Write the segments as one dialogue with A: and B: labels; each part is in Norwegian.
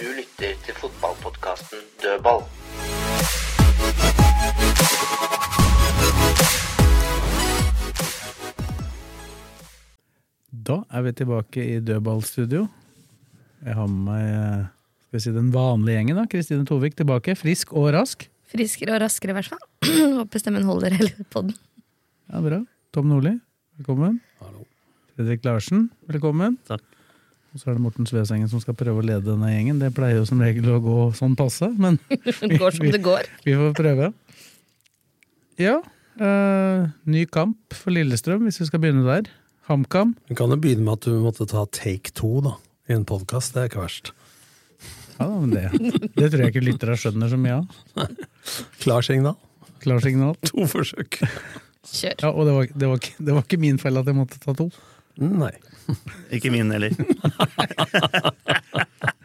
A: Du lytter til fotballpodkasten Dødball.
B: Da er vi tilbake i dødballstudio. Jeg har med meg eh, skal vi si, den vanlige gjengen. da, Kristine Tovik tilbake, frisk og rask.
C: Friskere og raskere, i hvert fall. Håper stemmen holder hele podden.
B: Ja, bra. Tom Nordli, velkommen. Fredrik Larsen, velkommen.
D: Takk.
B: Og så er det Morten Svesengen som skal prøve å lede denne gjengen. Det pleier jo som regel å gå sånn passe, men
C: Det går som det går.
B: vi får prøve. Ja, eh, ny kamp for Lillestrøm, hvis vi skal begynne der. HamKam.
D: Du kan jo begynne med at du måtte ta take two da, i en podkast. Det er ikke verst.
B: Ja, da, men det, det tror jeg ikke lytterne skjønner så mye av.
D: Klarsignal.
B: Klarsignal.
D: To forsøk.
C: Kjør.
B: Ja, og det var, det, var, ikke- det var ikke min feil at jeg måtte ta to.
D: Nei.
E: Ikke min heller.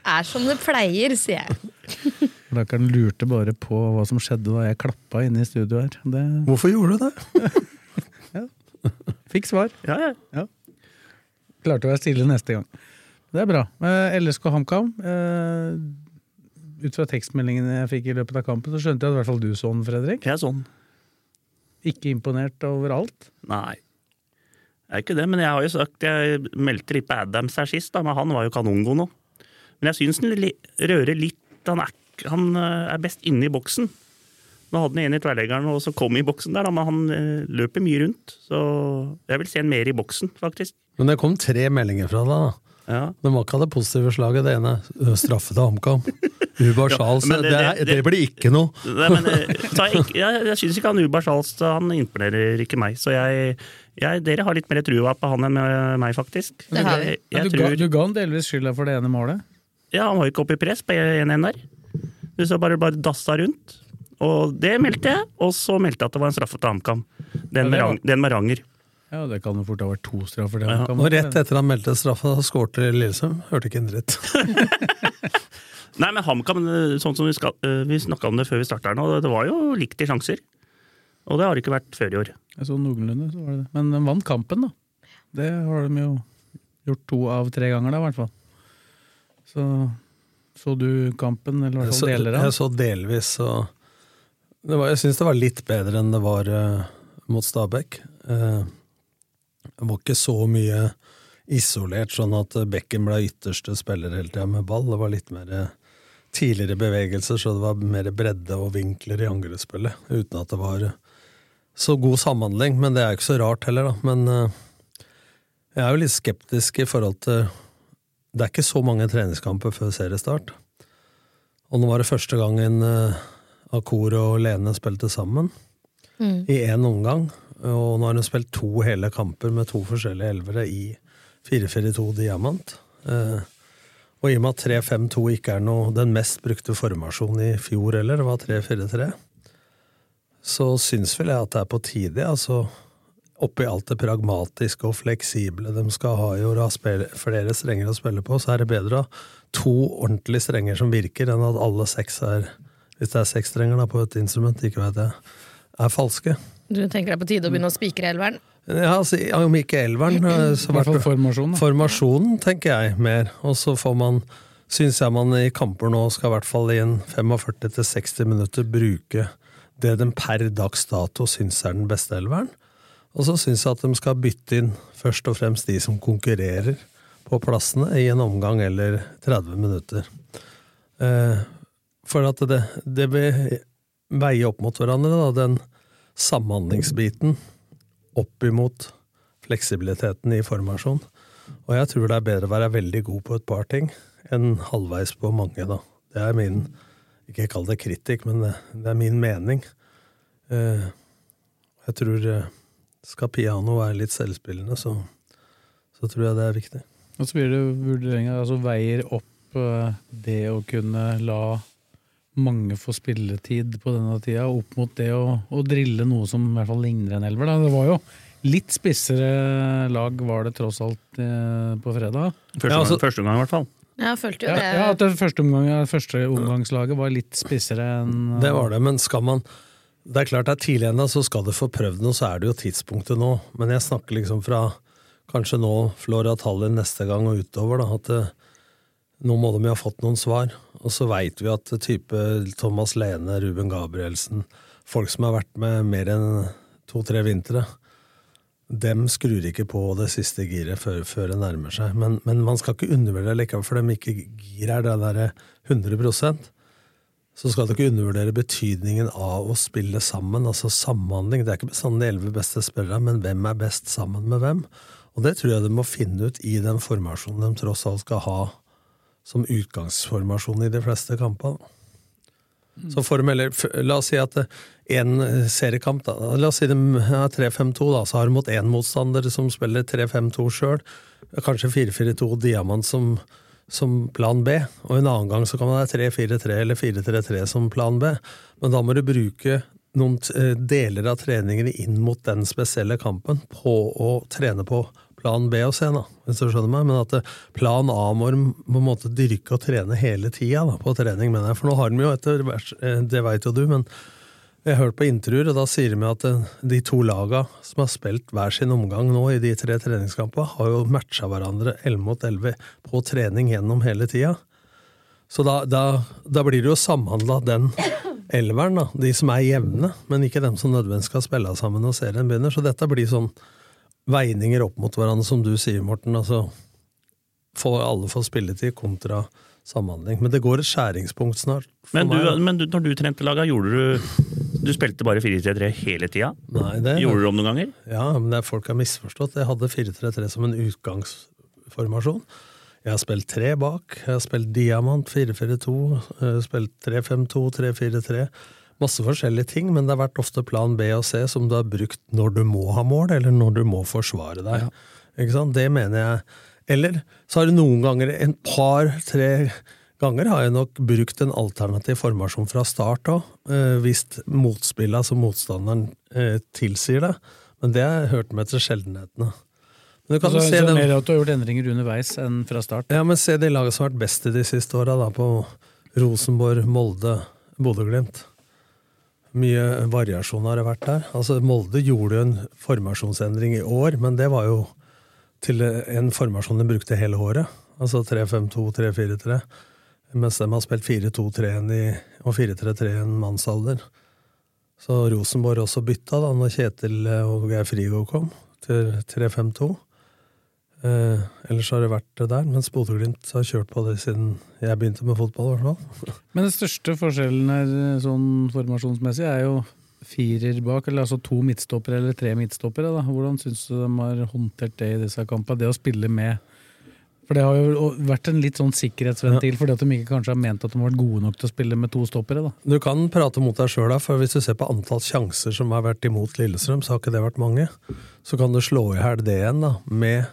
C: Er som det pleier, sier jeg.
B: Blakkeren lurte bare på hva som skjedde da jeg klappa inne i studio her. Det
D: Hvorfor gjorde du det?
B: fikk svar.
E: Ja, ja.
B: Klarte å være stille neste gang. Det er bra. Eh, LSK HamKam. Eh, ut fra tekstmeldingene jeg fikk i løpet av kampen, så skjønte jeg at i hvert fall du så den, Fredrik.
E: Jeg er sånn.
B: Ikke imponert over alt.
E: Nei. Jeg er ikke det, men jeg har jo sagt Jeg meldte litt på Adams her sist, da, men han var jo kanongo nå. Men jeg syns han li- rører litt han er, ikke- han eh, er best inne i boksen. Nå hadde han en i tverrleggeren og så kom i boksen der, da, men han eh, løper mye rundt. Så jeg vil se han mer i boksen, faktisk.
D: Men det kom tre meldinger fra deg. da.
E: Ja.
D: Det var ikke av det positive slaget. Det ene ø, straffe til HamKam. Ubar Charles.
E: men
D: det,
E: det-
D: er-
E: det-
D: det blir ikke noe.
E: Nei, men eh, så jeg, ikke- jeg, jeg syns ikke han Ubar Charles han imponerer ikke meg. Så jeg, jeg, dere har litt mer trua på han enn eh, meg, faktisk.
C: Det har vi.
E: Jeg,
B: Ja,
E: jeg
B: du,
E: tror,
B: ga, du ga han delvis skylda for det ene målet.
E: Ja, han var jo ikke oppe i press på 1-1 der. Du så bare, bare dassa rundt. Og det meldte jeg, og så meldte jeg at det var en straffe til HamKam. Den, med
B: Ja,
E: rang- den med Ranger.
B: Ja, Det kan jo fort ha vært to straffer. til
E: Ja,
B: HamKam.
D: Og rett etter han meldte straffa, skårte Lillesund. Hørte ikke en dritt.
E: Nei, men HamKam, eh, sånn som vi, skal- eh, vi snakka om det før vi starta her nå, det var jo likt i sjanser. Og det har det ikke vært før i år.
B: Jeg så noenlunde, så var det det. Men de vant kampen, da. Det har de jo gjort to av tre ganger, da, i hvert fall. Så så du kampen, eller i
D: Jeg
B: hvert
D: så,
B: fall deler av
D: jeg
B: den?
D: så delvis, og det var, jeg syns det var litt bedre enn det var eh, mot Stabæk. Eh, det var ikke så mye isolert, sånn at eh, Bekken ble ytterste spiller hele tida med ball. Det var litt mer eh, tidligere bevegelser, så det var mer bredde og vinkler i angrepsspillet. Uten at det var eh, så god samhandling, men det er jo ikke så rart heller, da. Men eh, jeg er jo litt skeptisk i forhold til Det er ikke så mange treningskamper før seriestart. Og nå var det første gangen uh, Akor og Lene spilte sammen. I én omgang. Og nå har hun spilt to hele kamper med to forskjellige elvere i 4-4-2 Diamant. Eh, og i og med at 3-5-2 ikke er noe, den mest brukte formasjonen i fjor heller, det var 3-4-3, så syns vel jeg at det er på tide. altså Oppi alt det pragmatiske og fleksible de skal ha i år, og ha spil- flere strenger å spille på, så er det bedre å ha to ordentlige strenger som virker, enn at alle seks er Hvis det er seks strenger da, på et instrument, ikke vet jeg, er falske.
C: Du tenker det er på tide å begynne å spikre elveren?
D: Ja, altså, Om ikke elveren, eh, så
B: I hvert fall formasjonen. da.
D: Formasjonen, tenker jeg, mer. Og så får man, syns jeg man i kamper nå skal i hvert fall i en 45-60 minutter bruke det de per dags dato syns er den beste elveren. Og så syns jeg at de skal bytte inn først og fremst de som konkurrerer på plassene i en omgang eller 30 minutter. Eh, for at det, det vil veie opp mot hverandre, da, den samhandlingsbiten opp imot fleksibiliteten i formasjon. Og jeg tror det er bedre å være veldig god på et par ting enn halvveis på mange, da. Det er min Ikke kall det kritikk, men det, det er min mening. Eh, Jeg tror eh, skal piano være litt selvspillende, så, så tror jeg det er viktig.
B: Og så blir det vurderinger, altså veier opp eh, det å kunne la mange få spilletid på denne tida, opp mot det å, å drille noe som i hvert fall ligner en elver. Da. Det var jo litt spissere lag var det tross alt eh, på fredag.
E: Første,
D: Ja, altså-
E: omgang, første omgang, i hvert fall.
C: Ja, jeg følte jo
B: Ja,
C: det.
B: ja at det første, omgang, første omgangslaget var litt spissere enn
D: Det var det, men skal man Det er klart det er tidlig ennå, så skal du få prøvd noe, så er det jo tidspunktet nå. Men jeg snakker liksom fra kanskje nå, Flora Tallinn neste gang og utover, da, at eh, nå må de jo ha fått noen svar. Og så veit vi at type Thomas Lene, Ruben Gabrielsen, folk som har vært med mer enn to-tre vintre, dem skrur ikke på det siste giret før, før det nærmer seg. Men, men man skal ikke undervurdere likevel, for dem ikke gir er det derre 100 så skal du ikke undervurdere betydningen av å spille sammen, altså samhandling. Det er ikke bestandig de elleve beste spillerne, men hvem er best sammen med hvem? Og det tror jeg de må finne ut i den formasjonen de tross alt skal ha som utgangsformasjon i de fleste kampene. Så får de heller, f- la oss si at én seriekamp, da. La oss si de er 3-5-2, da. Så har de mot én motstander som spiller 3-5-2 sjøl. Kanskje 4-4-2 Diamant som, som plan B. Og en annen gang så kan man ha 3-4-3 eller 4-3-3 som plan B. Men da må du bruke noen t- eh, deler av treningene inn mot den spesielle kampen på å trene på plan B og C, da, hvis du skjønner meg. Men at eh, plan A må de på en måte dyrke og trene hele tida da, på trening, mener jeg. For nå har de jo etter hvert, eh, det veit jo du, men jeg har hørt på intervjuer, og da sier de at eh, de to laga som har spilt hver sin omgang nå i de tre treningskampene, har jo matcha hverandre 11 mot 11 på trening gjennom hele tida. Så da, da, da blir det jo samhandla den elveren, da. De som er jevne, men ikke dem som nødvendigvis skal spille sammen når serien begynner. Så dette blir sånn veininger opp mot hverandre, som du sier, Morten. altså får alle få spilletid kontra samhandling. Men det går et skjæringspunkt snart. for
E: Men,
D: meg, da.
E: du, men du, når du trente laga, gjorde du Du spilte bare 4-3-3 hele tida?
D: Nei, det,
E: Gjorde du om noen ganger?
D: Ja, men det er folk har misforstått. Jeg hadde 4-3-3 som en utgangsformasjon. Jeg har spilt tre bak. Jeg har spilt diamant 4-4-2, eh, spilt 3-5-2, 3-4-3. Masse forskjellige ting, men det har vært ofte plan B og C som du har brukt når du må ha mål, eller når du må forsvare deg. Ikke sant? Det mener jeg. Eller så har du noen ganger, en par-tre ganger, har jeg nok brukt en alternativ formasjon fra start òg, hvis motspillet, altså motstanderen, eh, tilsier det. Men det har jeg hørt med til sjeldenhetene. Men du kan
B: Altså,
D: jo se
B: så
D: den-
B: mer at du har gjort endringer underveis enn fra start.
D: ja, men se de lagene som har vært best i de siste åra, da. På Rosenborg, Molde, Bodø-Glimt. Mye variasjon har det vært der. Altså, Molde gjorde jo en formasjonsendring i år, men det var jo til en formasjon de brukte hele året. Altså 3-5-2, 3-4-3. Mens de har spilt 4-2-3-1 i- og 4-3-3 i en mannsalder. Så Rosenborg også bytta da når Kjetil og Geir Frigo kom, til 3-5-2. Eh, ellers har det vært det der, mens Bodø-Glimt har kjørt på det siden jeg begynte med fotball. i hvert fall.
B: Men den største forskjellen her sånn formasjonsmessig er jo firer bak, eller altså to midtstoppere eller tre midtstoppere. Da. Hvordan syns du de har håndtert det i disse kampene, det å spille med? For det har jo vært en litt sånn sikkerhetsventil, fordi at de ikke kanskje har ment at de har vært gode nok til å spille med to stoppere. da.
D: Du kan prate mot deg sjøl, for hvis du ser på antall sjanser som har vært imot Lillestrøm, så har ikke det vært mange. Så kan du slå i hæl det igjen da, med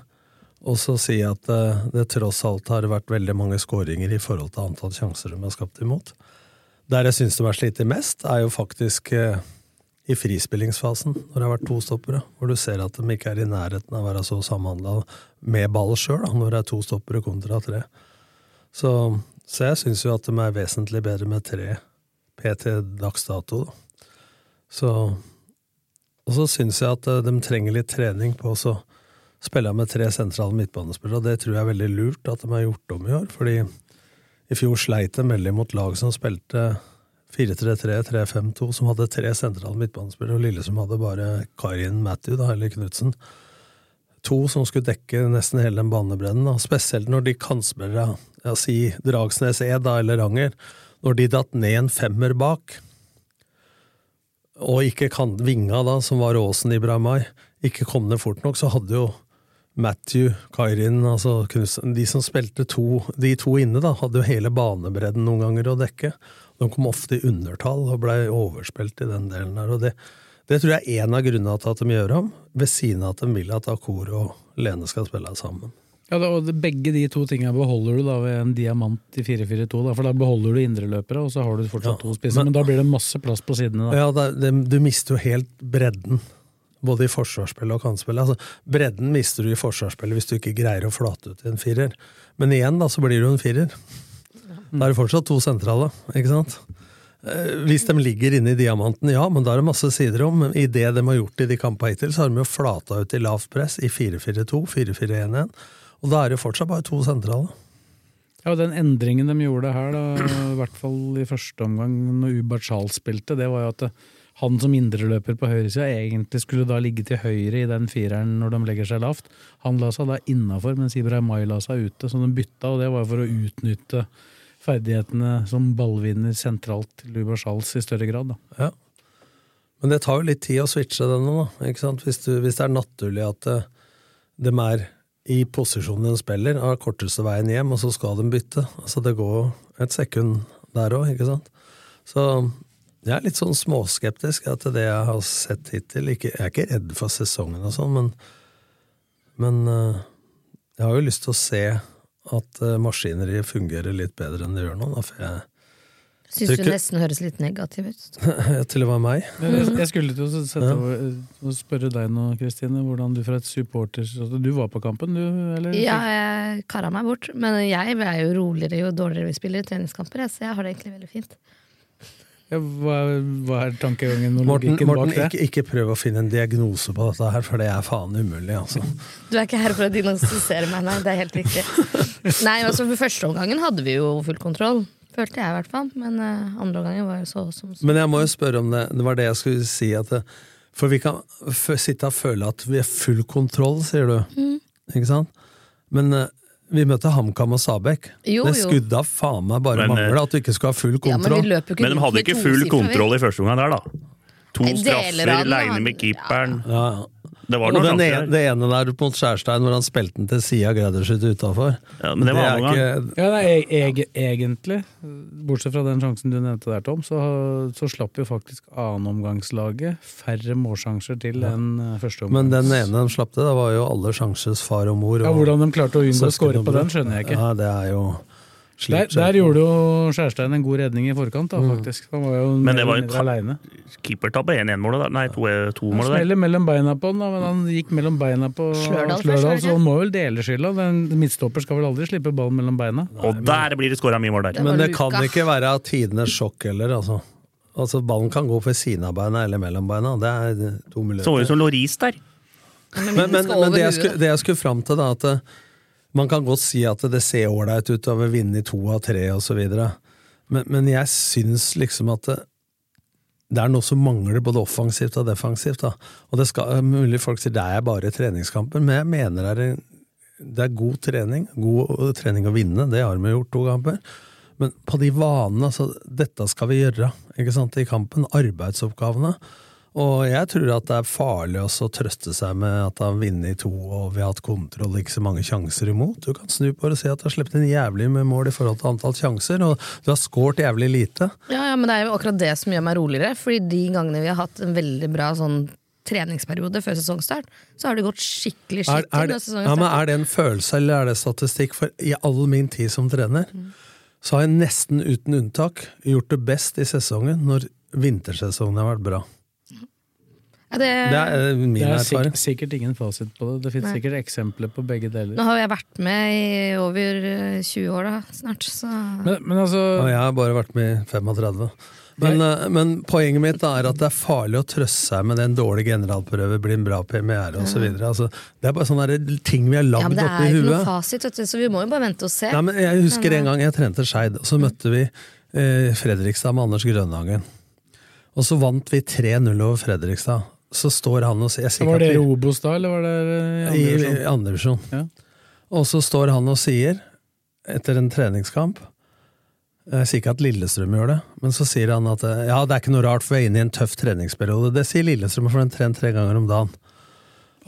D: å så si at eh, det tross alt har vært veldig mange skåringer i forhold til antall sjanser de har skapt imot. Der jeg syns de har slitt mest, er jo faktisk eh, i frispillingsfasen, når det har vært to stoppere, hvor du ser at de ikke er i nærheten av å være så samhandla med ball sjøl, når det er to stoppere kontra tre. Så, så jeg syns jo at de er vesentlig bedre med tre PT dags dato, da. Så Og så syns jeg at eh, de trenger litt trening på å så spille med tre sentrale midtbanespillere, og det tror jeg er veldig lurt at de har gjort om i år, fordi i fjor sleit de veldig mot lag som spilte 4-3-3, 3-5-2, som hadde tre sentrale midtbanespillere, og Lillesund hadde bare Karin Matthew, da, eller Knutsen. To som skulle dekke nesten hele den banebrennen, da. spesielt når de kantspillere, ja, si Dragsnes Ed da, eller Ranger, når de datt ned en femmer bak, og ikke kan, vinga da, som var Åsen Ibrahimai, ikke kom ned fort nok, så hadde jo Matthew, Kairin, altså Knudsen, de som spilte to, de to inne, da, hadde jo hele banebredden noen ganger å dekke. De kom ofte i undertall og blei overspilt i den delen her. og det, det tror jeg er en av grunnene til at de gjør om, ved siden av at de vil at Akor og Lene skal spille sammen.
B: Ja, da, og det- Begge de to tingene beholder du da ved en diamant i 4-4-2. Da, for da beholder du indreløpere, og så har du fortsatt to spisser. Men, da blir det masse plass på sidene. da.
D: Ja, det, det, du mister jo helt bredden. Både i forsvarsspillet og kantspillet. Altså, bredden mister du i forsvarsspillet hvis du ikke greier å flate ut i en firer. Men igjen, da, så blir du en firer. Da er det fortsatt to sentrale, ikke sant? Eh, Hvis de ligger inne i diamanten, ja, men da er det masse sider om. Men i det de har gjort i de kampene hittil, så har de jo flata ut i lavt press i 4-4-2, 4-4-1-1. Og da er det jo fortsatt bare to sentrale.
B: Ja, og Den endringen de gjorde her, da, i hvert fall i første omgang når Ubert Charles spilte, det var jo at det- han som indreløper på høyresida egentlig skulle da ligge til høyre i den fireren når de legger seg lavt. Han la seg da innafor, mens Ibrahim May la seg ute, så de bytta, og det var for å utnytte ferdighetene som ballvinner sentralt til Ubert Charles i større grad. da.
D: Ja. Men det tar jo litt tid å switche denne, da. Ikke sant? Hvis, du, hvis det er naturlig at eh, de er i posisjonen de spiller, har korteste veien hjem, og så skal de bytte. Altså det går jo et sekund der òg, ikke sant. Så jeg er litt sånn småskeptisk til det jeg har sett hittil. Ikke, jeg er ikke redd for sesongen og sånn, men, men eh, jeg har jo lyst til å se at eh, maskineriet fungerer litt bedre enn det gjør nå. Da, for jeg,
C: Syns du
D: Tykker-
C: nesten høres litt negativ ut?
D: til og med meg.
B: Men Jeg, jeg skulle til å sette over- å spørre deg nå, Kristine, hvordan du fra et supporters... altså, Du var på kampen, du? Eller?
C: Ja, jeg kara meg bort. Men jeg er jo roligere jo dårligere vi spiller i treningskamper, jeg, så jeg har det egentlig veldig fint.
B: Ja, hva, hva er tankegangen og
D: Morten,
B: logikken
D: Morten
B: bak det?
D: ikke, ikke prøv å finne en diagnose på dette her, for det er faen umulig, altså.
C: Du er ikke her for å diagnostisere meg, nei. Det er helt riktig. Nei, altså for Første omgangen hadde vi jo full kontroll, følte jeg i hvert fall. Men eh, andre omgangen var jo så som så.
D: Men jeg må jo spørre om det. Det var det jeg skulle si. At det, for vi kan f sitte og føle at vi har full kontroll, sier du.
C: Mm.
D: Ikke sant? Men eh, vi møtte HamKam og Sabek.
C: Jo,
D: det
C: jo.
D: skudda faen meg bare
E: Men, eh,
D: mangla at du ikke skulle ha full
C: Ja, men vi
D: kontroll.
C: løper jo ikke
E: Men de
C: rundt
E: hadde
C: med
E: ikke
C: to
E: full
C: sifre, vi.
E: kontroll i første omgang der, da. To
C: Deler
E: straffer,
C: av den,
E: leine med
C: ja.
E: keeperen.
D: ja, ja.
E: Det var
D: Og
E: noen
D: den ene,
E: sjanser der.
D: det ene der mot Skjærstein, hvor han spilte den til sida Gredersrud utafor.
E: Ja, men det var andre gang.
B: Ja, nei, eg, eg, egentlig, bortsett fra den sjansen du nevnte der, Tom, så, så slapp jo faktisk annenomgangslaget færre målsjanser til enn eh, første omgang.
D: Men den ene de slapp til, da var jo alle sjanses far og mor. Og
B: ja, hvordan de klarte å unngå å skåre på
D: søskenbror.
B: den, skjønner jeg ikke.
D: Ja, det er jo
B: Der, der gjorde jo Skjærstein en god redning i forkant, da,
D: Mm.
B: faktisk. Han var jo
E: Men
B: mer
E: det var
B: eller
E: jo
B: mindre
E: ka-
B: aleine.
E: Keepertabbe 1-1-målet der. Nei,
B: Han
E: 2-målet der.
B: smeller mellom beina på han, da, men han gikk mellom beina på
C: Slørdal først, var det
B: så
C: ikke?
B: han må vel dele skylda. Den Midtstopper skal vel aldri slippe ballen mellom beina.
E: Og der blir det skåra mye mål der.
C: var
D: Men det kan
C: luka.
D: ikke være av tidenes sjokk heller, altså. Altså, Ballen kan gå ved siden av beina eller mellom beina. Det er to
E: Så
D: muligheter.
E: var det som Loris der.
D: Men, men,
C: skal over
D: men det, jeg
C: huet,
D: skulle, det jeg skulle fram til, da, at eh, man kan godt si at det ser ålreit ut over å vinne i to av tre osv., men, men jeg syns liksom at det, det er noe som mangler både offensivt og defensivt. da. Og det skal, eh, Mulig folk sier det er bare treningskamper, men jeg mener det er, en- det er god trening. God eh, trening å vinne, det har vi gjort to kamper. Men på de vanene, altså Dette skal vi gjøre ikke sant, i kampen. Arbeidsoppgavene. Og jeg tror at det er farlig også å trøste seg med at han vinner i to, og vi har hatt kontroll og ikke så mange sjanser imot. Du kan snu på det og si at du har sluppet inn jævlig med mål i forhold til antall sjanser, og du har skåret jævlig lite.
C: Ja, ja, men det er jo akkurat det som gjør meg roligere. Fordi de gangene vi har hatt en veldig bra sånn treningsperiode før sesongstart, så har det gått skikkelig
D: Er,
C: skitt
D: er,
C: inn
D: det, ja,
C: når sesongen
D: men
C: starter.
D: er det en følelse, eller er det statistikk? For i all min tid som trener,
C: Mm.
D: så har jeg nesten uten unntak gjort det best i sesongen når vintersesongen har vært bra.
C: Ja, det,
D: Det er eh, min
B: Det er
D: erfaring.
B: sikkert, sikkert ingen fasit på det. Det finnes
C: Nei.
B: sikkert eksempler på begge deler.
C: Nå har jeg vært med i over eh, 20 år da, snart, så
B: Men, men altså
D: Og jeg har bare vært med i 35. Men, eh, men poenget mitt da er at det er farlig å trøste seg med det en dårlig generalprøve blir en bra premiere osv. Altså, det er bare sånne der ting vi har
C: Ja,
D: lagd
C: men det
D: oppi
C: er jo ikke noe
D: huet.
C: fasit, vet du, så vi må jo bare vente og se.
D: Nei, men jeg husker en gang jeg trente Skeid, og så møtte vi eh, Fredrikstad med Anders Grønhagen. Og så vant vi 3-0 over Fredrikstad. Så står han og sier jeg sier
B: Var
D: ikke
B: det
D: at vi-
B: Robos da, eller var det eh,
D: i
B: andre
D: i
B: versjon?
D: andre divisjon.
B: Ja.
D: Og så står han og sier, etter en treningskamp Jeg sier ikke at Lillestrøm gjør det, men så sier han at eh, ja, det er ikke noe rart, for vi er inne i en tøff treningsperiode. Det sier Lillestrøm, for den trener tre ganger om dagen.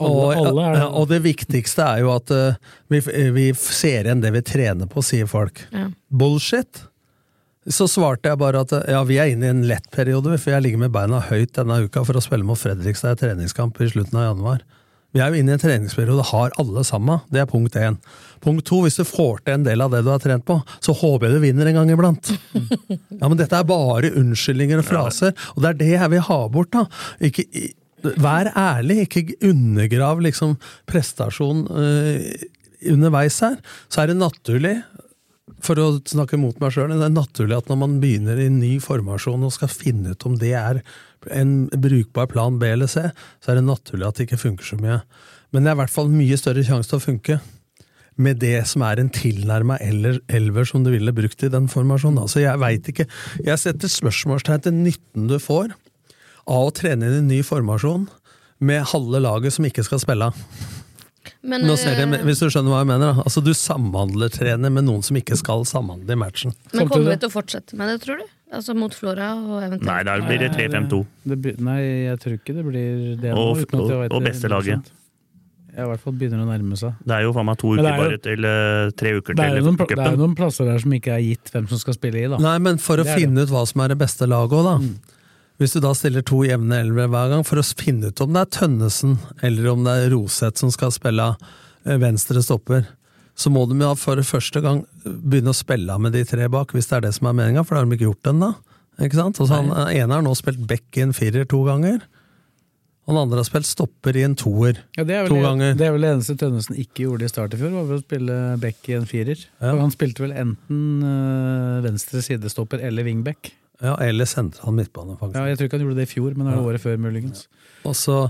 D: Og,
B: Alle- alle er-
D: ja, og det viktigste er jo at eh, vi, vi ser igjen det vi trener på, sier folk.
C: Ja.
D: Bullshit! Så svarte jeg bare at eh, ja, vi er inne i en lett periode, for jeg ligger med beina høyt denne uka for å spille mot Fredrikstad i treningskamp i slutten av januar. Vi er jo inne i en treningsperiode, har alle sammen. Det er punkt én. Punkt to, hvis du får til en del av det du har trent på, så håper jeg du vinner en gang iblant. Ja, men dette er bare unnskyldninger og fraser, og det er det jeg vil ha bort, da. Ikke, i- vær ærlig, ikke undergrav liksom prestasjon eh, underveis her. Så er det naturlig, for å snakke mot meg sjøl, det er naturlig at når man begynner i en ny formasjon og skal finne ut om det er en brukbar plan B eller C, så er det naturlig at det ikke funker så mye. Men det er i hvert fall mye større sjanse til å funke med det som er en tilnærma elver som du ville brukt i den formasjonen. Altså, jeg veit ikke. Jeg setter spørsmålstegn til nytten du får av å trene inn en ny formasjon med halve laget som ikke skal spille.
C: Men,
D: Nå ser jeg,
C: eh,
D: hvis du skjønner hva jeg mener. Da. Altså, du samhandler trener med noen som ikke skal samhandle i matchen.
C: men
B: Folk tror
C: kommer vi til å fortsette med det, tror du? Altså mot Flora og eventuelt
E: Nei, da blir det 3-5-2.
B: Det be- Nei, jeg tror ikke det blir det. nå,
E: Og-
B: uten at jeg
E: og-
B: vet
E: og
B: det
E: beste
B: 100%.
E: laget.
B: Ja, i hvert fall begynner å nærme seg.
E: Det er jo faen meg to
B: Men
E: uker
B: det er jo-
E: bare til eh, tre uker
B: Det er
E: til
B: jo noen, pla- det er jo
E: cupen.
B: noen plasser der som ikke er gitt hvem som skal spille i, da.
D: Nei, men for å
B: Det Mm. er det.
D: finne ut hva som er det beste laget òg, da. Hvis du da stiller to jevne elvere hver gang, for å finne ut om det er Tønnesen eller om det er Roseth som skal spille eh, venstre stopper, så må de jo for første gang begynne å spille med de tre bak, hvis det er det som er meninga, for det har de ikke gjort ennå. Ikke sant? Altså, han eh, ene har nå spilt back i en firer to ganger. Og den andre har spilt stopper i en toer.
B: Ja, det, er
D: To
B: vel,
D: ganger.
B: det er vel det eneste Tønnesen ikke gjorde i start i fjor, var vel å spille back i en firer.
D: Ja.
B: Og han spilte vel enten øh, venstre sidestopper eller wingback.
D: Ja, eller sentral midtbane, faktisk.
B: Ja, jeg tror ikke han gjorde det i fjor, men det var året før, muligens.
D: Og så,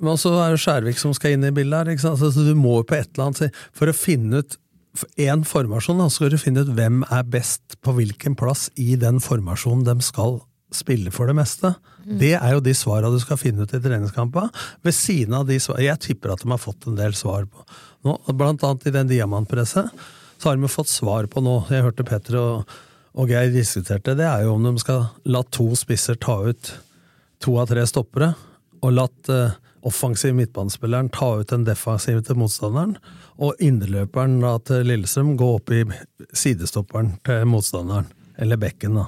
D: men så er det Skjærvik som skal inn i bildet her. Ikke sant? Altså, Så du må jo på et eller annet si- For å finne ut én formasjon, da, så skal du finne ut hvem er best på hvilken plass i den formasjonen de skal spille for det meste. Det er jo de svara du skal finne ut i treningskampa. Ved siden av de svara Jeg tipper at de har fått en del svar på nå. Blant annet i den diamantpresset så har de jo fått svar på nå. Jeg hørte Petter og, og Geir diskuterte. Det er jo om de skal la to spisser ta ut to av tre stoppere og latt eh, offensiv midtbanespilleren ta ut den defensive til motstanderen, og indreløperen da, til Lillestrøm gå opp i sidestopperen til motstanderen, eller bekken, da.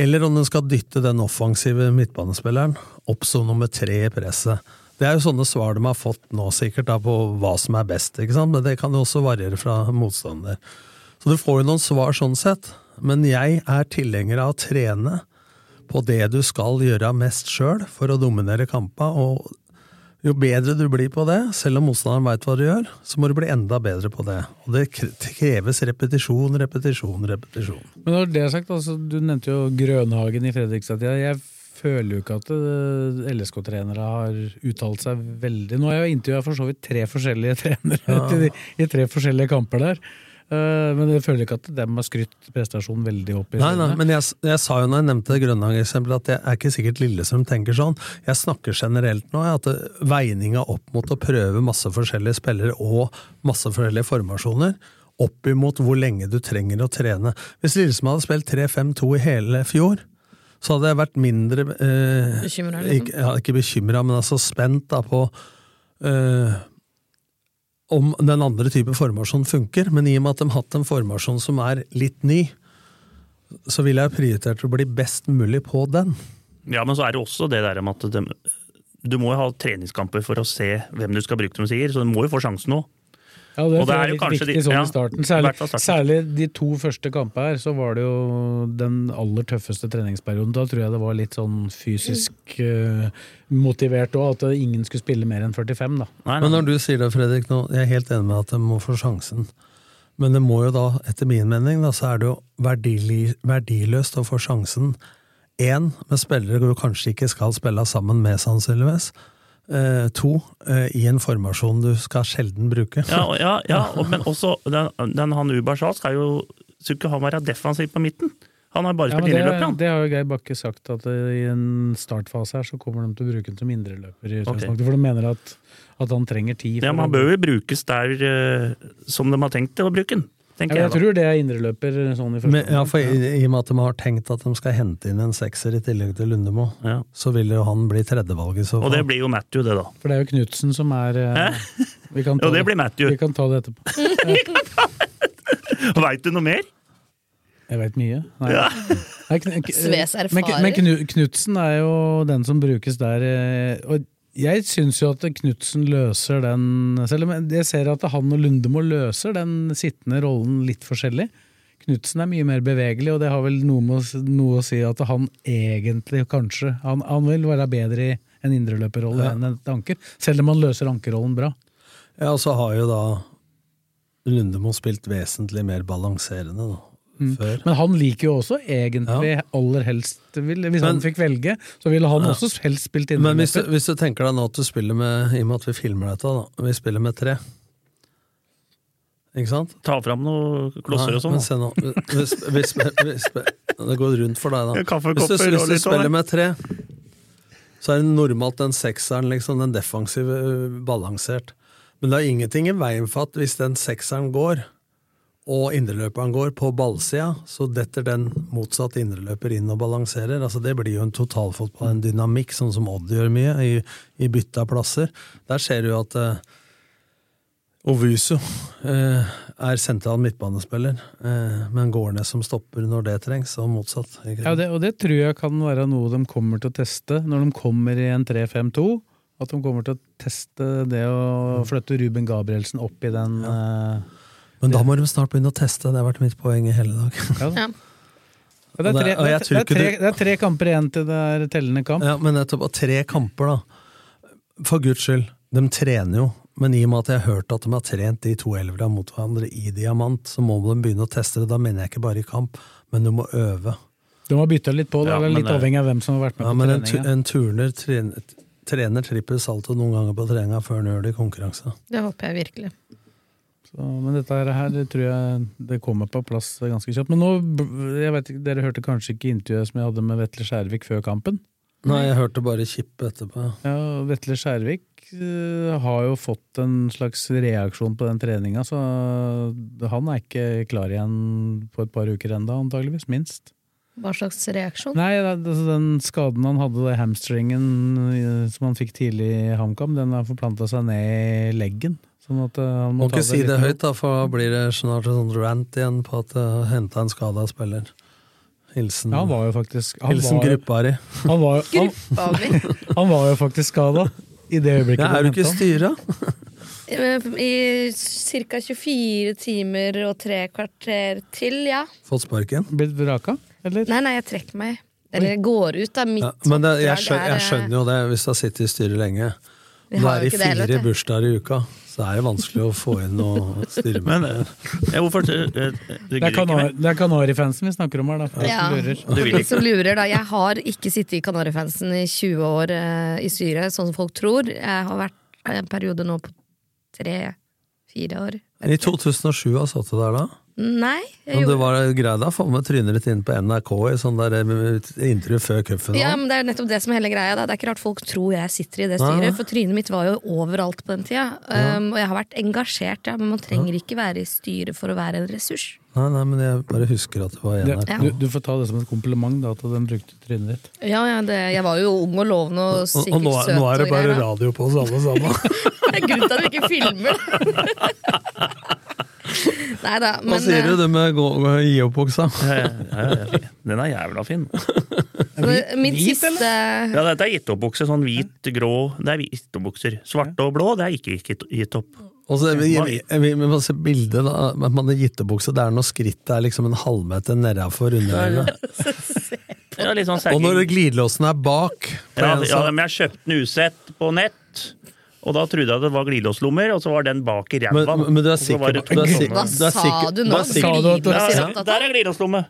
D: Eller om den skal dytte den offensive midtbanespilleren opp som nummer tre i presset. Det er jo sånne svar de har fått nå, sikkert, da, på hva som er best, ikke sant? men det kan jo også variere fra motstander. Så du får jo noen svar sånn sett, men jeg er tilhenger av å trene på det du skal gjøre mest sjøl for å dominere kampa. Og jo bedre du blir på det, selv om motstanderen veit hva du gjør, så må du bli enda bedre på det. Og det kre- kreves repetisjon, repetisjon, repetisjon.
B: Men når det er sagt, altså, du nevnte jo Grønhagen i Fredrikstad. Jeg, jeg føler jo ikke at øh, LSK-trenere har uttalt seg veldig. Nå har jeg intervjua for så vidt tre forskjellige trenere til de, i tre forskjellige kamper der. Øh, men jeg føler ikke at dem har skrytt prestasjonen veldig opp. i
D: Nei, nei,
B: sine.
D: men jeg, s- jeg sa jo når jeg nevnte Grønhagen-eksempelet, at det er ikke sikkert Lillestrøm tenker sånn. Jeg snakker generelt nå, jeg, at det- veininga opp mot å prøve masse forskjellige spillere og masse forskjellige formasjoner, opp imot hvor lenge du trenger å trene. Hvis Lillestrøm hadde spilt 3-5-2 i hele fjor, så hadde jeg vært mindre eh,
C: Bekymret, liksom.
D: Ikke, ja, ikke bekymra, men altså spent da på eh, om den andre type formasjon funker, men i og med at de har hatt en formasjon som er litt ny, så ville jeg prioritert å bli best mulig på den.
E: Ja, men så er det også det der med at de, du må jo ha treningskamper for å se hvem du skal bruke, som du sier, så du må jo få sjansen nå.
B: Ja, det,
E: Og det
B: tror jeg
E: er jo
B: litt
E: kanskje
B: viktig
E: de-
B: sånn
E: ja,
B: i starten. Særlig,
E: i hvert fall starten.
B: særlig de to første kampene her, så var det jo den aller tøffeste treningsperioden. Da tror jeg det var litt sånn fysisk eh, motivert òg, at ingen skulle spille mer enn 45, da.
E: Nei,
D: Men
E: nei.
D: når du sier det, Fredrik, nå, jeg er helt enig med at de må få sjansen. Men det må jo da, etter min mening, da, så er det jo verdili, verdiløst å få sjansen. Én, med spillere du kanskje ikke skal spille sammen med, sannsynligvis. Eh, to, eh, i en formasjon du skal sjelden bruke.
E: Ja, og- ja, ja og, men også den, den han Ubashal skal jo Skulle ikke han være defensiv på midten? Han har bare
B: Ja,
E: spilt
B: men
E: indreløper,
B: det,
E: han.
B: det har jo Geir Bakke sagt, at eh, i en startfase her så kommer de til å bruke ham som indreløper. i
E: Ok.
B: utgangspunktet, For de mener at, at han trenger tid.
E: Ja,
B: for
E: men han
B: å-
E: bør jo brukes der eh, som de har tenkt å bruke den,
B: ja,
E: tenker
B: men jeg
E: jeg. da.
B: tror det er indreløper sånn i første
D: Men, ja,
B: omgang.
D: for i, I og med at de har tenkt at de skal hente inn en sekser i tillegg til Lundemo,
E: Ja.
D: så vil jo han bli tredjevalget.
E: Og det blir jo Matthew, det, da.
B: For det er jo Knutsen som er eh, vi kan ta
E: Ja, det blir Matthew.
B: Vi kan ta det etterpå.
E: Veit du noe mer?
B: Jeg veit mye. Nei. Nei, kn- k-
C: Sves erfarer.
B: Men, men Knutsen er jo den som brukes der. eh, Og Jeg syns jo at Knutsen løser den Selv om jeg ser at han og Lundemo løser den sittende rollen litt forskjellig. Knutsen er mye mer bevegelig, og det har vel noe, med, å s- noe å si at han egentlig kanskje Han, han vil være bedre i en indreløperrolle enn et anker, selv om han løser ankerrollen bra.
D: Ja, og så har jo da Lundemo spilt vesentlig mer balanserende da, før.
B: Men han liker jo også egentlig aller helst vil, Hvis han
D: Men-
B: fikk velge, så ville han
D: Ja.
B: også helst spilt
D: Men hvis du,
B: indreløper.
D: hvis du tenker deg nå at du spiller med, i og med at vi filmer dette, da, vi spiller med tre. Ikke sant?
E: Ta fram noen klosser
D: Nei,
E: og sånn.
D: men se nå. Hvis, hvis, hvis, det går rundt for deg, da. Hvis du,
E: Kaffekopper
D: hvis
E: og
D: du
E: litt sånn, av
D: spiller
E: det.
D: med tre, så er det normalt den sekseren, liksom, den defensive, øh, balansert. Men det er ingenting i veien for at hvis den sekseren går, og indreløperen går på ballsida, så detter den motsatt indreløper inn og balanserer. Altså Det blir jo en totalfotball, en dynamikk, sånn som Odd gjør mye, i, i bytte av plasser. Der ser du jo at eh, Ovuso eh, er sentral midtbanespiller, eh, men går ned som stopper når det trengs, og motsatt. Ikke?
B: Ja, det, og det tror jeg kan være noe de kommer til å teste når de kommer i en 3-5-2. At de kommer til å teste det å flytte Ruben Gabrielsen opp i den eh,
D: men da må du snart begynne å teste, det har vært mitt poeng i hele dag.
B: ja.
C: Ja.
B: Ja, det, er
D: Og
B: tre,
D: det- og jeg
B: det, er
D: tror ikke
B: tre,
D: du-
B: det er tre kamper igjen til det er tellende kamp.
D: Ja, men nettopp, og tre kamper, da. For guds skyld, de trener jo. Men i og med at jeg har hørt at de har trent de to elvera mot hverandre i diamant, så må de begynne å teste det. Da mener jeg ikke bare i kamp, men du må øve.
B: De har bytta litt på det,
E: Ja,
B: eller
E: men
B: litt
E: det-
B: avhengig av hvem som har vært med
D: Ja,
B: på
D: men en, tu-
B: treninga.
D: en turner trener, trener trippel salto noen ganger på treninga før han gjør det i konkurranse.
C: Det håper jeg virkelig.
B: Så, Men dette her- her tror jeg det kommer på plass ganske kjapt. Men nå, b- jeg vet ikke, Dere hørte kanskje ikke intervjuet som jeg hadde med Vetle Skjærvik før kampen?
D: Nei, jeg hørte bare kipp etterpå.
B: Ja, og Vetle Skjærvik eh, har jo fått en slags reaksjon på den treninga, så eh, han er ikke klar igjen på et par uker enda, antageligvis, minst.
C: Hva slags reaksjon?
B: Nei, det- altså, den skaden han hadde, det hamstringen eh, som han fikk tidlig i HamKam, den har forplanta seg ned i leggen. Sånn at eh, han
D: Må
B: må, ta
D: ikke si
B: litt
D: det
B: med ro.
D: høyt, da, for da blir det snart en sånn rant igjen på at jeg henta en skada spiller. Hilsen,
B: Ja, han var jo faktisk Han
D: hilsen
B: var,
D: gruppa di.
B: han var, han,
C: Gruppa mi.
B: han var jo faktisk skada i det øyeblikket.
D: Ja, er
B: de
D: du ikke i
B: hentet han.
D: styret?
C: Eh, I ca. 24 timer og tre kvarter til, ja.
D: Fått sparken?
B: Blitt vraka, eller?
C: Nei, nei, jeg trekker meg. Eller jeg går ut, da. Mitt
D: Ja, men det, jeg,
C: oppdrag
D: skjønner,
C: er, eh,
D: jeg skjønner jo det, hvis du har sittet i styret lenge.
C: Vi
D: Nå
C: har
D: er det
C: jo ikke det heller,
D: fire
C: vet du.
D: bursdager i uka, så er det vanskelig å få inn noe styre
E: Men
D: med.
E: eh, ja, hvorfor eh, eh, Du
B: Det er,
E: gidder ikke
B: Kanari-
E: mer?
B: det er Kanarifansen vi snakker om her, da. for
C: Ja.
B: de som lurer.
E: Du vil
C: De
E: ikke.
C: som lurer, da. Jeg har ikke sittet i Kanarifansen i 20 år eh, i Syria, sånn som folk tror. Jeg har vært en periode nå på tre-fire år.
D: I 2007 har satt du der da?
C: Nei,
D: Men
C: jeg
D: det
C: gjorde
D: var greid å få med trynet ditt inn på NRK i sånn der eh, intervju før
C: ja,
D: cupfinalen.
C: men Det er nettopp det som er hele greia. Da. Det er ikke rart folk tror jeg sitter i det
D: Nei, nei.
C: styret, for trynet mitt var jo overalt på den tida. Um, og jeg har vært engasjert, ja, men man trenger ikke være i styret for å være en ressurs.
D: Nei, nei, men jeg bare husker at det var i
B: Det,
D: NRK.
B: du, du får ta det som et kompliment, da, at den brukte trynet ditt.
C: Ja, ja, det, Jeg var jo ung og lovende og
D: Og,
C: sikkert
D: og nå, er-
C: søt.
D: nå er det
C: og
D: bare
C: greier, da.
D: radio på oss alle sammen.
C: Det er grunnen til at vi ikke filmer det. Nei da,
D: Hva
C: men eh,
D: sier du, det med gå, gå, gi opp-buksa?
E: Ja, ja, ja. Den er jævla fin.
C: eh, min siste
E: Ja, dette er gitteoppbukse. Sånn hvit, grå Det er gitteoppbukser. Svarte og blå, det er ikke gitt- gittopp.
D: Og så vi,
E: Hva-
D: vi, vi, vi må se bildet da, at man har gittebukse, det er når skrittet er liksom en halvmeter nedafor underøyet.
E: Ja, litt sånn
D: Og
E: sæking.
D: når glidelåsen er bak på
E: Ja,
D: en
E: ja,
D: sånn-
E: men jeg kjøpte den usett på nett, og da trodde jeg det var glidelåslommer, og så var den bak i
D: men,
E: ræva.
D: men du er
E: Og så
D: sikker
E: var det
D: på, du
E: to
D: er sikker, du er
C: Hva
E: sånne.
C: sa
D: sikker,
C: du
D: du
C: nå?
D: er sikker,
B: Hva
E: Der,
B: sa
C: Glidelås
E: ja, der er glidelåslomme!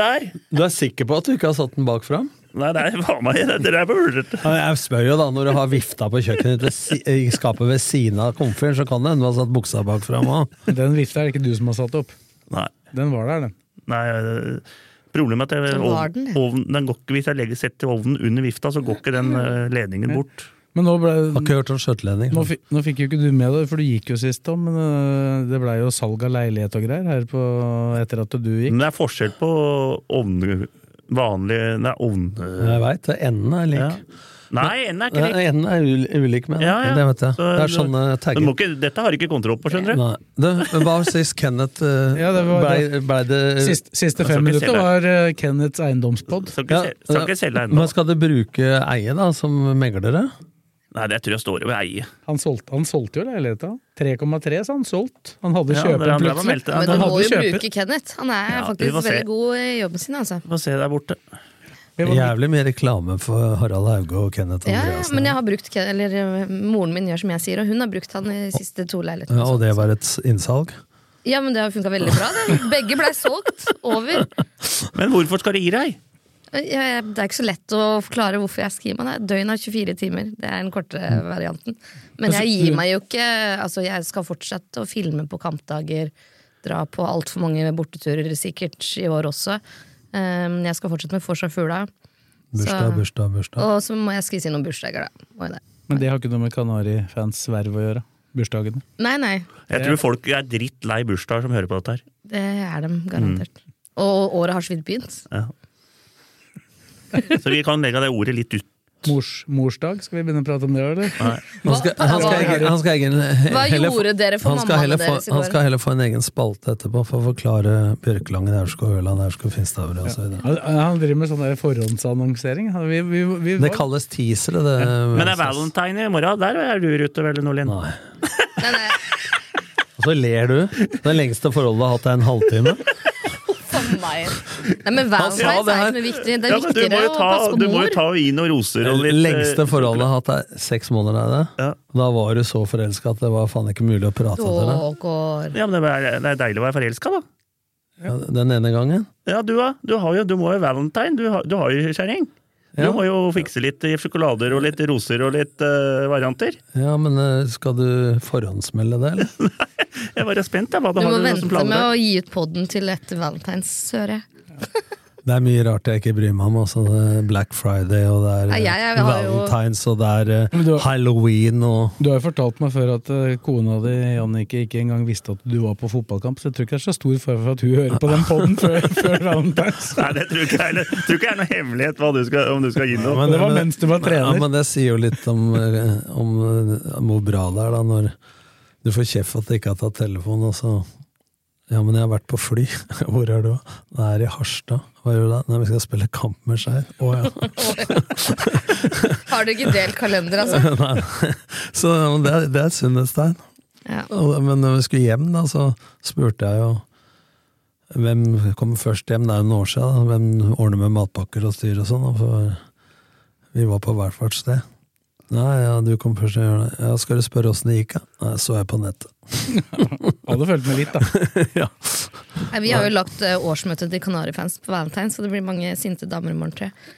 E: Der!
D: du er sikker på at du ikke har satt den bak fram?
E: Nei, det er faen meg det der er ulrete.
D: Ja, Jeg spør jo da, når du har vifta på kjøkkenet ditt si- i skapet ved siden av komfyren, så kan det hende du har satt buksa bak fram òg.
B: Den vifta er det ikke du som har satt opp.
E: Nei.
B: Den var der, den.
E: Nei, øh, problemet er at jeg,
C: Så var den,
E: ovnen,
C: ja.
E: ovnen, den går ikke, hvis jeg legger setter ovnen under vifta, så går ikke den øh, ledningen bort.
B: Men nå, ble,
D: Har ikke hørt om skjøtelending.
B: nå, fi- nå fikk jo ikke du med det, for du gikk jo sist, da. Men øh, det blei jo salg av leilighet og greier her på, etter at du gikk.
E: Men det er forskjell på ovn, vanlig Nei, ovn... øh,
D: Jeg veit, enden er
E: ja.
D: lik.
E: Nei, enden er ikke
D: Nei,
E: lik.
D: Enden er ul- ulik, men
E: Ja, ja.
D: det vet jeg.
E: Så
D: Det er sånne
E: Du må
D: tagger.
E: ikke, dette har du ikke kontroll på, skjønner du.
D: Nei. Du, men hva sist Kenneth eh,
B: Ja, det var
D: blei ble det
B: Sist, siste fem
E: Jeg skal
B: minutter
E: ikke selge.
B: var øh, Kenneths eiendomspod.
E: Skal ikke,
D: Ja,
E: se- skal ikke selge deg ennå.
D: Men skal du bruke eie da, som meglere?
E: Nei, det tror jeg står over eie.
B: Han solgte, han solgte jo leiligheta. 3,3 sa han solgt. Han hadde
E: Ja,
B: kjøper
E: det er han
B: plutselig.
E: meldt det. Ja,
C: Men
E: da
C: du
B: Han
C: må
B: hadde
C: jo
B: kjøper.
C: bruke Kenneth. Han er
E: Ja, vi får
C: faktisk
E: se.
C: veldig god i jobben sin, altså.
E: Få se der borte.
D: Jævlig mye reklame for Harald Hauge og Kenneth
C: Ja, ja,
D: Andreassen.
C: men jeg har brukt Ken- eller eh, moren min gjør som jeg sier, og hun har brukt han i siste to leilighetene.
D: Ja, og det var et innsalg?
C: Ja, men det har funka veldig bra. Det. Begge blei solgt. Over.
E: Men hvorfor skal du gi deg?
C: Jeg- jeg- Eh, Det er ikke så lett å forklare hvorfor jeg skal gi meg. Det er Døgn av 24 timer. Det er den korte varianten. Men jeg gir meg jo ikke. Altså, jeg skal fortsette å filme på kampdager. Dra på altfor mange borteturer sikkert i år også. Um, Jeg skal fortsette med Fors og Fugla.
D: Bursdag,
C: Så-
D: bursdag, bursdag.
C: Og så må jeg skvise inn noen bursdager, da. Må jeg det.
B: Men det har ikke noe med Kanari-fans verv å gjøre. Bursdagene.
C: Nei, nei.
E: Jeg tror folk er drittlei bursdager som hører på dette her.
C: Det er dem, garantert. Og året har så vidt begynt.
E: Ja. Så vi kan legge det ordet litt ut.
B: Mors, morsdag, skal vi begynne å prate om det, eller?
D: Han skal, han skal,
C: hva-
D: egen- han skal egen,
C: Hva
D: heller, få-
C: gjorde dere for
D: han skal
C: mammaene
D: heller få,
C: deres i
D: han
C: går?
D: skal heller få en egen spalte etterpå for å forklare Bjørkelangen, Aurskog, Ørland, Aurskog, Finstadbru osv.
B: Han, han driver med sånn der forhåndsannonsering. Han- Vi, vi, vi,
D: Det kalles teaser, det.
E: Men det er valentine i morgen. Der er du ute, vel, Norlin?
D: Nei.
C: Nei, nei,
D: Og så ler du. Det lengste forholdet du har hatt, er en halvtime.
C: for meg. Nei, men Valentine's
D: sa det
C: er
D: her.
C: ikke noe viktig. Det er
E: Ja, men du må
C: viktigere
E: jo
C: å
E: ta,
C: passe
E: du
C: på
E: må jo
C: mor.
E: ta og gi noen roser
D: Det
E: og litt eh,
D: lengste forholdet jeg har hatt, er seks måneder. Er det.
E: Ja.
D: Da var du så forelska at det var faen ikke mulig å prate til deg.
C: Dågård.
E: Ja, men det er, det er deilig å være forelska, da.
D: Ja, Den ene gangen.
E: Ja, du, da. du, har jo, du må jo valentine. Du har, du har jo kjerring. Du
D: Ja.
E: må jo fikse litt eh, sjokolader og litt roser og litt eh, varianter.
D: Ja, men eh, skal du forhåndsmelde det, eller?
E: Jeg var spent, jeg. Hva
C: Du
E: det
C: må
E: har du som
C: vente med
E: planer?
C: å gi ut podden til etter Valentine's, hører jeg.
D: Det er mye rart jeg ikke bryr meg om. Altså, det er Black Friday, og det er
C: Nei,
D: eh,
C: jeg- jeg har jo-
D: Valentines, og det er eh,
B: Men du-
D: Halloween og
B: Du har jo fortalt meg før at eh, kona di Jannicke ikke engang visste at du var på fotballkamp, så jeg tror ikke det er så stor fare for at hun hører på den poden før, før Valentine's.
E: Nei, det tror ikke jeg heller. Tror ikke det er noe hemmelighet hva du skal, om du skal gi noe.
D: Men
B: Det var mens du var
D: Ja,
B: trener.
D: men det sier jo litt om, eh, om, eh, om hvor bra det er, da, når du får kjeft for at du ikke har tatt telefonen, og så Ja, men jeg har vært på fly. Hvor er du? Jeg er i Harstad. Hva gjør du da? Nei, vi skal spille kamp med Skeid. Å ja.
C: Har du ikke delt kalender, altså?
D: Nei. Så ja, men det er, det er et sunnhetstegn.
C: Ja.
D: Og- Men når vi skulle hjem, da, så spurte jeg jo hvem kommer først hjem. Det er jo noen år siden. Da. Hvem ordner med matpakker og styr og sånn? da, For vi var på hvert vårt sted. Nei, ja, du kom først og gjør det. Ja, skal du spørre åssen det gikk, da? Nei, så jeg på nettet.
B: Hadde fulgt med litt, da.
C: Nei, Vi har jo lagt eh, årsmøtet til Kanarifans på Valentine's, så det blir mange sinte damer i morgen, tror jeg.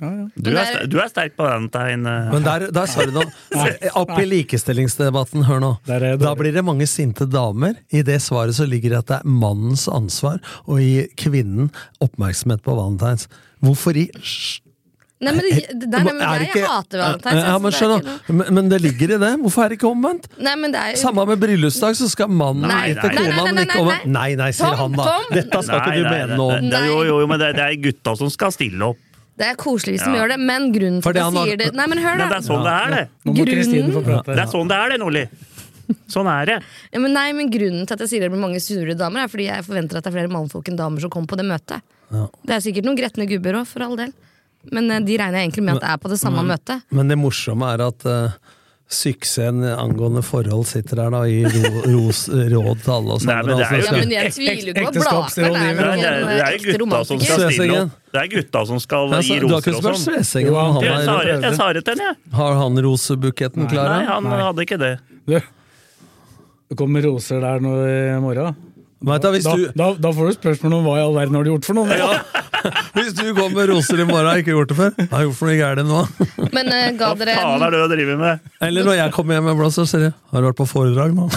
B: Ja, ja.
E: Du er, ster- du er sterk på valentine. eh.
D: Men der, der sa du noe. eh, Opp i likestillingsdebatten, hør nå.
B: Der er jeg
D: Da
B: dårlig.
D: blir det mange sinte damer. I det svaret så ligger det at det er mannens ansvar å gi kvinnen oppmerksomhet på valentines. Hvorfor i s-
C: Nei, men det, det der, nei, men
D: Er
C: jeg,
D: det ikke-
C: hater Valentine's.
D: Ja,
C: altså,
D: men,
C: det er
D: skjønner,
C: ikke noe-
D: men, men det ligger i det. Hvorfor er det ikke omvendt?
C: Nei, men det er jo
D: Samme med bryllupsdag, så skal mannen
C: Nei,
D: gi til
E: nei, nei,
D: kona, men
C: nei,
D: ikke omvendt.
C: nei,
D: Nei, nei, sier
C: Tom,
D: han da.
C: Tom.
D: Dette skal ikke du
E: Nei, nei,
D: mene
E: nei,
D: noe om.
E: nei,
C: Nei.
E: Jo, jo, men det, det er gutta som skal stille opp.
C: Det er koselig hvis de gjør det, men grunnen til
D: Fordi
C: at
D: han
C: jeg
D: har-
C: sier det Nei, men hør,
E: Men det
C: da.
E: er sånn det er, det.
B: Nå må Kristine få prate.
E: Det er sånn det er, det, Nordli. Sånn er det.
C: Ja, men nei, men grunnen til at jeg sier det blir mange sure damer, er fordi jeg forventer at det er flere mannfolk enn damer som kommer på det møtet. Det er sikkert noen gretne gubber òg, for all del. Men eh, de regner jeg egentlig med at er på det samme møtet.
D: Men det morsomme er at eh, suksessen angående forhold sitter der da, i ro, ros, råd til alle oss
E: Nei, men
D: andre.
E: det er
D: altså,
E: jo-
C: Ja,
D: skal-
C: men jeg
B: Ek-
C: tviler jo ikke på at
B: ekteskapsrådgiver.
C: Blakeren er
E: Det er,
C: noen
E: det er, det er
C: ekte
E: gutta som
C: romantiker.
E: skal stille
D: Svesingen.
E: opp. Det er gutta som skal
D: Jeg sa-
E: gi
D: du har ikke
E: roser og
D: spurt
E: sånn.
D: Svesingen om han
E: Jeg sa
D: har,
E: det- jeg sa det til henne, jeg.
D: har han rosebuketten klar?
E: Nei,
D: ja?
E: han hadde ikke det.
B: Du, det kommer roser der nå i morgen.
D: Vet du, hvis,
B: Da,
D: du,
B: da, da får du spørsmål om hva i all verden har du gjort for noen.
D: hvis du går med roser i morgen, har jeg ikke gjort det før. Jeg har gjort for noe gærent nå.
C: Men eh, ga
E: Hva
C: dere
E: faen er det du driver med?
D: Eller når jeg kommer hjem med blåser, sier jeg har du vært på foredrag nå?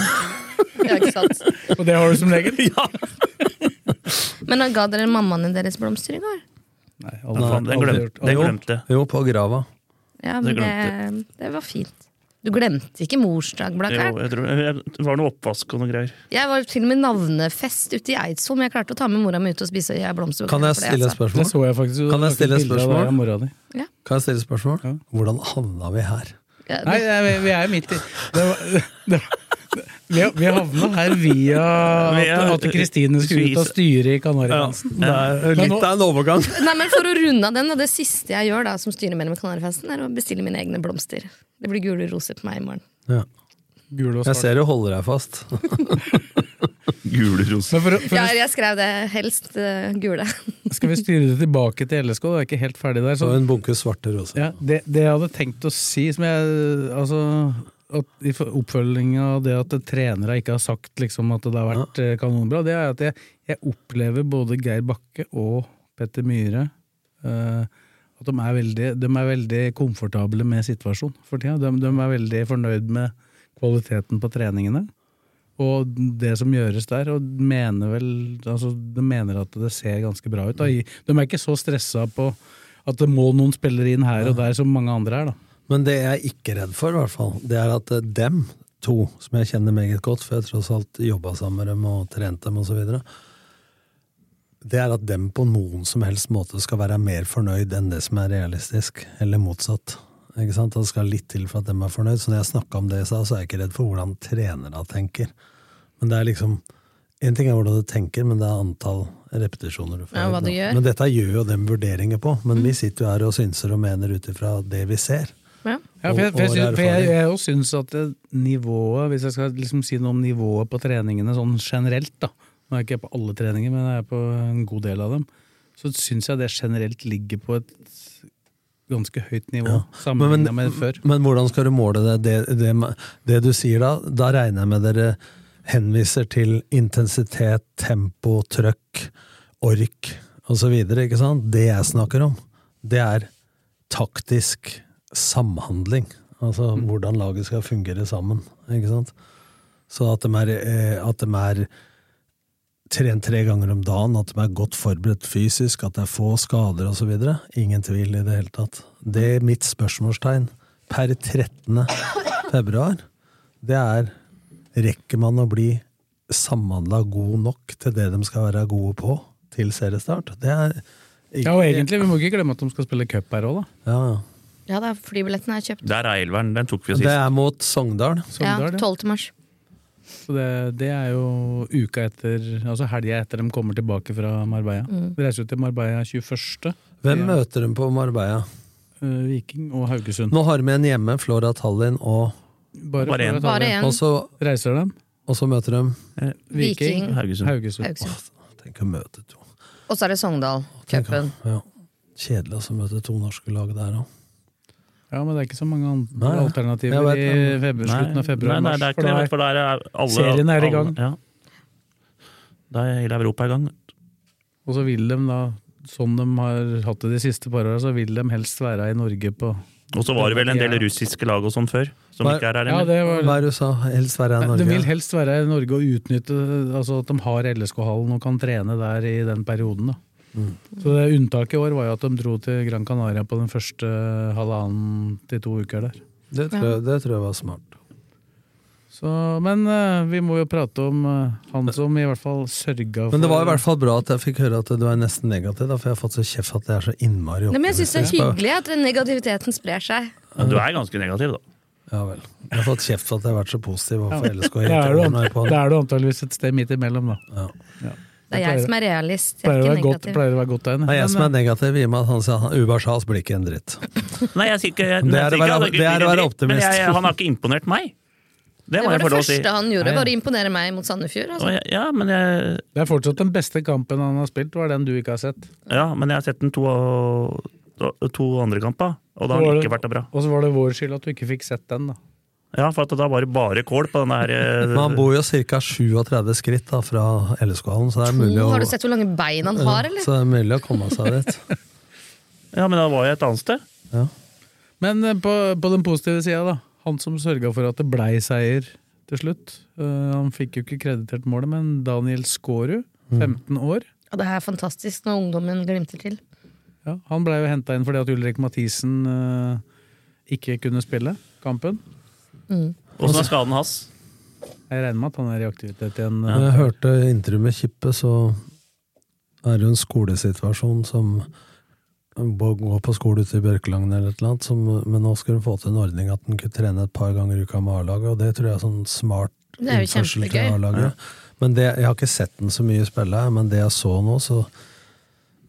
C: ja, ikke sant.
B: Og det har du som regel.
C: Men eh, ga dere mammaene deres blomster i går?
B: Nei,
E: Nei,
B: aldri,
E: faen, den
B: aldri
E: glemte.
B: gjort.
E: Det
D: Jo,
E: glemte jeg.
D: Jo, på grava.
C: Ja,
E: Det
C: men det, det var fint. Du glemte ikke morsdag,
E: Jo,
C: Blakeren.
E: jeg tror, jeg- det var noe oppvask og noe greier.
C: Jeg var til og med navnefest ute i Eidsvoll, men jeg klarte å ta med mora mi ut og spise blomsterbukett.
D: Kan jeg
C: for
D: stille
C: det,
D: et
C: altså.
B: Det
D: spørsmål?
B: så jeg faktisk.
D: Kan jeg stille et
B: Bildet av deg
D: spørsmål?
B: og mora di.
D: Kan jeg stille et spørsmål? Hvordan havna vi her?
C: Ja, det-
B: Nei, det er- vi er midt i det var, det, Vi, vi havna her via at- at Kristine skulle ut og styre i Kanarifansen.
D: Det er litt av en overgang.
C: Nei, men For å runde av den, da, det siste jeg gjør da som styremedlem i Kanarifesten, er å bestille mine egne blomster. Det blir gule roser på meg i morgen.
D: Ja.
B: Gul og
D: Jeg
B: svart.
D: ser du holder deg fast.
E: Gule roser.
B: Men for, å- for,
C: Ja,
B: å-
C: jeg skrev det helst eh, gule.
B: skal vi styre det tilbake til LSK? Det er ikke helt ferdig der.
D: Så
B: Så,
D: en bunke svarte roser.
B: ja, det, det jeg hadde tenkt å si, som jeg altså, at I oppfølging av det at trenere ikke har sagt liksom, at det har vært eh, kanonbra, det er at jeg, jeg opplever både Geir Bakke og Petter Myhre eh, at de er, veldig, de er veldig komfortable med situasjonen for tida. De, de er veldig fornøyd med kvaliteten på treningene og det som gjøres der. Og mener vel, altså, de mener at det ser ganske bra ut. Da. I- De er ikke så stressa på at det må noen spillere inn her og der som mange andre er. Da.
D: Men det jeg er ikke redd for, i hvert fall, det er at eh, dem to, som jeg kjenner meget godt, for jeg tross alt jobba sammen med dem og trente dem osv., det er at dem på noen som helst måte skal være mer fornøyd enn det som er realistisk, eller motsatt. Ikke sant? Det skal litt til for at dem er fornøyd. Så når jeg snakka om det i stad, så er jeg ikke redd for hvordan trenere tenker. Men det er liksom En ting er hvordan du tenker, men det er antall repetisjoner du får.
C: Ja, hva
D: ikke sant?
C: du gjør. Mm.
D: Men dette gjør jo dem vurderinger på. Men vi sitter jo her og synser og mener ut ifra det vi ser.
C: Ja.
B: Ja, for jeg, for
D: Og- og
B: jeg, syns- for jeg,
D: erfaring.
B: jeg også syns at det nivået, hvis jeg skal liksom si noe om nivået på treningene sånn generelt, da Nå er jeg ikke på alle treninger, men jeg er på en god del av dem. Så syns jeg det generelt ligger på et ganske høyt nivå sammenligna med før.
D: Men hvordan skal du måle det? Det, det? det du sier da, da regner jeg med dere henviser til intensitet, tempo, trøkk, ork osv. Ikke sant? Det jeg snakker om, det er taktisk samhandling. Altså
B: Mm.
D: hvordan laget skal fungere sammen. Ikke sant? Så at de er, eh, at de er trent tre ganger om dagen, at de er godt forberedt fysisk, at det er få skader osv. Ingen tvil i det hele tatt. Det er mitt spørsmålstegn per 13. februar, det er rekker man å bli samhandla god nok til det de skal være gode på til seriestart? Det er ikke-
B: Ja, og egentlig, Vi må ikke glemme at de skal spille cup her òg, da.
D: Ja, ja.
C: Ja, da, flybillettene er kjøpt.
E: Der er elveren. Den tok vi jo
D: Det
E: sist.
D: er mot Sogndal.
C: Ja,
B: Sogndal, ja.
C: 12. mars.
B: Så det, det er jo uka etter, altså helga etter de kommer tilbake fra Marbella.
C: Mm.
B: De reiser jo til Marbella 21.
D: Hvem
B: Ja.
D: møter de på Marbella?
B: eh, Viking og Haugesund.
D: Nå har de en hjemme, Flora Tallinn, og,
E: Bare
B: for
E: en.
B: å ta
C: Bare
B: det.
C: én
D: og, så,
B: Reiser de?
D: og så møter de
B: Viking,
C: Viking,
E: Haugesund.
B: Haugesund.
C: Haugesund.
D: Tenk å møte to.
C: sånn. Og så er det Sogndal-cupen.
D: Ja. Kjedelig altså, å møte to norske lag der òg.
B: Ja, men det er ikke så mange andre
D: Nei, jeg
B: alternativer
D: vet
B: i
D: det.
B: februar, slutten av februar.
E: nei, nei, det er
B: mars,
E: ikke det. vet du,
B: for da
E: For der er alle,
B: Serien er i gang.
E: Alle, ja. Da er hele Europa i gang.
B: er- Og så vil de da, sånn de har hatt det de siste par åra, så vil de helst være i Norge på
E: Og så var det vel en del
B: Ja.
E: russiske lag og sånn før, som
D: Nei.
E: ikke er her
B: Ja,
E: lenger.
B: det var
D: Hva er det du sa? Helst være i
B: Nei,
D: Norge?
B: De vil helst være i Norge og utnytte altså at de har LSK-hallen og kan trene der i den perioden. Da.
D: Mm.
B: Så det Unntaket i år var jo at de dro til Gran Canaria på den første eh, halvannen til to uker der.
D: det, tror jeg, det tror jeg var smart.
B: Så, men eh, vi må jo prate om eh, han som i hvert fall sørga for
D: Men det var i hvert fall bra at jeg fikk høre at du er nesten negativ, da, for jeg har fått så kjeft at jeg er så innmari
C: Nei, men jeg syns det er
D: optimistisk.
C: hyggelig at den negativiteten sprer seg.
E: Men Du er ganske negativ, da.
D: Ja vel. Jeg har fått kjeft for at jeg har vært så positiv
B: Ja.
D: overfor LSK.
B: Det
D: hele
B: er,
D: tiden
B: du,
D: når jeg er på
B: det
D: den.
B: er du antageligvis et sted midt imellom, da.
C: Det er
B: pleier-
C: jeg som er realist. Jeg
B: Pleier å
C: er
B: være
C: ikke
B: godt,
C: negativ.
B: pleier å være godt egnet.
D: Det er jeg som er
B: Men,
D: negativ, i og med at han sa han- Ubars blir ikke en dritt.
E: Nei, jeg sier ikke, jeg,
D: Det er å
E: jeg sier ikke
D: være- det
E: at ikke
D: er å
E: blir
D: være
E: en dritt, Men jeg,
D: optimist.
E: han har ikke imponert meg. Det,
C: Det
E: må
C: var
E: jeg
C: det
E: få lov å si.
C: første han gjorde,
B: Nei.
C: var å imponere meg mot Sandefjord. Altså.
E: Og jeg, ja, men jeg,
B: eh, det er fortsatt den beste kampen han har spilt, var den du ikke har sett.
E: ja, men jeg har sett den to, to andre kamper, og da har
B: Var
E: den
B: det-
E: ikke vært noe bra.
B: Og så var det vår skyld at du ikke fikk sett den, da.
E: Ja, for at da var det bare kål på denne her
D: Men han
E: eh,
D: bor jo ca. 37 skritt da, fra LSK-hallen, så det er mulig
C: Oh,
D: å
C: har du sett hvor lange bein han har,
D: Ja,
C: eller?
D: så det er mulig å komme seg dit.
E: Ja, men da var jeg et annet sted.
D: Ja.
B: Men eh, på, på den positive sida, da. Han som sørga for at det blei seier til slutt. Eh, han fikk jo ikke kreditert målet, men Daniel Skårud,
D: Mm.
B: 15 år.
C: Og det er fantastisk når ungdommen glimter til.
B: Ja, han blei jo henta inn fordi at Ulrik Mathisen eh, ikke kunne spille kampen.
E: Åssen
D: Altså-
E: er skaden hans?
B: Jeg regner med at han er i aktivitet igjen. eh.
D: Når jeg hørte intervjuet med Kippe, så er det jo en skolesituasjon som går på skole ute i Bjørkelangen eller et eller annet, som, men nå skulle hun få til en ordning at hun kunne trene et par ganger i uka med A-laget, og det tror jeg er sånn smart
C: Det er jo
D: innførsel til
C: kjempegøy.
D: A-laget. Men det, jeg har ikke sett den så mye spille, men det jeg så nå, så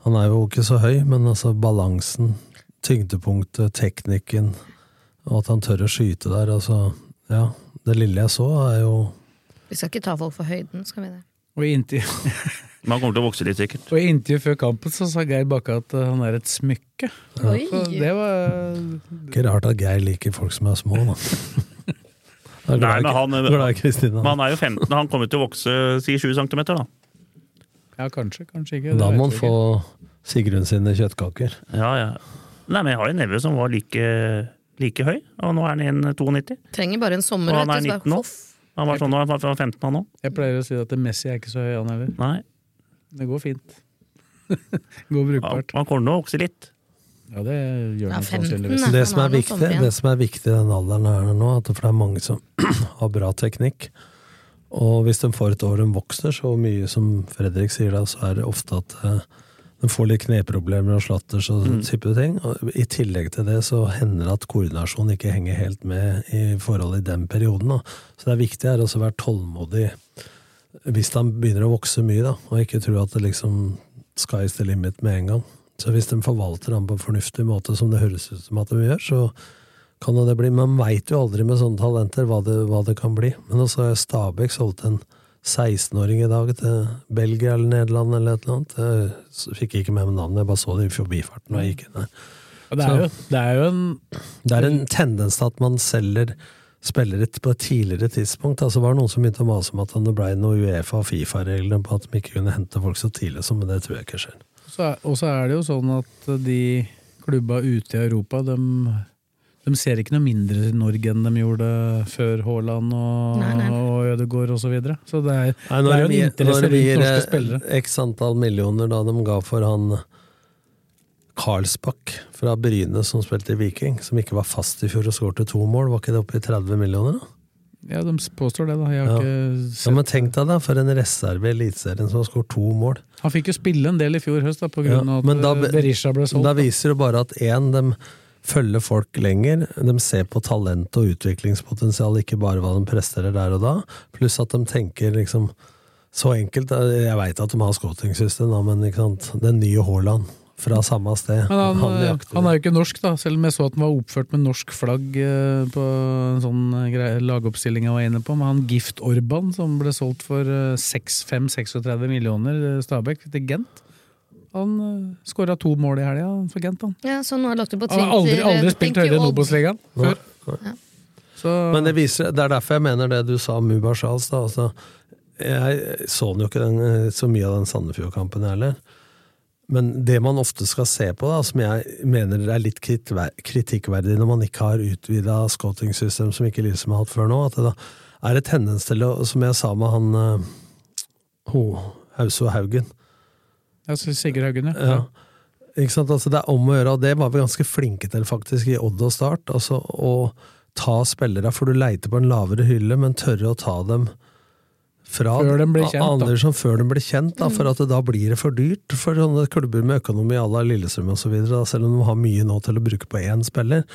D: Han er jo ikke så høy, men altså balansen, tyngdepunktet, teknikken, og at han tør å skyte der, altså Ja. Det lille jeg så, er jo
C: Vi skal ikke ta folk for høyden, skal vi det?
B: Og i inntil,
E: Man kommer til å vokse litt, sikkert.
B: og i intervju før kampen så sa Geir Bakke at eh, han er et smykke.
C: Oi.
B: Så det var
D: Ikke rart at Geir liker folk som er små, da. Da er
E: Nei, men
D: glad i-
E: han,
D: glad i Kristina.
E: men han er jo 15, han kommer til å vokse si 20 cm, da.
B: Ja, kanskje, kanskje ikke. det
D: Da
B: vet
D: må han
B: vi
D: få
B: ikke.
D: Sigrun sine kjøttkaker.
E: Ja, ja. Nei, men jeg har en neve som var like, like høy, og nå er han 1,92.
C: Trenger bare en sommer.
E: Og han
C: vet du,
E: er
C: så bare
E: 19 nå.
C: hoff.
E: Han var sånn da han var 15 han òg.
B: Jeg pleier å si at Messi er ikke så høy, han heller.
E: Nei,
B: Det går fint. går
E: han
B: brukbart.
E: han kommer til å vokse litt.
B: Ja, det gjør
C: Ja,
B: han
C: 15
B: sannsynligvis.
C: Nei,
D: det,
C: han
D: som
C: har
D: er
C: noe
D: viktig,
C: sånt igjen.
D: det som er viktig i den alderen her nå, at for det er mange som har bra teknikk. Og hvis de får et år de vokser, så mye som Fredrik sier da, så er det ofte at eh, de får litt kneproblemer og slatters og
E: Mm.
D: sånne type ting. Og I tillegg til det så hender det at koordinasjonen ikke henger helt med i forhold i den perioden. Da. Så det er viktig er også å være tålmodig hvis de begynner å vokse mye, da, og ikke tro at det liksom sky's the limit med en gang. Så hvis de forvalter den på en fornuftig måte, som det høres ut som at de gjør, så kan jo det bli. Man veit jo aldri med sånne talenter hva det, hva det kan bli. Men også har Stabæk solgt en 16-åring i dag til Belgia eller Nederland eller et eller annet. Jeg s- fikk ikke med meg navnet, jeg bare så det i forbifarten og jeg gikk inn der.
B: Og Det er jo, det er jo en
D: Det er en tendens til at man selger spillere på et tidligere tidspunkt. Altså var det noen som begynte å mase om at det ble noe Uefa- og Fifa-regler på at de ikke kunne hente folk så tidlig som men det tror jeg ikke skjer.
B: så er- Og så er det jo sånn at de klubba ute i Europa, de, de ser ikke noe mindre til Norge enn de gjorde før Haaland og,
C: Nei, nei.
B: og Ødegaard osv. Så, videre. så det er,
D: Nei,
B: det er
D: når
B: en
D: vi-
B: interesse
D: når vi
B: rundt norske
D: gir
B: spillere.
D: eh, x antall millioner da de ga for han Karlsbakk fra Bryne som spilte i Viking, som ikke var fast i fjor og skårte to mål, var ikke det oppe i 30 millioner? da?
B: Ja, de påstår det, da. Jeg
D: Ja.
B: har ikke
D: Ja,
B: sett.
D: men tenk deg da, for en reserve i Eliteserien som har skåret to mål.
B: Han fikk jo spille en del i fjor høst, da, på grunn
D: Ja,
B: av
D: men
B: at
D: da
B: eh,
D: be-
B: Berisha ble solgt.
D: Da
B: da.
D: viser det bare at én, de følger folk lenger, de ser på talent og utviklingspotensial, ikke bare hva de presterer der og da, pluss at de tenker liksom så enkelt, eh, jeg veit at de har scouting-system, da, men ikke sant? den nye Haaland fra samme sted
B: Men han, eh,
D: jakter
B: han er jo ikke norsk, da, selv om jeg så at han var oppført med norsk flagg eh, på en sånn eh, greie- lagoppstilling jeg var inne på. Men han Gift Orban, som ble solgt for eh, 5-36 millioner eh, Stabæk til Gent, han skåra to mål i helga for Gent. Han,
C: Ja, så nå har jeg lagt det på
B: han
C: Twitter. eh,
B: har aldri, aldri
C: Thank
B: spilt
C: you,
B: høyere enn
C: Odd.
B: Obos-ligaen før. Så,
D: Men det, viser, det er derfor jeg mener det du sa om Mubar Shahls. Da, altså, jeg så den jo ikke den, så mye av den Sandefjord-kampen jeg heller. Men det man ofte skal se på, da, som jeg mener er litt kritver- kritikkverdig når man ikke har utvida scouting-system som ikke Lillestrøm har hatt før nå, at det da er det tendens til å, som jeg sa med han eh, Ho, Hauso Haugen
B: ja, så Sigurd Haugen, ja.
D: ja. Ikke sant? Altså, det er om å gjøre, og det var vi ganske flinke til faktisk i Odd og Start. Altså, å ta spillere, for du leiter på en lavere hylle, men tørre å ta dem fra
B: Før de blir kjent, da.
D: Andersson før de blir kjent, da, for at det, da blir det for dyrt for sånne klubber med økonomi à la Lillestrøm osv., selv om de har mye nå til å bruke på én spiller.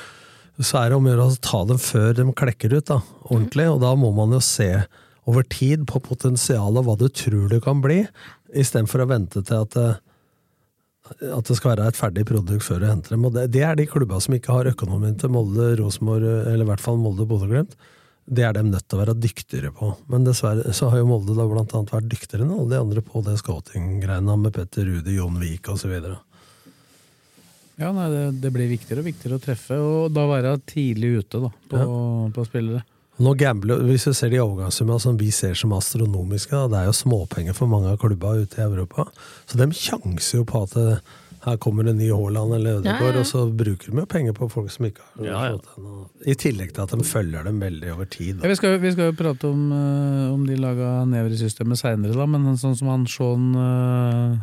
D: Så er det om å gjøre å ta dem før de klekker ut, da, ordentlig. Og da må man jo se over tid på potensialet, hva du tror det kan bli, istedenfor å vente til at eh, at det skal være et ferdig produkt før du henter dem. Og det, det er de klubba som ikke har økonomien til Molde, Rosenborg, eller i hvert fall Molde, Bodø, Glimt. Det er de nødt til å være dyktigere på. Men dessverre så har jo Molde da blant annet vært dyktigere enn alle de andre på det scouting-greiene med Petter Rude, Jon Vik osv.
B: ja nei, det, det blir viktigere og viktigere å treffe, og da være tidlig ute da, på, på spillere.
D: Nå gambler, Hvis du ser de overgangssumma som vi ser som astronomiske, da, det er jo småpenger for mange av klubba ute i Europa. Så de sjanser jo på at det, her kommer en ny Haaland eller Ødegaard,
C: Ja, ja.
D: og så bruker de jo penger på folk som ikke har
E: Ja, ja.
D: fått den. og- I tillegg til at de følger dem veldig over tid.
B: Ja,
D: Da.
B: vi, skal, jo- vi skal jo prate om, eh, om de laga never i systemet seinere, da, men sånn som han Sean eh,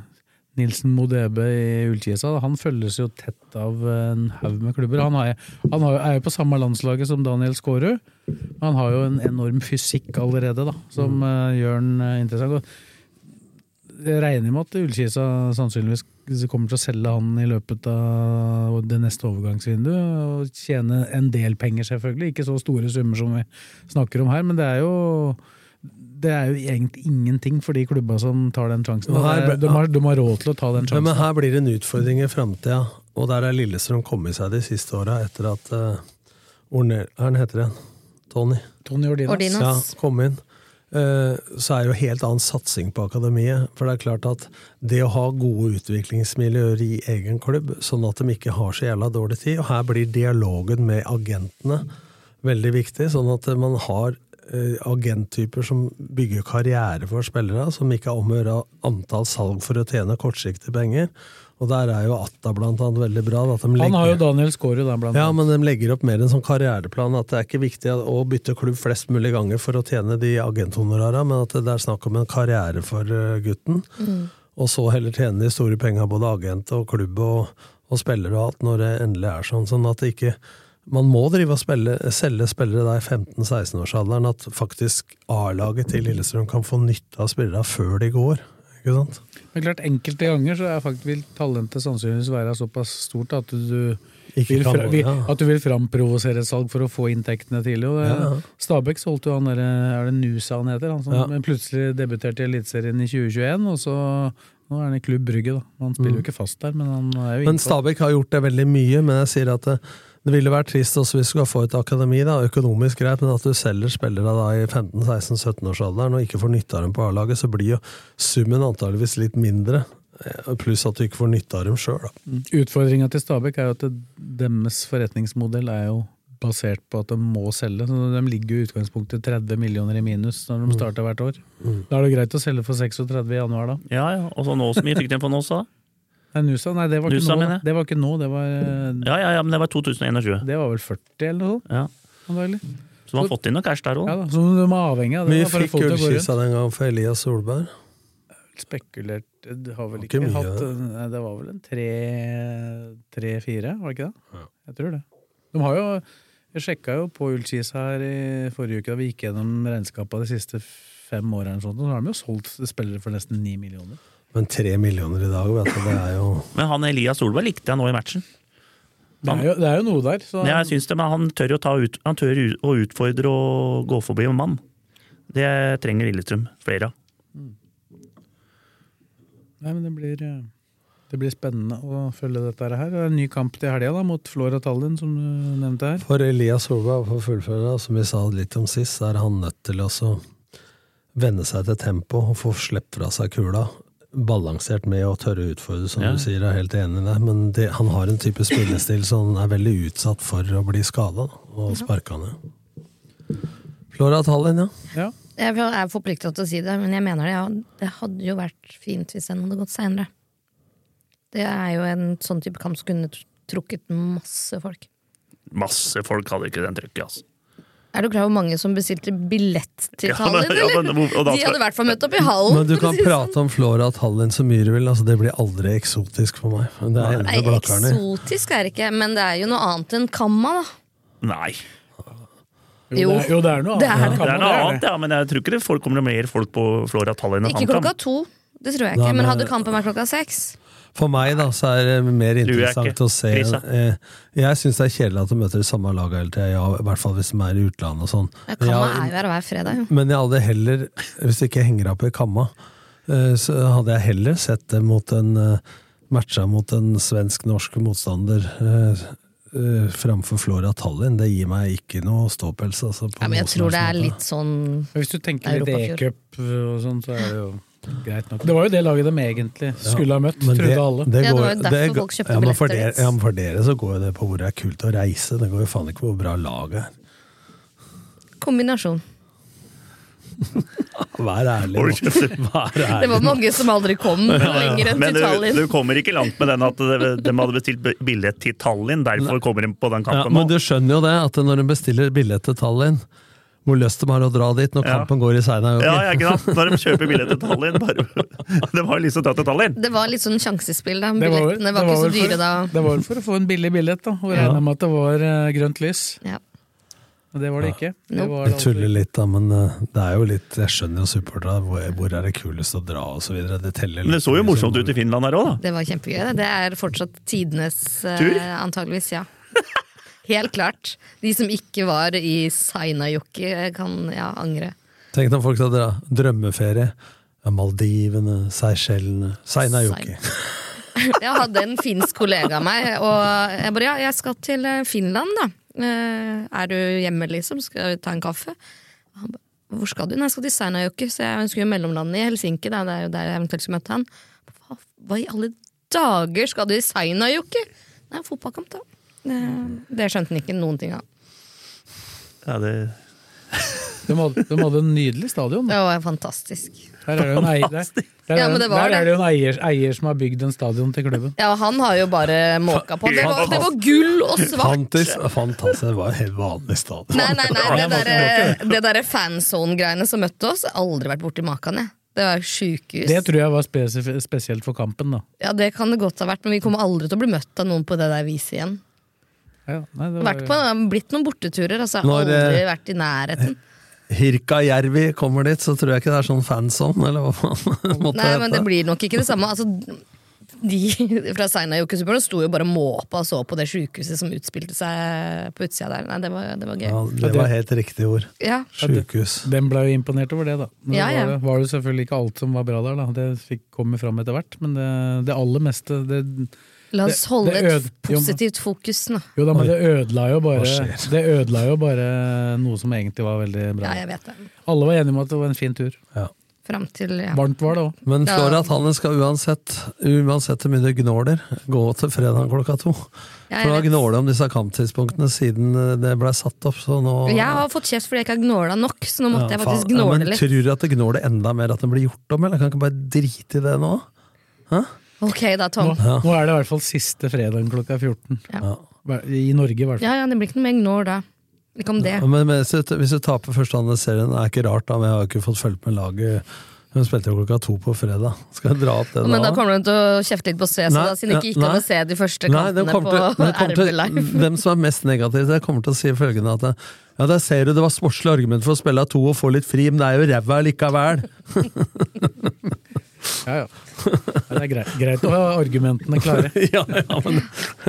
B: Nilsen Modebe i Ullkisa, da, han følges jo tett av en haug med klubber. Han, er, han har, jo- er jo på samme landslaget som Daniel Skårud, men han har jo en enorm fysikk allerede, da, som eh, gjør han eh, interessant. Og jeg regner med at Ullkisa sannsynligvis kommer til å selge han i løpet av det neste overgangsvinduet. Og tjene en del penger, selvfølgelig. Ikke så store summer som vi snakker om her, men det er jo det er jo egentlig ingenting for de klubba som tar den sjansen.
D: Og her
B: Det er-
D: ble-
B: De har, de har råd til å ta den
D: Ja,
B: sjansen.
D: men her blir det en utfordring i framtida, og der er Lillestrøm kommet seg de siste åra etter at uh, Ornel, Hva heter det? Tony?
B: Tony Ordinas.
C: Ordinas.
D: Ja, kom inn. Eh, så er jo helt annen satsing på akademiet. For det er klart at det å ha gode utviklingsmiljøer i egen klubb, sånn at de ikke har så jævla dårlig tid, og her blir dialogen med agentene veldig viktig, sånn at man har eh, agenttyper som bygger karriere for spillere, som ikke har om å gjøre antall salg for å tjene kortsiktige penger. Og der er jo Atta blant annet veldig bra. da, At de
B: Han har jo
D: legger-
B: Daniel Skårud der, blant
D: ja,
B: annet.
D: men de legger opp mer en sånn karriereplan. At det er ikke viktig å bytte klubb flest mulig ganger for å tjene de agenthonorara, men at det er snakk om en karriere for eh, gutten. Og så heller tjene de store penga både agent og klubb og, og spillere og alt, når det endelig er sånn. Sånn at det ikke Man må drive og spille, selge spillere da i 15-16-årsalderen, at faktisk A-laget til Lillestrøm kan få nytte av spillere før de går. Ikke sant?
B: Men klart, enkelte ganger så er faktisk vil talentet sannsynligvis være såpass stort at du
D: Ikke
B: vil,
D: kan
B: fra,
D: gå,
B: vil,
D: ja.
B: at du vil framprovosere et salg for å få inntektene tidlig. Og det,
D: Ja, ja.
B: Stabæk solgte jo han derre Er det Nusa han heter? Han som
D: Ja.
B: men plutselig debuterte i Eliteserien i 2021, og så nå er han i Klubb Brygge, da. Han spiller jo ikke fast der, men han er jo
D: Mm. Men
B: innsatt.
D: Stabæk har gjort det veldig mye, men jeg sier at det, det ville vært trist også hvis du skal få et akademi, da, økonomisk greit, men at du selger spillere da i 15-16-17-årsalderen og ikke får nytte av dem på A-laget, så blir jo summen antageligvis litt mindre. eh, Pluss at du ikke får nytte av dem sjøl.
B: Utfordringa til Stabæk er jo at det, deres forretningsmodell er jo basert på at de må selge. Så de ligger jo i utgangspunktet 30 millioner i minus når
D: Mm.
B: de starter hvert år. Da er det greit å selge for 36 i januar, da.
E: Ja, ja. Og så nå som vi fikk den for nå, så.
B: Nei, Nusa, nei, det var ikke
E: Nusa,
B: nå.
E: mener jeg.
B: Det var ikke nå, det var, eh,
E: Ja, ja, ja, men det var 2021.
B: det var vel 40 eller noe sånt,
E: Ja.
B: antagelig.
E: Så man har fått inn noe cash der
B: Ja,
E: òg.
B: da, så de er avhengig av det.
D: Vi
B: da, for å
D: fikk
B: få det til å gå rundt.
D: gullkissa den gangen for Elias Solberg.
B: Spekulert, det har vel
D: Ikke
B: ikke,
D: mye,
B: hatt, eh,
D: det.
B: nei, det var vel en tre- tre-fire, var det ikke det? Jeg tror det. De har jo, jeg sjekka jo på Ullskis her i forrige uke da vi gikk gjennom regnskapet de siste fem årene, eller sånt, og så har de jo solgt spillere for nesten ni millioner.
D: Men tre millioner i dag, vet du, det er jo
E: Men han Elias Solberg likte jeg nå i matchen.
B: Det er jo, det er jo noe der. Så,
E: Men Jeg synes det, men han tør, å ta ut, han tør ut- å utfordre og gå forbi en mann. Det trenger Lillestrøm flere av.
B: Nei, men det blir, eh, det blir spennende å følge dette her. Det er en ny kamp til helga da, mot Flora Tallinn, som du nevnte her.
D: For Elias Solberg, for å fullføre, da, som vi sa litt om sist, så er han nødt til å så venne seg til tempo og få slippe fra seg kula. Balansert med å tørre å utfordre, som
E: Ja.
D: du sier. Jeg er helt enig i det. Men det, han har en type spillestil som er veldig utsatt for å bli skada og sparka ned. Flora Tallinn, ja.
B: Ja.
C: Jeg er forpliktet til å si det, men jeg mener det. Ja. Det hadde jo vært fint hvis den hadde gått seinere. Det er jo en sånn type kamp som kunne tr- trukket masse folk.
E: Masse folk hadde ikke den trykket, altså.
C: Er du klar over hvor mange som bestilte billett til
E: Ja, men-
C: Tallinn?
E: ja, men
C: eller?
E: hvor- og da
C: De
E: skal-
C: hadde i hvert fall møtt opp i hallen.
D: Men du
C: for å
D: kan
C: si det sånn.
D: prate om Flora Tallinn så mye du vil. Altså, det blir aldri eksotisk for meg. Men Det er
C: sånn. Nei,
D: enda blakkerne.
C: eksotisk er det ikke, men det er jo noe annet enn Kamma, da.
E: Nei.
C: Jo.
B: det er, jo, det er noe
C: Det er
B: annet.
C: det.
E: Det er noe annet,
B: det.
E: ja, men jeg tror ikke det folk kommer til mer folk på Flora Tallinn enn
C: Ikke
E: HamKam.
C: klokka to, det tror jeg
D: Nei,
C: ikke. Men
D: men-
C: hadde kampen vært klokka seks?
D: For meg da, så er det mer
E: jeg
D: interessant
E: ikke.
D: å se
E: Krisa.
D: eh, Jeg syns det er kjedelig at de møter det samme laget hele tida, ja, i hvert fall hvis de er i utlandet og sånn.
C: Ja,
D: Men
C: Kamma er
D: jeg-
C: jo her hver fredag, jo.
D: Men jeg hadde heller, hvis det ikke henger opp i kamma, eh, så hadde jeg heller sett det mot en eh, matcha mot en svensk-norsk motstander eh, eh, framfor Flora Tallinn. Det gir meg ikke noe ståpels. Altså, på
C: Ja, men jeg
D: noe som
C: tror det
D: helst
C: er
D: måte.
C: litt sånn
B: Hvis du tenker litt
C: Europafjord.
B: E-cup og sånn, så er det jo greit nok. Det var jo det laget de egentlig skulle ha møtt,
D: Men
B: trodde alle.
C: Ja, det var jo
D: går-
C: derfor
D: går-
C: folk kjøpte
D: ja, men for
C: billetter
D: dere,
C: dit.
D: ja, men for dere så går jo det på hvor det er kult å reise. Det går jo faen ikke på hvor bra laget er.
C: kombinasjon.
D: Vær ærlig.
E: Oi,
D: nå. Vær ærlig.
C: Det var mange som aldri kom lenger enn
E: Men
C: til
E: du,
C: Tallinn.
E: du kommer ikke langt med den at de, de hadde bestilt b- billett til Tallinn, derfor kommer de på den
D: Ja,
E: kampen
D: men du
E: nå.
D: skjønner jo det, at når en bestiller billett til Tallinn, hvor lyst de har å dra dit når
E: Ja.
D: kampen går i Seinajokk.
E: Ja, ja, ikke sant? Når de kjøper billett til Tallinn, bare De har jo lyst til å dra til Tallinn!
C: Det var litt sånn sjansespill, da.
B: Det vel-
C: Billettene var,
B: det
C: ikke så
B: vel for-
C: dyre da.
B: Det var vel for å få en billig billett, da, og regna med at det var eh, grønt lys.
C: Ja.
B: Men det var det ikke. Det
C: Nope.
B: var
D: Vi
B: det altså
D: tuller litt, da, men eh, det er jo litt Jeg skjønner jo supporterne. Hvor, hvor er det kulest å dra, og så videre. Det teller litt.
F: Men det så jo morsomt ut i Finland her òg, da.
C: Det var kjempegøy. Det, det er fortsatt tidenes eh,
F: Tur?
C: antageligvis, ja. Helt klart. De som ikke var i Sainajoki, kan ja, angre.
D: Tenk når folk skal dra. Drømmeferie. Ja, Maldivene, Seychellene Seinajoki.
C: Jeg hadde en finsk kollega av meg, og jeg bare ja, jeg skal til eh, Finland, da. Eh, Er du hjemme, liksom? Skal vi ta en kaffe? Og Han ba, Hvor skal du? Nei, jeg skal til Seinajoki, så jeg ønsker jo mellomlandet i Helsinki. Da. Det er jo der jeg eventuelt skal møte han. Hva, hva i alle dager skal du i Seinajoki? Nei, fotballkamp, da. Eh, Det skjønte han ikke noen ting av.
E: Ja, det...
B: De hadde, de hadde en nydelig stadion.
C: Det var fantastisk.
B: Der er det jo en eier, der, der,
C: Ja,
B: er
C: men
B: det,
C: det var
B: der
C: det.
B: er det jo en eier, eier som har bygd en stadion til klubben.
C: Ja, han har jo bare måka på. Det var, det var gull og svart.
D: Fantis- Fantastisk. Det var en helt vanlig stadion.
C: Nei, nei, nei, det derre det derre fanzone-greiene som møtte oss, jeg har aldri vært borti makan, jeg. Det var sjukehus.
B: Det tror jeg var spesif- spesielt for kampen, da.
C: Ja, det kan det godt ha vært, men vi kommer aldri til å bli møtt av noen på det der viset igjen.
B: Ja, nei, det var-
C: Vært på, blitt noen borteturer, altså.
D: Når,
C: Aldri
D: eh,
C: vært i nærheten.
D: Hirkajärvi kommer dit, så tror jeg ikke det er sånn fansom, eller hva faen måtte
C: Nei, men det
D: hete.
C: blir nok ikke det samme. Altså, de fra Seinajoki-supporterne sto jo bare og måpa og så på det sjukehuset som utspilte seg på utsida der. Nei, det var, det var gøy.
D: Ja, det var helt riktig ord.
C: Ja.
D: Sjukehus.
B: Den ble jo imponert over det, da. Men
C: Ja, ja.
B: Det, var, det var jo selvfølgelig ikke alt som var bra der, da. Det fikk, kom jo fram etter hvert. Men det, det aller meste det,
C: La oss
B: Det-
C: holde
B: det
C: et
B: øde-
C: positivt fokus nå.
B: Jo da, men det ødela jo bare
D: Hva skjer?
B: Det ødela jo bare noe som egentlig var veldig
C: Ja,
B: bra.
C: jeg vet det.
B: Alle var enige om at det var en fin tur.
C: Fram til ja.
B: Varmt var det òg.
D: Men
C: Ja.
D: Flora Tanne skal uansett, uansett hvor mye det gnåler, gå til fredag klokka to.
C: Ja,
D: For da
C: jeg, vet.
D: gnåler det om disse kamptidspunktene siden eh, det ble satt opp, så nå
C: jeg har fått kjeft fordi jeg ikke har gnåla nok, så nå måtte jeg faktisk
D: faen.
C: gnåle
D: men
C: litt.
D: Tror du at det gnåler enda mer at det blir gjort om, eller kan ikke bare drite i det nå?
C: Ok da,
B: Nå,
C: Tom.
B: nå er det i hvert fall siste fredagen klokka 14.
C: Ja.
B: Hver- I Norge, i hvert fall.
C: Ja, ja, det blir ikke noe mer gnål da. Ikke om det.
D: Ja, Men, men hvis, du, hvis du taper første andre serien, det er ikke rart, da, men jeg har jo ikke fått fulgt med laget. Hun spilte jo klokka to på fredag. Skal jeg dra opp det
C: Men da
D: da?
C: kommer du til å kjefte litt på Svesa,
D: Nei,
C: da, siden du ikke gikk
D: nei.
C: an å se de første
D: Nei, det
C: kampene
D: kommer til-
C: på
D: det kommer
C: RB
D: til-
C: Live.
D: Dem som er mest negative, det kommer til å si følgende at ja, der ser du det var sportslig argument for å spille av to og få litt fri, men det er jo ræva likevel.
B: Ja, ja. Ja, det er greit, greit å ha argumentene klare.
D: ja, ja, men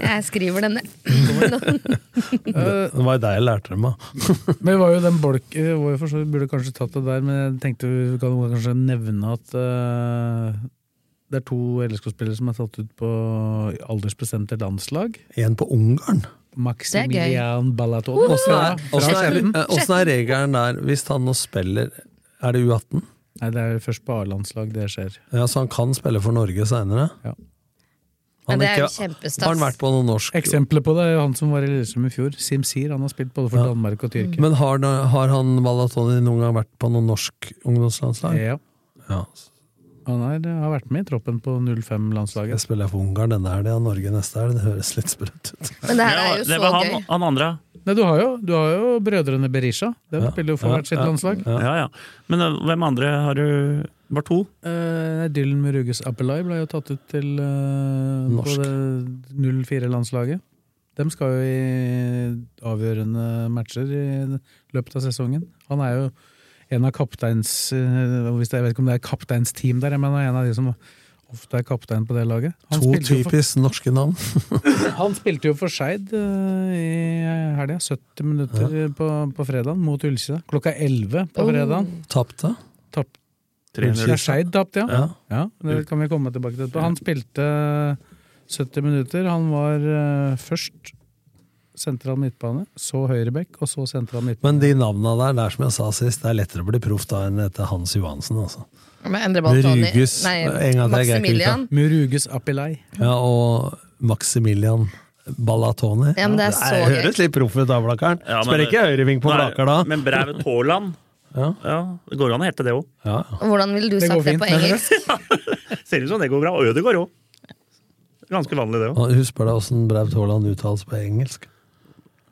C: Jeg skriver den ned.
B: Eh,
D: det var jo deg jeg lærte dem av.
B: Men vi var jo den bolk, vi var jo for så vidt- burde kanskje tatt det der, men jeg tenkte vi kan kanskje nevne at eh, det er to LSK-spillere som er tatt ut på aldersbestemte landslag.
D: En på Ungarn.
B: Maximilian Balaton.
D: Åssen er,
B: Fra
D: åssen er,
B: Skjetten.
D: eh, åssen er regelen der hvis han nå spiller Er det U18?
B: Nei, det er først på A-landslag det skjer.
D: Ja, Så han kan spille for Norge seinere?
B: Ja.
C: Men det er
D: Har
C: jo
D: han
C: kjempestas.
D: vært på noe norsk?
B: Eksempelet på det er jo han som var i Lillestrøm i fjor. Simsir. Han har spilt både for
D: Ja.
B: Danmark og Tyrkia.
D: Men har, da- har han Malatoni noen gang vært på noe norsk ungdomslandslag?
B: Ja,
D: Ja.
B: han er, har vært med i troppen på
D: Jeg
B: 05-landslaget.
D: spiller for Ungarn denne helga, Norge neste helg. Det høres litt sprøtt ut.
C: Men det her er
E: Ja,
C: jo
E: det var
C: så
E: han,
C: gøy.
E: han andre.
B: Nei, du har jo, du har jo brødrene Berisha. De
D: Ja,
B: spiller jo for
D: ja,
B: hvert sitt
D: ja,
B: landslag.
D: Ja.
E: Ja, ja. Men eh, hvem andre har du Var to?
B: Eh, Dylan Muruges Appelai ble jo tatt ut til eh, på
D: Norsk.
B: det 04-landslaget. De skal jo i avgjørende matcher i løpet av sesongen. Han er jo en av kapteins eh, hvis det, Jeg vet ikke om det er kapteinsteam der, men han er en av de som ofte er kaptein på det laget. Han,
D: To
B: spilte, jo for,
D: typisk norske navn.
B: han spilte jo for Skeid eh, i helga. 70 minutter på, på fredagen mot Ullkisa. Klokka 11 på
C: Oh.
B: fredagen.
D: Tapte.
B: Tapp,
E: 300.
B: ja, Skeid tapte, ja.
D: Ja.
B: Ja, det kan vi komme tilbake til etterpå. Han spilte 70 minutter. Han var eh, først sentral midtbane, så høyrebekk, og så sentral midtbane.
D: Men de navna der, det er som jeg sa sist, det er lettere å bli proff da enn etter Hans Johansen, altså.
C: Med Endre Baltoni.
D: Ruges.
C: Nei,
D: En gang til, jeg greier ikke
C: Maximilian.
B: Muruges Apilei.
D: Ja, og Maximilian Balatoni.
C: Ja, men det er så
D: Nei,
C: gøy.
D: høres litt proff ut da, Blakkaren.
E: Ja, men-
D: Spiller ikke høyreving på
E: Nei,
D: Blakkar da.
E: Men Braut Haaland.
D: Ja.
E: Ja, det går an å hete det òg.
D: Ja.
C: Hvordan ville du
B: Det går
C: sagt det
B: fint,
C: på
B: mener du?
C: engelsk?
E: Ser ut som det går bra. Og Ødegaard òg. Ganske vanlig, det òg.
D: Og Husk bare åssen Braut Haaland uttales på engelsk.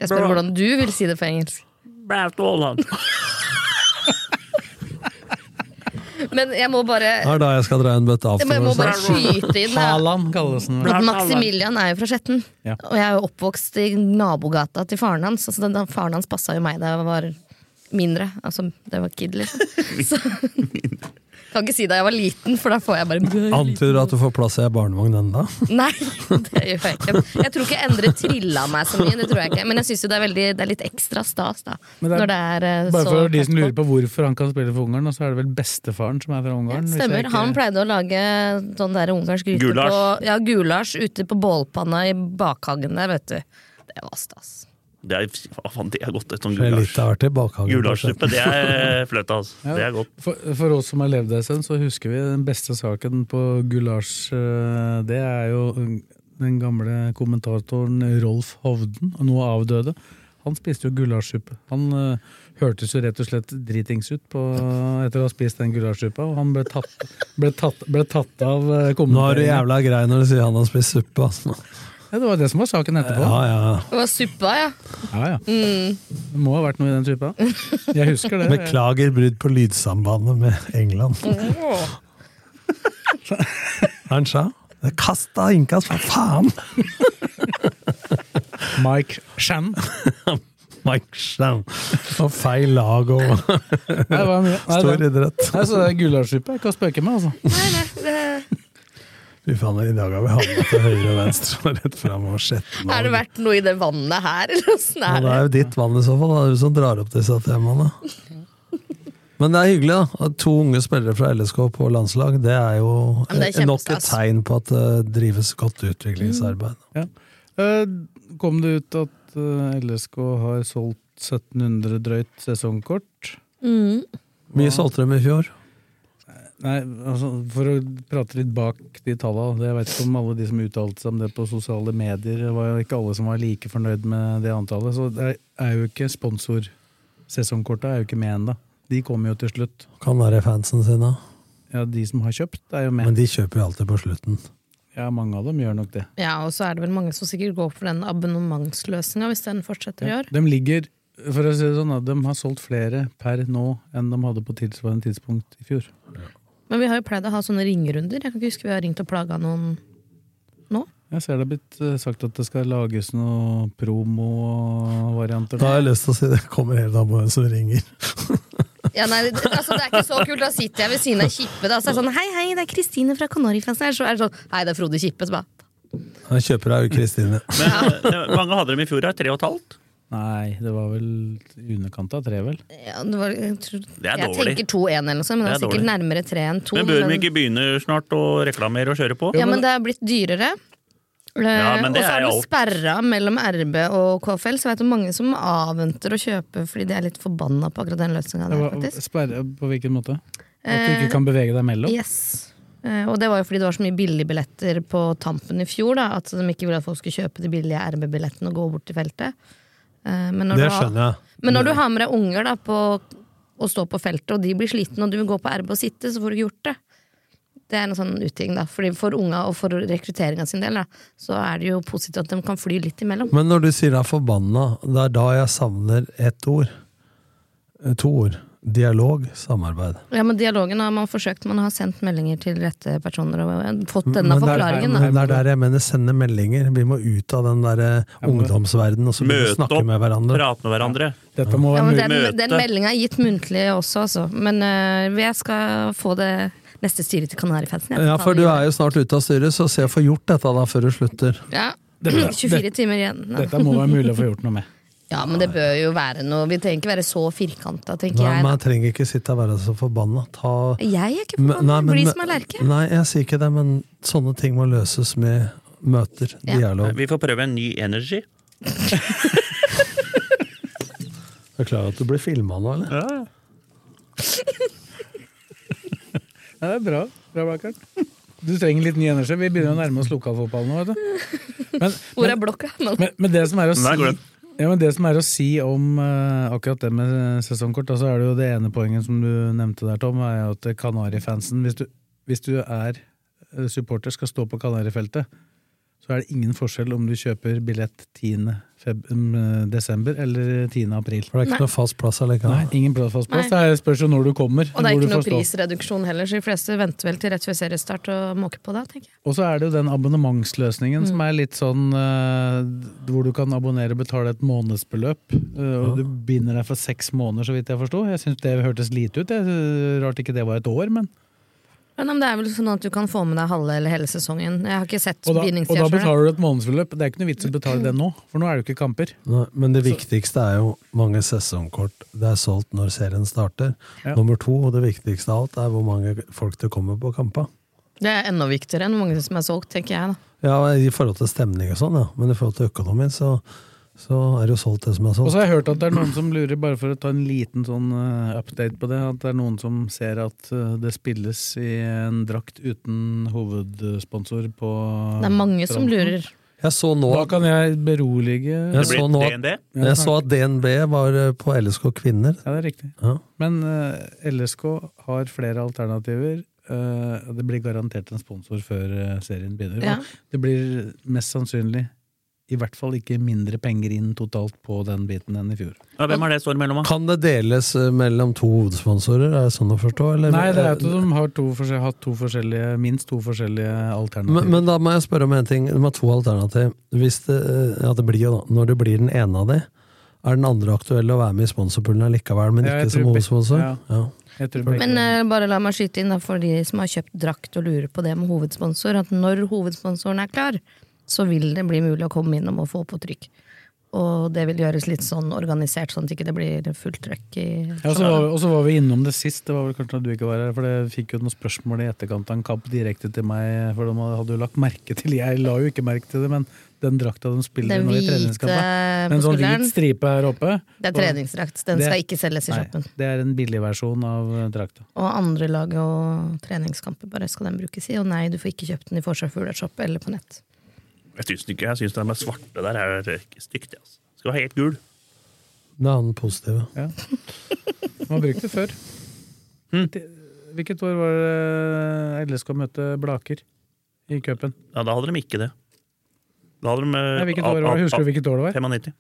C: Jeg spør hvordan du vil si det på engelsk.
E: Braut Haaland.
C: Men jeg må bare
D: Det er da jeg skal dra en bøtte
C: jeg Eh. må, jeg må
D: afterwards.
C: bare skyte inn da,
B: Haaland kalles den.
C: at Maximilian er jo fra Skjetten.
B: Ja.
C: Og jeg er jo oppvokst i nabogata til faren hans. Altså, den- den, faren hans passa jo meg da jeg var mindre. Altså, det var kid, liksom. Så, kan ikke si da jeg var liten, for da får jeg bare
D: Antyder at du får plass i ei barnevogn ennå?
C: Nei, det gjør jeg ikke. Jeg tror ikke Endre trilla meg så mye, det tror jeg ikke. Men jeg syns jo det er, veldig, det er litt ekstra stas, da.
B: Men det er-
C: når det er eh,
B: Bare
C: så
B: for de som
C: tett på.
B: lurer på hvorfor han kan spille for Ungarn, så er det vel bestefaren som er fra Ungarn. hvis jeg
C: Stemmer.
B: ikke-
C: Han pleide å lage sånn der ungarsk gryte
B: Gulasj.
C: på Ja, gulasj ute på bålpanna i bakhagen der, vet du. Det var stas.
E: Det er, hva faen, det er godt, et sånt
D: Det er
E: gulasj.
D: litt av hvert i bakhagen.
E: Gulasjsuppe, det er fløte, altså.
B: Ja.
E: Det er godt.
B: For, for oss som har levd en stund, så husker vi den beste saken på gulasj. eh, Det er jo eh, den gamle kommentatoren Rolf Hovden, nå avdøde. Han spiste jo gulasjsuppe. Han eh, hørtes jo rett og slett dritings ut på, etter å ha spist den gulasjsuppa, og han ble tatt, ble tatt, ble tatt av eh,
D: Nå er du
B: kommentatoren.
D: jævla grei når du sier han har spist suppe. Altså.
B: Ja, det var det som var saken etterpå.
D: Ja, ja.
C: Det var suppa, ja.
B: Ja, ja.
C: Mm.
B: Det må ha vært noe i den suppa. Jeg husker det.
D: Beklager brudd på lydsambandet med England.
C: Mm. Åh.
D: Han sa Kast av innkast, for faen!
B: Mike Shan.
D: Mike Shan. Og feil lag og
B: Nei, det var mye. Nei,
D: stor
B: det-
D: idrett.
B: Nei, så det er gulasjsuppe jeg kan spøke med, altså.
D: Fy faen, i dag har vi havna til høyre og venstre og rett fram og sjetten.
C: Er det vært noe i det vannet her, eller åssen
D: Ja,
C: er
D: det
C: det?
D: er jo ditt vann i så fall. Det er du som drar opp disse temaene. Men det er hyggelig, da. At to unge spillere fra LSK på landslag, det er jo eh,
C: men det er
D: nok et
C: kjempestas. Mm.
D: tegn på at det drives godt utviklingsarbeid.
B: Eh, Kom det ut at eh, LSK har solgt 1700 drøyt sesongkort?
C: Mm.
D: Mye solgte dem i fjor.
B: Nei, altså, For å prate litt bak de tallene. Det- Jeg vet ikke om alle de som uttalte seg om det på sosiale medier, det var jo ikke alle som var like fornøyd med det antallet. Så det er jo ikke sponsorsesongkorta er jo ikke med ennå. De kommer jo til slutt.
D: Kan være fansen sine.
B: Ja, De som har kjøpt, er jo med.
D: Men de kjøper jo alltid på slutten.
B: Ja, Mange av dem gjør nok det.
C: Ja, og så er det vel mange som sikkert går for den abonnementsløsninga hvis den fortsetter i år.
B: De ligger, for å si det sånn, at de har solgt flere per nå enn de hadde på tilsvarende tidspunkt i fjor.
C: Men vi har jo pleid å ha sånne ringerunder. Jeg kan ikke huske vi har ringt og plaga noen
B: Jeg ser det er blitt eh, sagt at det skal lages noen promovarianter.
D: Da har jeg lyst til å si det kommer helt an på hvem som ringer.
C: Ja, nei, det- altså, det er ikke så kult. Da sitter jeg ved siden av Kippe. Da, så er det sånn, hei, hei, det er Kristine fra Kanarifansen her. Så er det sånn, hei, det er Frode Kippe. Så bare,
D: Han kjøper deg jo Kristine.
E: Men eh, mange hadde dem i fjor, da. Tre og et halvt.
B: Nei, det var vel i underkant av tre, vel?
C: ja, det var, jeg, tror,
E: Det er
C: jeg
E: dårlig.
C: tenker 2-1 eller noe sånt, men det
E: Det
C: er
E: er
C: sikkert nærmere 3 enn 2.
E: Men bør vi ikke begynne snart å reklamere og kjøre på?
C: Ja, men det er blitt dyrere. Eh,
E: men
C: og
E: det
C: så
E: er
C: er det
E: jo alt.
C: sperra mellom RB og KFL, så jeg vet om mange som avventer å kjøpe fordi de er litt forbanna på akkurat den løsninga der,
B: Hva-
C: faktisk.
B: Sperre på hvilken måte? At du
C: Eh,
B: ikke kan bevege deg mellom?
C: Yes. Eh, Og det var jo fordi det var så mye billigbilletter på tampen i fjor, da, at de ikke ville at folk skulle kjøpe de billige RB-billettene og gå bort til feltet. Eh, Men når,
D: Det
C: du har,
D: skjønner jeg.
C: men når du har med deg unger da, på å stå på feltet, og de blir slitne, og du vil gå på RB og sitte, så får du ikke gjort det. Det er en sånn utting, da. Fordi for unga og for rekrutteringa sin del, da, så er det jo positivt at de kan fly litt imellom.
D: Men når du sier deg forbanna, det er da jeg savner ett ord. Eh, To ord. Dialog, samarbeid.
C: Ja, men dialogen har man forsøkt, man har sendt meldinger til rette personer og fått denne
D: Men det er-
C: forklaringen, da.
D: Men det er der jeg mener sende meldinger. Vi må ut av den der eh, ungdomsverdenen og så begynne å
E: Møte
D: snakke
E: opp,
D: med hverandre.
E: prate med hverandre.
B: Dette må
C: Ja,
B: være
C: men
B: mulig.
C: den,
E: Møte.
C: den meldinga er gitt muntlig også, altså. Men øh, jeg skal få det neste styret til Kanarifansen. Jeg skal
D: Ja,
C: ta
D: for
C: det
D: du
C: videre.
D: er jo snart ute av styret, så se å få gjort dette da før du slutter.
C: ja.
B: Dette-
C: 24 timer igjen.
B: Dette må være mulig å få gjort noe med.
C: Ja, men det bør jo være noe Vi trenger ikke være så firkanta, tenker
D: Nei,
C: jeg.
D: man trenger ikke sitte og være så forbanna. Ta
C: Da. Jeg er ikke
D: Men- nei,
C: forbanna.
D: men-
C: Bli som ei lerke.
D: Nei, jeg sier ikke det, men sånne ting må løses med møter,
C: Ja.
D: dialog.
E: Vi får prøve en ny energy.
D: Er du klar over at du blir filma nå, eller?
B: Ja, det er bra. bra Blakkert. Du trenger litt ny energi. Vi begynner å nærme oss lokalfotballen nå. vet du. Men,
C: Hvor er blokka? Men,
B: men, men, det som er å
E: Der går
B: si,
E: den.
B: ja, men det som er å si om eh, akkurat det med sesongkort, da, så er det jo det ene poenget som du nevnte der, Tom, er jo at Kanarifansen hvis, du- hvis du er eh, supporter, skal stå på Kanarifeltet, så er det ingen forskjell om du kjøper billett 10. Feb mm, desember eller 10. april.
D: For det er ikke
C: Nei.
D: noe fast plass allikevel.
B: Nei, ingen plass fast plass. Det er- spørs jo når du kommer.
C: Og det er
B: hvor
C: ikke
B: du
C: noe
B: får stå.
C: prisreduksjon heller, så de fleste venter vel til rett ved seriestart og måker på det, tenker jeg.
B: Og så er det jo den abonnementsløsningen som
C: Mm.
B: er litt sånn eh, hvor du kan abonnere og betale et månedsbeløp. eh, og du binder deg for seks måneder, så vidt jeg forsto. Jeg syns det hørtes lite ut. Jeg, rart ikke det var et år, men
C: Ja, men det er vel sånn at du kan få med deg halve eller hele sesongen. Jeg har ikke sett
B: Og da, og da
C: bindingstida sjøl.
B: betaler du et månedsbeløp. Det er ikke noe vits å betale det nå, for nå er det jo ikke kamper.
D: Nei, men det viktigste er jo mange sesongkort det er solgt når serien starter.
B: Ja.
D: Nummer to, og det viktigste av alt, er hvor mange folk det kommer på kampa.
C: Det er enda viktigere enn hvor mange som er solgt, tenker jeg. da.
D: Ja, I forhold til stemning og sånn, ja. Men i forhold til økonomi, så, så er det jo solgt det som er
B: Og
D: solgt.
B: så har jeg hørt at det er noen som lurer, bare for å ta en liten sånn eh, update på det, at det er noen som ser at eh, det spilles i en drakt uten hovedsponsor på
C: Det er mange som lurer.
D: Jeg så nå,
B: Da kan jeg berolige
D: jeg
E: Det blir
D: så nå
E: DND.
D: jeg så at DNB var eh, på LSK Kvinner.
B: Ja, det er riktig.
D: Ja.
B: Men eh, LSK har flere alternativer. Eh, det blir garantert en sponsor før eh, serien begynner.
C: Ja.
B: Og Det blir mest sannsynlig i hvert fall ikke mindre penger inn totalt på den biten enn i fjor.
E: Ja, hvem er det står imellom? da?
D: Kan det deles eh, mellom to hovedsponsorer, er det sånn å forstå? Eller?
B: Nei, det er at de har to forskjell- hatt to forskjellige, minst to forskjellige alternativer.
D: Men, men da må jeg spørre om en ting. De har to alternativ. Hvis det, eh, ja, det blir jo da, når det blir den ene av de, er den andre aktuell å være med i sponsorpoolen likevel, men
B: Ja, jeg
D: ikke som
B: tror be-
D: hovedsponsor?
B: ja.
D: Ja.
B: Jeg tror begge-
C: Men eh, bare la meg skyte inn da, for de som har kjøpt drakt og lurer på det med hovedsponsor, at når hovedsponsoren er klar, så vil det bli mulig å komme innom og få på trykk. Og det vil gjøres litt sånn organisert, sånn at ikke det ikke blir fullt trøkk i
B: Ja, så var, vi- og så var vi innom det sist, det var vel kanskje da du ikke var her, for jeg fikk jo noen spørsmål i etterkant av en kamp direkte til meg, for de hadde jo lagt merke til, jeg la jo ikke merke til det, men den drakta de spiller
C: Den
B: nå i
C: hvite på
B: treningskampen, en sånn hvit
C: skulderen,
B: stripe her oppe,
C: det er treningsdrakt. Den
B: Det-
C: skal ikke selges i
B: nei,
C: shoppen.
B: det er en billig versjon av eh, drakta.
C: Og andre lag og treningskamper bare skal den brukes i. Og nei, du får ikke kjøpt den i Forsvar Fugleshop eller på nett.
E: Jeg syns ikke jeg synes den med svarte der er ikke stygt. jeg, Altså. Skal være helt gul.
D: Det er den positive.
B: Ja. Man brukte det før. Det- Hvilket år var det LSK møtte Blaker i cupen?
E: Ja, da hadde de ikke det. Da hadde de, eh,
B: Nei, hvilket år var det? Husker du hvilket år det var?
E: 95.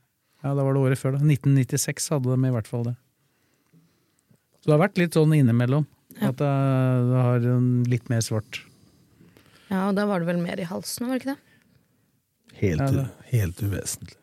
B: Ja, da var det året før da. 1996 hadde de i hvert fall det. Så det har vært litt sånn innimellom. At det, det har en litt mer svart.
C: Ja, og da var det vel mer i halsen, var det ikke det?
D: Helt,
B: Ja, det-
D: u- helt uvesentlig.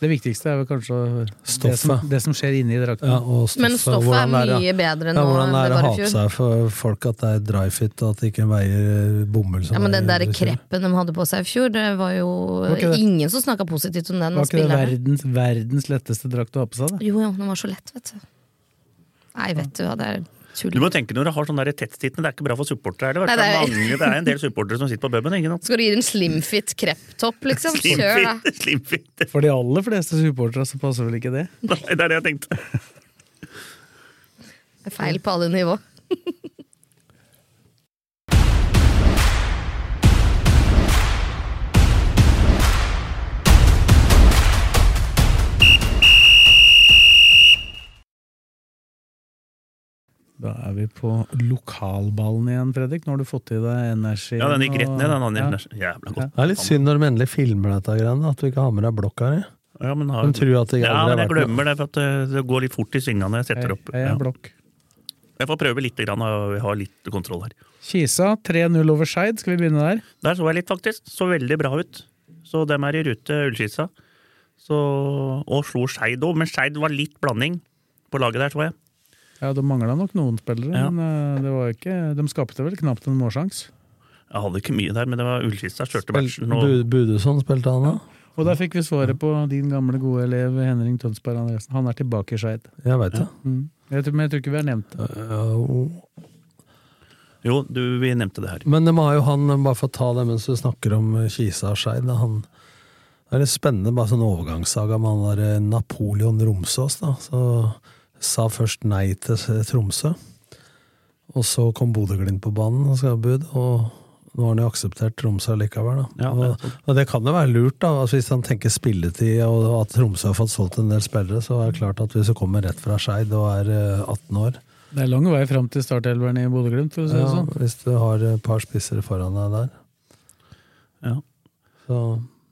B: Det viktigste er vel kanskje det
D: Stoffet.
B: som, det som skjer inni drakten.
D: Ja, og stoffet,
C: Men stoffet er
D: hvordan det
C: mye
D: ja.
C: bedre
D: ja,
C: nå
D: hvordan
C: enn
D: det
C: det
D: er å
C: var
D: ha
C: i
D: på
C: fjor.
D: seg for folk at det er dry fit, og at det ikke veier eh, bomull som
C: Ja, men Den
D: veier
C: der
D: kilo.
C: kreppen de hadde på seg i fjor, det var jo
B: Var ikke det-
C: ingen som snakka positivt om den.
B: Var ikke det
C: spillerne.
B: verdens, verdens letteste drakt å ha på seg? Da?
C: Jo, jo, den var så lett, vet du. Nei, vet du hva, det er tull.
E: Du må tenke når du har sånne der tettsittende, det er ikke bra for supportere. heller, vet
C: Nei,
E: du.
C: det er-
E: Mange- Det er en del supportere som sitter på puben. ikke sant?
C: Skal du gi den slimfit krepptopp, liksom? Kjør, da.
E: Slimfint, Slimfint!
B: For de aller fleste supportere så passer vel ikke det?
E: Nei, det er det jeg tenkte.
C: Det er Feil på alle nivå.
B: Da er vi på lokalballen igjen, Fredrik. Nå har du fått i deg energi.
E: Ja, den gikk rett ned, den
B: Ja.
E: andre. Jævla godt.
D: Det er litt synd når de endelig filmer dette, greiene, at du ikke har med deg blokka di.
E: Ja, men, har...
D: De tror at det
E: ja,
D: aldri
E: men
D: har
E: jeg
D: vært noe.
E: glemmer det, for at eh, det går litt fort i svingene når jeg setter opp.
B: Jeg, jeg
E: Ja.
B: er blokk.
E: Jeg får prøve litt, grann, og vi har litt kontroll her.
B: Kisa 3-0 over Skeid. Skal vi begynne der?
E: Der så jeg litt, faktisk. Så veldig bra ut. Så dem er i rute, Ullskisa. Så, og slo Skeid òg, men Skeid var litt blanding på laget der, så jeg.
B: Ja, De mangla nok noen spillere,
E: Ja.
B: men eh, det var jo ikke, de skapte vel knapt en målsjanse.
E: Jeg hadde ikke mye der, men det var Ullskisa kjørte matchen. Og,
D: Bu- Budusson spilte han da?
B: Og der fikk vi svaret på din gamle gode elev Henning Tønsberg Andresen. Han er tilbake i Skeid.
D: Jeg veit det.
B: Jeg tror, men jeg tror ikke vi har nevnt det.
D: Ja,
E: jo, du, vi nevnte det her.
D: Men de har jo han, bare for å ta det mens du snakker om eh, Kisa og Skeid da, han- Det er litt spennende, bare sånn overgangssaga med han der eh, Napoleon Romsås, da. Så sa først nei til Tromsø. Og så kom Bodø-Glimt på banen og skal ha bud, og nå har han jo akseptert Tromsø likevel, da.
E: Ja, det er
D: og, og det kan jo være lurt, da. Altså, hvis han tenker spilletid, og at Tromsø har fått solgt en del spillere, så er det klart at hvis du kommer rett fra Skeid og er eh, 18 år,
B: Det er lang vei fram til startelveren i Bodø-Glimt, for å si det
E: eh,
D: ja,
B: sånn.
D: hvis du har et par spissere foran deg der
E: Ja.
D: Så Så,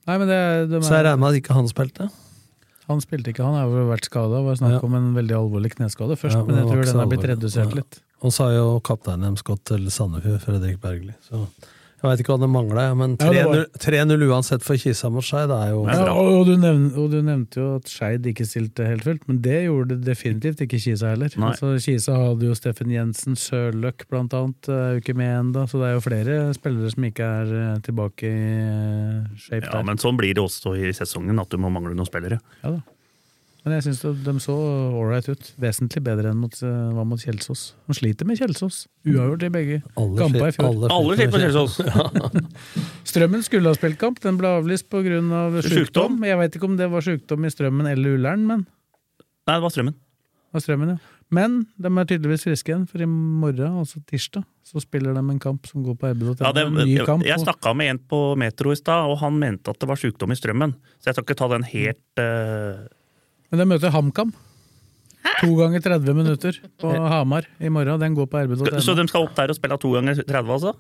B: Nei, men det, de
D: så jeg regner med at ikke han spilte.
B: Han spilte ikke, han har jo vært skada. Var snakk om en veldig alvorlig kneskade først,
D: Ja,
B: men
D: det
B: jeg
D: var
B: tror
D: ikke
B: den
D: så
B: er blitt
D: alvorlig.
B: redusert
D: Ja.
B: litt.
D: Og så har jo kapteinen deres gått til Sandefjord, Fredrik Bergli. Så jeg veit ikke hva det mangla, men
B: Ja, det
D: 3-0
B: var-
D: 3-0 uansett for Kisa mot Skei, det er jo
B: Ja, og, og, du nevnte, og du nevnte jo at Skeid ikke stilte helt fullt, men det gjorde definitivt ikke Kisa heller.
E: Nei.
B: Altså, Kisa hadde jo Steffen Jensen, Sørløk blant annet, er jo ikke med ennå, så det er jo flere spillere som ikke er eh, tilbake i eh, shape
E: Ja,
B: der.
E: men sånn blir det også i sesongen, at du må mangle noen spillere.
B: Ja da. Men jeg syns de så ålreit ut. Vesentlig bedre enn mot, eh, hva mot Kjelsås. De sliter med Kjelsås. Uavgjort i begge
D: Alle
B: kamper i
D: sliter-
B: fjor.
E: Alle sliter med Kjelsås.
B: Strømmen skulle ha spilt kamp, den ble avlyst pga. Av
E: Sjukdom.
B: sjukdom. Jeg veit ikke om det var sjukdom i Strømmen eller Ullern, men
E: Nei, det var strømmen.
B: av strømmen, ja. Men de er tydeligvis friske igjen, for i morgen, altså tirsdag, så spiller de en kamp som går på Ebbed og
E: Ja, det,
B: en ny
E: jeg
B: kamp.
E: jeg
B: og-
E: snakka med en på Metro i stad, og han mente at det var sykdom i strømmen. Så jeg skal ikke ta den helt eh,
B: Men de møter HamKam. To ganger 30 minutter på Hamar i morgen. Den går på
E: så, så
B: erbud.no.
E: de skal opp der og spille to ganger 30, altså?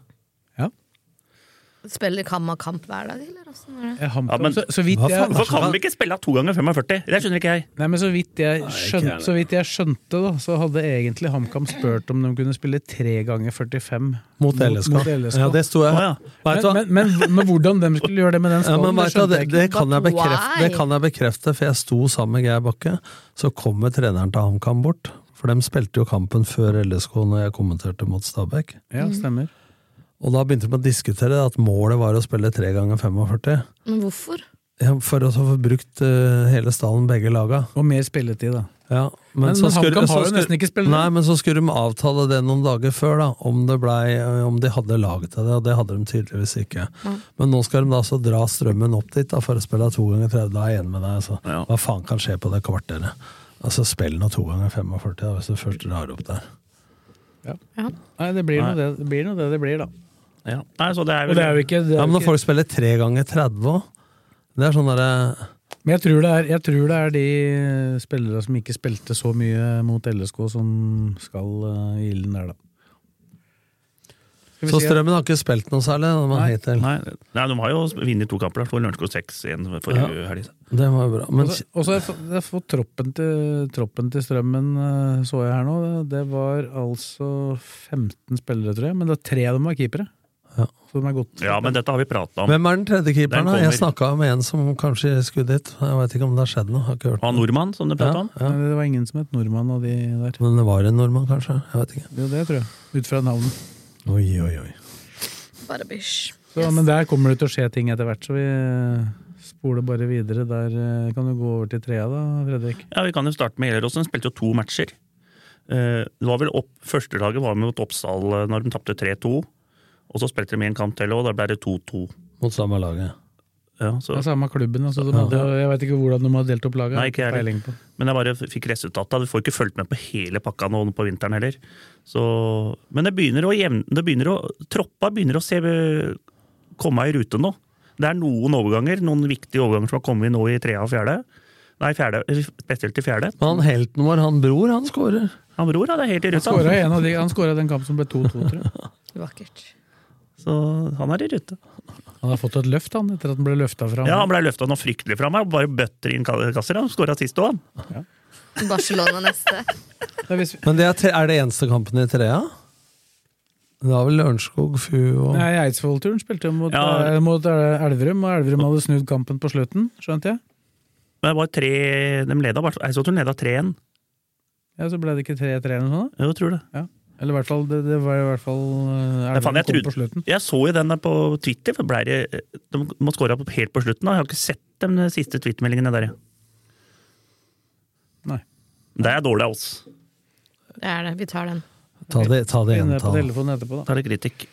C: Spiller Kamma kamp hver dag, eller åssen er det?
B: Ja, HamKam.
E: Ja, men-
B: så, så vidt
D: Hva
B: jeg
D: faen?
E: Hvorfor kan vi ikke spille to ganger 45? Det skjønner ikke jeg.
B: Nei, men så vidt jeg, skjønte,
D: heller.
B: så vidt jeg skjønte, da, så hadde egentlig HamKam spurt om de kunne spille tre ganger 45
D: Mot LSK.
B: Mot LSK.
D: Ja, det sto jeg.
E: Å, ja.
D: Vet du hva?
B: men, men, men, men hvordan de skulle gjøre det med den
D: Ja,
B: stallen,
D: men vet du, hva,
B: skjønte
D: det,
B: jeg ikke.
D: det, kan jeg
C: But
D: bekrefte,
C: why?
D: det kan jeg bekrefte, for jeg sto sammen med Geir Bakke. Så kommer treneren til HamKam bort, for de spilte jo kampen før LSK når jeg kommenterte mot Stabæk.
B: Ja, stemmer.
D: Og da begynte de å diskutere at målet var å spille 3 ganger 45.
C: Men hvorfor?
D: Ja, for å få brukt eh, hele stallen, begge laga.
B: Og mer spilletid, da.
D: Ja, men,
B: Men-
D: så
B: men
D: skulle-
B: HamKam har
D: så
B: jo
D: skulle-
B: nesten ikke spillere.
D: Nei, men så skulle de avtale det noen dager før, da, om, det blei, eh, om de hadde lag til det, og det hadde de tydeligvis ikke. Men nå skal de da altså dra strømmen opp dit da, for å spille to ganger 30. Da er jeg enig med deg. Altså.
E: Ja.
D: Hva faen kan skje på det kvarteret? Altså, Spill nå to ganger 45, da, hvis du først drar opp der.
B: Nei, det blir nå det det blir, nå det, det blir da.
E: Ja. Nei, så det er
B: Og
E: vel
B: det er jo ikke, det er
D: Ja, Men
B: jo
D: når
B: ikke
D: folk spiller tre ganger 30 òg, det er sånn derre
B: Men jeg tror, det er, jeg tror det er de spillere som ikke spilte så mye mot LSK, som skal eh, i ilden der, da. Skal vi
D: Så
B: si-
D: strømmen har ikke spilt noe særlig de har hittil.
E: Nei, nei, de har jo vunnet to kamper. da. For Lørenskog 6 igjen forrige helg.
D: Det var jo bra. Men
B: Og så- Og så har jeg fått- jeg har fått troppen til, troppen til strømmen, eh, så jeg her nå. Det- Det var altså 15 spillere, tror jeg. Men det er tre av dem var keepere.
D: Ja.
B: Så de er godt.
E: Ja, men dette har vi prata om.
D: Hvem er den tredje
E: Den
D: keeperen? da?
E: kommer.
D: Jeg snakka med en som kanskje skulle dit. Jeg veit ikke om det har skjedd noe. Har ikke hørt
E: Han nordmann, som du prata om.
D: Ja, ja.
B: Det var ingen som het nordmann av de der.
D: Men det var en nordmann, kanskje? Jeg vet ikke.
B: Jo, det tror jeg. Ut fra navnet.
D: Oi, oi, oi.
C: Bare bysj.
B: Så, Men der kommer det til å skje ting etter hvert, så vi spoler bare videre. Der eh, kan du gå over til trea, da, Fredrik.
E: Ja, Vi kan jo starte med Eleråsen. Spilte jo to matcher. Eh, Det var vel opp, Førstelaget var med mot Oppsal eh, når de tapte 3-2. Og så spilte de en kamp til, og da ble det 2-2.
D: Mot samme laget.
E: Ja,
B: Det
E: så-
B: er samme klubben, altså. De hadde, jeg vet ikke hvordan de har delt opp laget.
E: Nei, ikke jeg heller.
B: Peiling på.
E: men jeg bare fikk resultatet. Du får ikke fulgt med på hele pakka nå på vinteren heller. Så, men det begynner å jevne det begynner å, Troppa begynner å se, komme i rute nå. Det er noen overganger, noen viktige overganger som har kommet nå i trea og fjerde. Nei, fjerde, spesielt i fjerde.
D: Men han helten vår, han bror, han skårer.
E: Han bror hadde helt i ruta.
B: Skåret en av de, han skåra den kampen som ble 2-2, tror jeg.
C: Vakkert.
E: Så han er i rute.
B: Han har fått et løft, han, etter at han ble løfta fra.
E: Ja, han ble løfta noe fryktelig fra meg. Bare bøtter inn kasser. Han skåra sist òg, han.
C: Barcelona neste.
B: Det er hvis vi-
D: Men det er, tre, er det eneste kampen i trea? Det var vel Lørenskog, Fu og
B: Nei, Eidsvoll-turen spilte jo mot,
E: Ja.
B: eh, mot eh, Elverum, og Elverum hadde snudd kampen på slutten, skjønte jeg.
E: Men det var tre De leda, bare- Eidsvollturen leda 3-1.
B: Ja, Så ble det ikke 3-3 eller noe sånt? da.
E: Jo, Jeg tror det.
B: Eller i hvert fall, det, det var i hvert fall eh,
E: Nei, faen,
B: Elverum
E: jeg
B: kom
E: trodde-
B: på slutten.
E: Jeg så jo den der på Twitter. For ble det, de må skåre opp helt på slutten. da. Jeg har ikke sett de siste Twitter-meldingene der. jeg.
B: Nei.
E: Det er dårlig av oss.
C: Det er det. Vi tar den.
D: Ta det, ta det
B: Inne på
D: entall.
B: telefonen etterpå, da.
E: Da er det kritikk.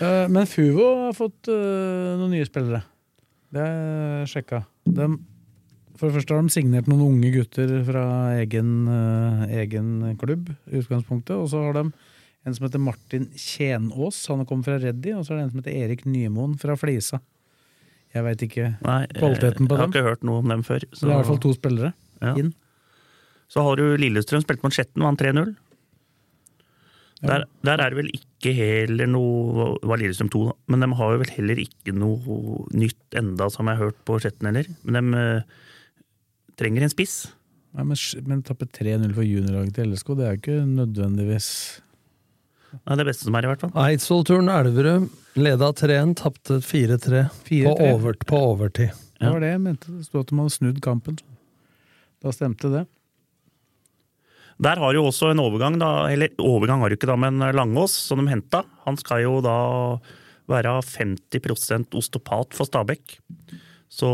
B: Eh, Men Fuvo har fått eh, noen nye spillere. Det er sjekka. De, for det første har de signert noen unge gutter fra egen, eh, egen klubb, i utgangspunktet. Og så har de en som heter Martin Tjenås, han kommer fra Reddy. Og så er det en som heter Erik Nymoen fra Flisa. Jeg veit ikke.
E: Nei, eh,
B: Kvaliteten på
E: Jeg har
B: dem.
E: ikke hørt noe om dem før.
B: Så det er i hvert fall to spillere
E: Ja.
B: inn.
E: Så har du Lillestrøm spilte mot Skjetten og vant 3-0. Der, der er det vel ikke heller noe det var Lillestrøm 2, da. Men de har jo vel heller ikke noe nytt enda, som jeg har hørt på Skjetten heller. Men de eh, trenger en spiss.
B: Nei, men, men tappe 3-0 for juniorlaget til LSK, det er jo ikke nødvendigvis
E: Det er det beste som er, i hvert fall.
D: Eidsvollturen Elverum leda 3-1, tapte 4-3 på,
B: 4-3.
D: over, på overtid.
B: Det var det jeg mente. Det sto at de hadde snudd kampen. Da stemte det.
E: Der har jo også en overgang, da, eller overgang har du ikke da, men Langås, som de henta, han skal jo da være 50 osteopat for Stabæk. Så,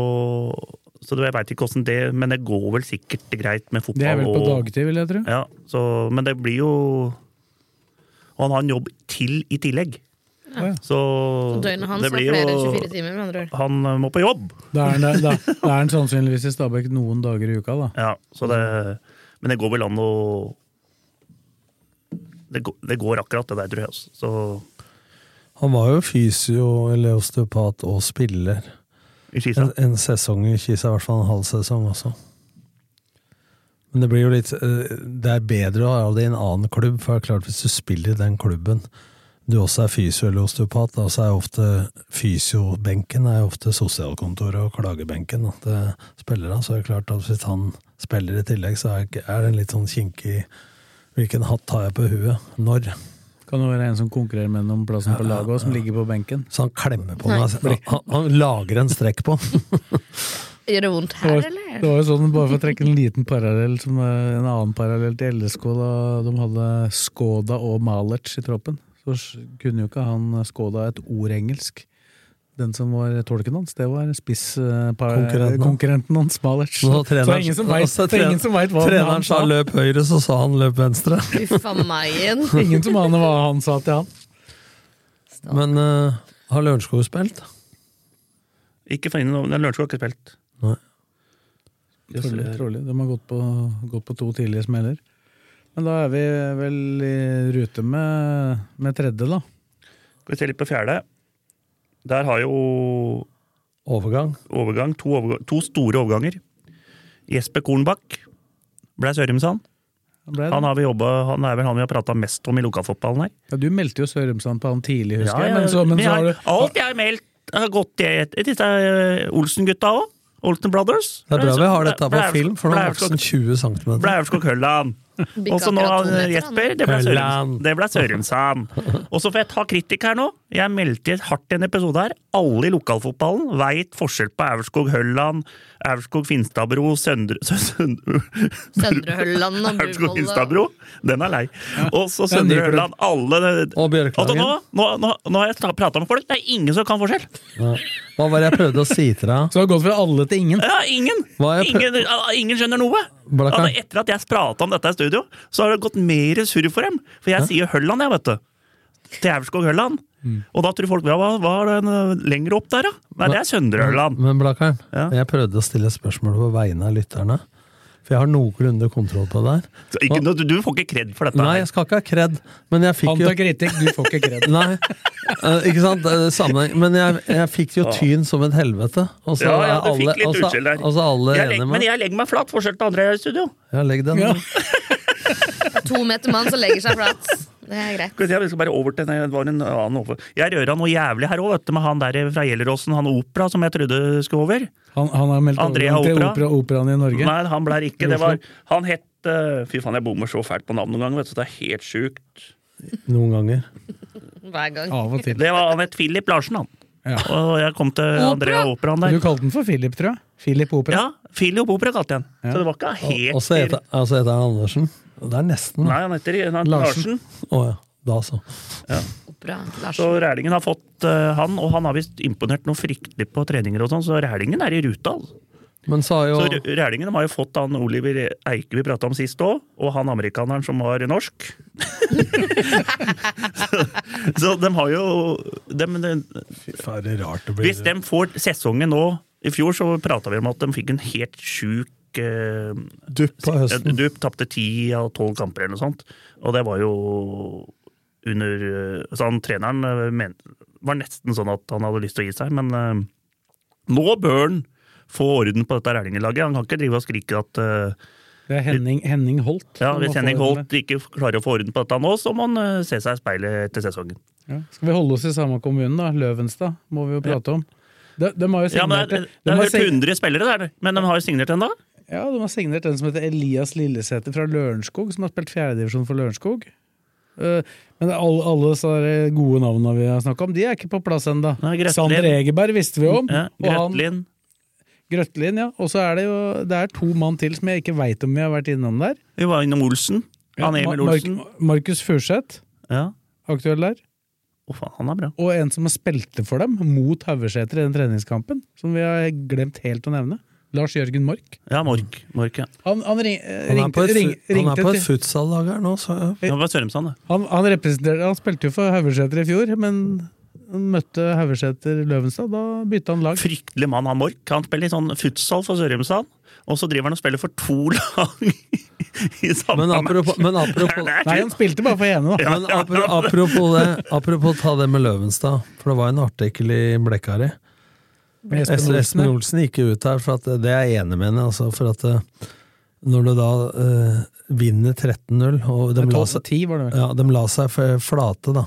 E: så det- jeg veit ikke åssen det Men det går vel sikkert greit med fotball.
B: Det er vel på
E: og-
B: dagtid, vil jeg tro.
E: Ja, så, men det blir jo Og han har en jobb til i tillegg.
B: Ja.
E: Så,
C: Så døgnet hans
E: det
C: er
E: blir
C: flere enn
E: jo-
C: 24 timer, med andre ord.
E: Han må på jobb!
B: Da er han der- da- da er han sannsynligvis i Stabæk noen dager i uka, da.
E: Ja, så det, men det går vel an å det går, det går akkurat det der, tror jeg. altså. Så
D: Han var jo fysio, eller osteopat og spiller.
E: I Kisa.
D: En, en sesong i Kisa, i hvert fall en halv sesong også. Men det blir jo litt eh, Det er bedre å ha det i en annen klubb, for det er klart hvis du spiller i den klubben du også er fysio eller osteopat, da, så er jo ofte fysiobenken er jo ofte sosialkontoret og klagebenken da, til spillerne. Så er det klart at hvis han spiller i tillegg, så er ikke- er det en litt sånn kinkig Hvilken hatt tar jeg på huet? Når?
B: Kan det være en som konkurrerer med noen om plassen på laget, og som ligger på benken?
D: Så han klemmer på meg. altså. Han, han lager en strekk på den.
C: Gjør det vondt her, eller?
B: Det var jo sånn, bare for å trekke en liten parallell, som eh, en annen parallell til LSK, da de hadde Skoda og Malertz i troppen, så s- kunne jo ikke han eh, Skoda et ord engelsk. Den som var tolken hans, det var
D: Konkurrenten.
B: spisskonkurrenten konkurrenten hans, Malertz.
D: Så
B: Så det
D: treneren-
B: er ingen som vet,
D: altså,
B: det er ingen som vet hva
D: Treneren
B: han
D: sa
B: sa.
D: løp høyre, så sa han løp venstre.
C: Uff a meg-en.
B: Ingen som aner hva han sa til han.
D: Men eh, har Lørenskog spilt?
E: Ikke for innom, Lørenskog har ikke spilt.
D: Nei.
E: Jeg
B: Trolig,
E: ser-
B: trolig. De har gått på, gått på to tidlige smeller. Men da er vi vel i rute med, med tredje, da.
E: Skal vi se litt på fjerde. Der har jo
D: Overgang.
E: overgang, to, overga- to store overganger. Jesper Kornbakk ble Sørumsand.
B: Da ble det.
E: Han, har vi jobbet, han er vel han vi har prata mest om i lokalfotballen her.
B: Ja, du meldte jo Sørumsand på han tidlig, husker
E: Ja,
B: jeg.
E: ja,
B: Men så, men
E: vi
B: så
E: har-
B: har du
E: Alt jeg har meldt, har gått til et- disse eh, Olsen-gutta òg. Olsen Brothers.
D: Det er bra vi har dette på
E: Ble-
D: film, for nå er
E: ble-
D: voksen 20 cm.
E: ble Aurskog Hølland.
C: Bikka
E: Og så nå
C: akkurat to
E: eh,
C: meter,
E: Jesper. Det ble, Sørum,
D: Hølland.
E: det ble Sørumsand. Og så får jeg ta kritikk her nå. Jeg meldte hardt i en episode her. Alle i lokalfotballen veit forskjell på Aurskog Hølland, Aurskog Finstadbro, Søndre Søndre-
C: Søndre Hølland og Bruvoll.
E: Aurskog Finstadbro. Den er lei. Og så
B: Ja, ny
E: Søndre
B: klubb.
E: Hølland. Alle
D: Og Bjørklagen.
E: Altså, nå, nå, nå, nå har jeg prata med folk. Det er ingen som kan forskjell.
D: Ja. Hva var det jeg prøvde å si til deg?
B: Så har det gått fra alle til ingen.
E: Ja, ingen!
D: Hva er prø-
E: Ingen, ja, ingen skjønner noe!
D: Blakka.
E: Altså, etter at jeg prata om dette i studio, så har det gått mer surr for dem. For jeg sier Hølland, jeg, vet du. Til Aurskog-Hølland.
D: Mm.
E: Og da tror folk ja, hva hva er den eh, lenger opp der, da? Nei, det er Søndre-Hølland.
D: Men Blakkaren,
E: Ja.
D: jeg prøvde å stille spørsmål på vegne av lytterne. For jeg har noenlunde kontroll på det her.
E: Så ikke noe- Du får ikke kred for dette.
D: Nei, jeg skal ikke ha kred, men jeg fikk
B: Han
D: jo
B: tar kritikk, du får ikke kred.
D: Nei, eh, ikke sant? Eh, Sammenheng. Men jeg, jeg fikk jo tyn som et helvete. Og så er
E: ja, ja, du
D: altså, alle,
E: fikk litt
D: og så-
E: utskill der.
D: og så er alle
E: jeg
D: enige
E: legger,
D: med
E: men jeg legger meg flat forskjell til andre i studio.
D: Ja, legg den.
B: Ja.
C: To meter mann som legger seg flat. Det er greit.
E: Skal vi se, vi skal bare over til nei, det var en annen over. Jeg røra noe jævlig her òg, vet du, med han der fra Gjelleråsen, han opera som jeg trodde skulle over.
B: Han, han har meldt
E: Andrea
B: overgang til
E: Opera.
B: opera, operaen i Norge.
E: Nei, han ble det ikke.
B: I
E: Det var,
B: Oslo.
E: han het eh, Fy faen, jeg bommer så fælt på navn noen ganger, vet du. Det er helt sjukt.
D: Noen ganger.
C: Hver gang.
B: Av og til.
E: Det var han het Philip Larsen, han.
B: Ja.
E: Og jeg kom til Andrea Operaen
B: Du
E: der.
B: kalte den for Philip, tror jeg. Philip Opera.
E: Ja, Philip Opera kalte jeg han. Så det var ikke helt
D: Og så heter og så heter han Andersen. Det er nesten.
E: Nei, han heter han heter
B: Larsen.
E: Larsen.
D: Å ja. Da så.
C: Opera.
E: Så
C: Larsen.
E: Rælingen har fått eh, han, og han har visst imponert noe fryktelig på treninger og sånn, så Rælingen er i ruta. altså.
D: Men så har jo
E: Så R- Rælingen har jo fått han Oliver Eike vi prata om sist òg, og han amerikaneren som var norsk. så, så de har jo dem- de,
D: Fy faen, det er rart det
E: Hvis de får sesongen nå I fjor så prata vi om at de fikk en helt sjuk eh,
D: Dupp på høsten.
E: Du tapte ti av tolv kamper eller noe sånt, og det var jo under eh, Så han treneren eh, men, var nesten sånn at han hadde lyst til å gi seg, men eh, nå bør han få orden på dette Rælingen-laget. Han kan ikke drive og skrike at eh,
B: Det er Henning, Henning Holt.
E: Ja,
B: som må
E: Hvis
B: få
E: Henning
B: orden med.
E: Holt ikke klarer å få orden på dette nå, så må han eh, se seg i speilet etter sesongen.
B: Ja. Skal vi holde oss i samme kommune, da? Løvenstad må vi jo prate om. De, de har jo
E: Ja, men
B: signert,
E: Det er,
B: de
E: det
B: har
E: er
B: sign-
E: rundt 100 spillere der, men de har jo signert en da.
B: ja, de har signert en som heter Elias Lillesæter fra Lørenskog, som har spilt fjerdedivisjon for Lørenskog. Eh, Men alle, alle så er det gode navnene vi har snakka om, de er ikke på plass ennå.
E: Nei, Grøtlin.
B: Sander Egeberg visste vi om.
E: Ja,
B: og han-
E: Grøtlin.
B: Grøtlin, ja. Og så er det jo det er to mann til som jeg ikke veit om vi har vært innom der.
E: Vi var innom Olsen. Han
B: Ja,
E: Emil
B: Mar-
E: Olsen.
B: Mar- Markus Furseth,
E: Ja.
B: aktuell der.
E: Å faen, han er bra.
B: Og en som har spilte for dem, mot Haugeseter i den treningskampen, som vi har glemt helt å nevne. Lars Jørgen Mork.
E: Ja, Mork. Mork ja.
B: Han, han, ring, eh,
D: Han er
B: ringte,
D: på et,
B: ring,
D: fu- han
B: ringte
D: er på et
B: til,
D: futsal-lag her nå, så ja.
E: Han var Sørumsand, det.
B: han, han representerte Han spilte jo for Haugeseter i fjor, men han møtte Haugeseter Løvenstad. Da bytta han lag.
E: Fryktelig mann, han Mork. Han spiller i sånn futsal for Sørumsand, og så driver han og spiller for to lag i samme
D: Men apropos, men apropos
E: Nei,
B: Nei, han spilte bare for ene, da.
D: Men apro- apropos det, apropos ta det med Løvenstad, for det var en artikkel i Blekkari.
B: Med Espen
D: Espen Espen
B: Olsen.
D: Olsen gikk jo ut her, for at det er jeg enig med henne. Altså, for at eh, når du da eh, vinner 13-0, og de la, seg,
B: 12-10 var det vel.
D: ja, de la seg f- flate, da.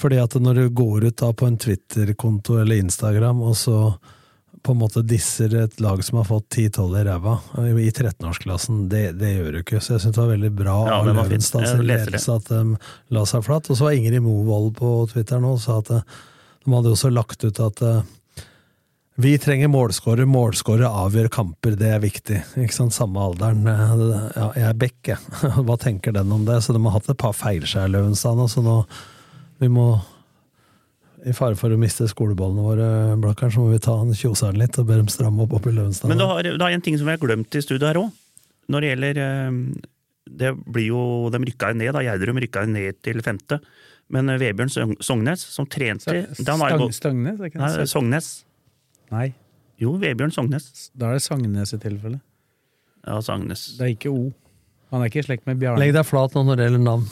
D: Fordi at når du går ut da på en Twitter-konto eller Instagram, og så på en måte disser et lag som har fått 10-12 i ræva eh, i 13-årsklassen, det, det gjør du ikke. Så jeg syns det var veldig bra
E: Ja,
D: av
E: det var fint.
D: Løvenstad
E: Jeg
D: sin
E: leser det.
D: ledelse at de la seg flat. Og så var Ingrid Movold på Twitter nå og sa at eh, de hadde også lagt ut at eh, vi trenger målskårer, målskårer avgjør kamper, det er viktig. Ikke sant, Samme alderen. eh, det- Ja, jeg er bekk, jeg. Hva tenker den om det? Så de har hatt et par feilskjær, Løvenstad, altså nå, så nå vi må I fare for å miste skoleballene våre, Blakkaren, så må vi ta han kjoseren litt og be dem stramme opp opp i Løvenstad.
E: Men du har, du har en ting som vi har glemt i studio her òg. Når det gjelder eh, det blir jo, De rykka jo ned, da. Gjerdrum rykka jo ned til femte. Men eh, Vebjørn Søng- Sognes, som trente da han var jo
B: Stang,
E: gå-
B: Stangnes? er ikke det?
E: Nei, Sognes.
B: Nei,
E: Jo, Vebjørn Sognes.
B: da er det Sagnes i tilfelle.
E: Ja, Sognes.
B: Det er ikke O. Han er ikke i slekt med Bjarne.
D: Legg deg flat nå når det gjelder navn.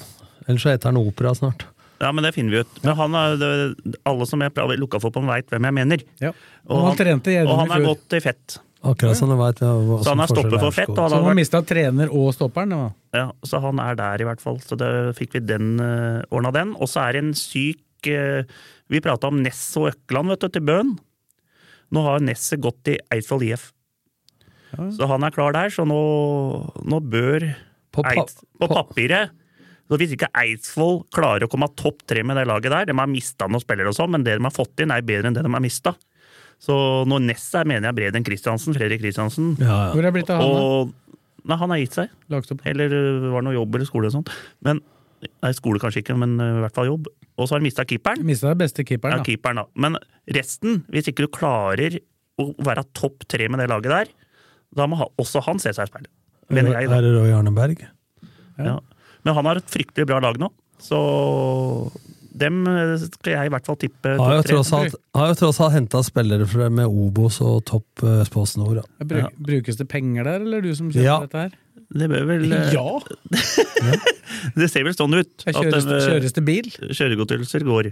D: Ellers så heter han Opera snart.
E: Ja, men det finner vi ut. Men han er, det, alle som jeg prater- lukka for på, veit hvem jeg mener.
B: Ja. Og han trente
E: og
B: Gjerdrum
E: han
B: i
E: er
B: fjor.
E: godt i fett.
D: Akkurat som du veit.
E: Så han er stoppet for fett.
B: Så
E: Og han
B: han
E: har
B: har
E: vært,
B: mista trener og stopperen? Da.
E: ja, så han er der, i hvert fall. Så det fikk vi den uh, ordna, den. Og så er det en syk eh, Vi prata om Ness og Økland vet du, til Bøen. Nå har Nesset gått i Eidsvoll IF. Så han er klar der, så nå, nå bør
D: På pa-
E: Eids, på
D: på-
E: papiret så Hvis ikke Eidsvoll klarer å komme topp tre med det laget der De har mista noen spillere og sånn, men det de har fått inn, er bedre enn det de har mista. Så når Ness er, mener jeg Breden Christiansen, Fredrik Christiansen.
D: Ja, ja.
B: Hvor er det blitt av han? da?
E: Og Nei, han har gitt seg.
B: Lagt opp.
E: Eller øh, var det noe jobb eller skole og sånt. Men Nei, skole kanskje ikke, men øh, i hvert fall jobb. Og så har han mista keeperen.
B: Mista den beste
E: Ja,
B: keeperen, da.
E: keeperen, da. Men resten, hvis ikke du klarer å være topp tre med det laget der, da må ha, også han se seg i speilet. Mener jeg,
D: Er
E: da.
D: det Roy Arneberg?
E: Ja. Men han har et fryktelig bra lag nå, så dem øh, skal jeg i hvert fall tippe
D: Har jo
E: topp tre.
D: tross alt, har jo tross alt henta spillere fra, med Obos og topp eh, Spås Nord. da.
B: Bruk, Brukes det penger der, eller du som kjøper
D: Ja.
B: dette her?
E: Det bør vel øh, Det ser vel sånn ut.
B: Her Kjøres,
E: øh,
B: kjøres det bil?
E: kjøregodtgjørelser går.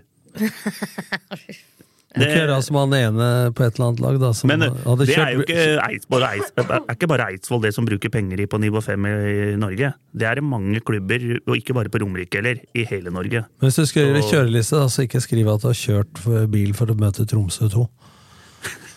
D: Må ikke gjøre som han ene på et eller annet lag, da. Som
E: Men eh,
D: hadde
E: det er
D: kjørt-
E: jo ikke, Eids, bare Eids, det er ikke bare Eidsvoll det som bruker penger i på nivå 5 i Norge. Det er det mange klubber, og ikke bare på Romerike heller, i hele Norge.
D: Men Hvis du skal gjøre kjøreliste, da, så ikke skriv at du har kjørt for bil for å møte Tromsø 2.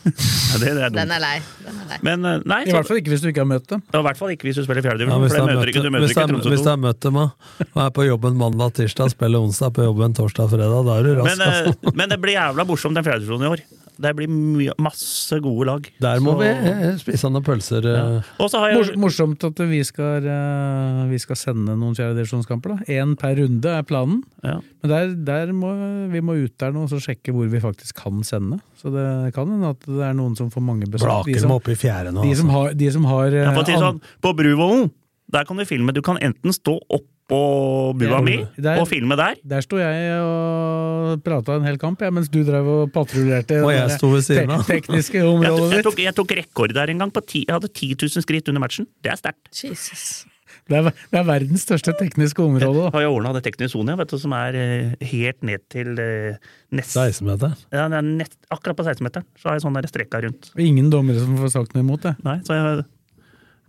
E: Mm, Ja, det, det er
C: Den
E: dumt.
C: er lei. Den er lei.
E: Men eh, nei,
B: I
E: så,
B: hvert fall ikke hvis du ikke har møtt dem.
E: ja, i hvert fall ikke hvis du spiller
D: Ja,
E: fjerdedivisjon,
D: hvis du
E: for det
D: har møtt-
E: møter ikke, du møter
D: hvis du
E: ikke
D: har- Hvis du
E: Tromsø 2.
D: har møtt dem da, og er på jobben mandag, tirsdag, spiller onsdag, på jobben torsdag, fredag, da er du rask.
E: Men, eh,
D: altså.
E: men det blir jævla morsomt den fjerdedivisjonen i år. Det blir mye, masse gode lag.
D: Der må
E: Så-
D: vi eh, spise noen pølser. eh.
E: Og så har
B: Mors,
E: jeg
B: morsomt at vi skal, eh, vi skal sende noen fjerdedivisjonskamper. Én per runde er planen.
E: ja.
B: Men der, der må, vi må ut der nå og så sjekke hvor vi faktisk kan sende. Så det kan hende at det er noen som får mange besøk.
D: Blaker
B: De
D: dem
B: som,
D: opp i fjerde nå.
B: de som
D: altså.
B: har, de som har eh,
E: Jeg får si
B: an-
E: sånn, på Bruvollen, der kan du filme. Du kan enten stå oppå bua
B: Ja,
E: mi
B: der-
E: og filme der,
B: Der sto jeg og prata en hel kamp, ja, mens du drev og patruljerte i
D: Og
B: det
D: jeg
B: der
D: sto ved siden av.
B: te- tekniske
E: Jeg, tok-
B: området
E: jeg,
B: ditt.
E: tok, jeg tok rekord der en gang. På ti, jeg hadde 10 000 skritt under matchen. Det er sterkt.
C: Jesus.
B: Det er, det er verdens største tekniske område. da.
E: Har jeg ordna det teknisk sone, vet du, som er eh, helt ned til eh, nest,
D: 16-meteren.
E: ja, det er nett, akkurat på 16-meteren. Så har jeg sånn der strekka rundt.
B: Og Ingen dommere som får sagt noe imot det.
E: Nei, så jeg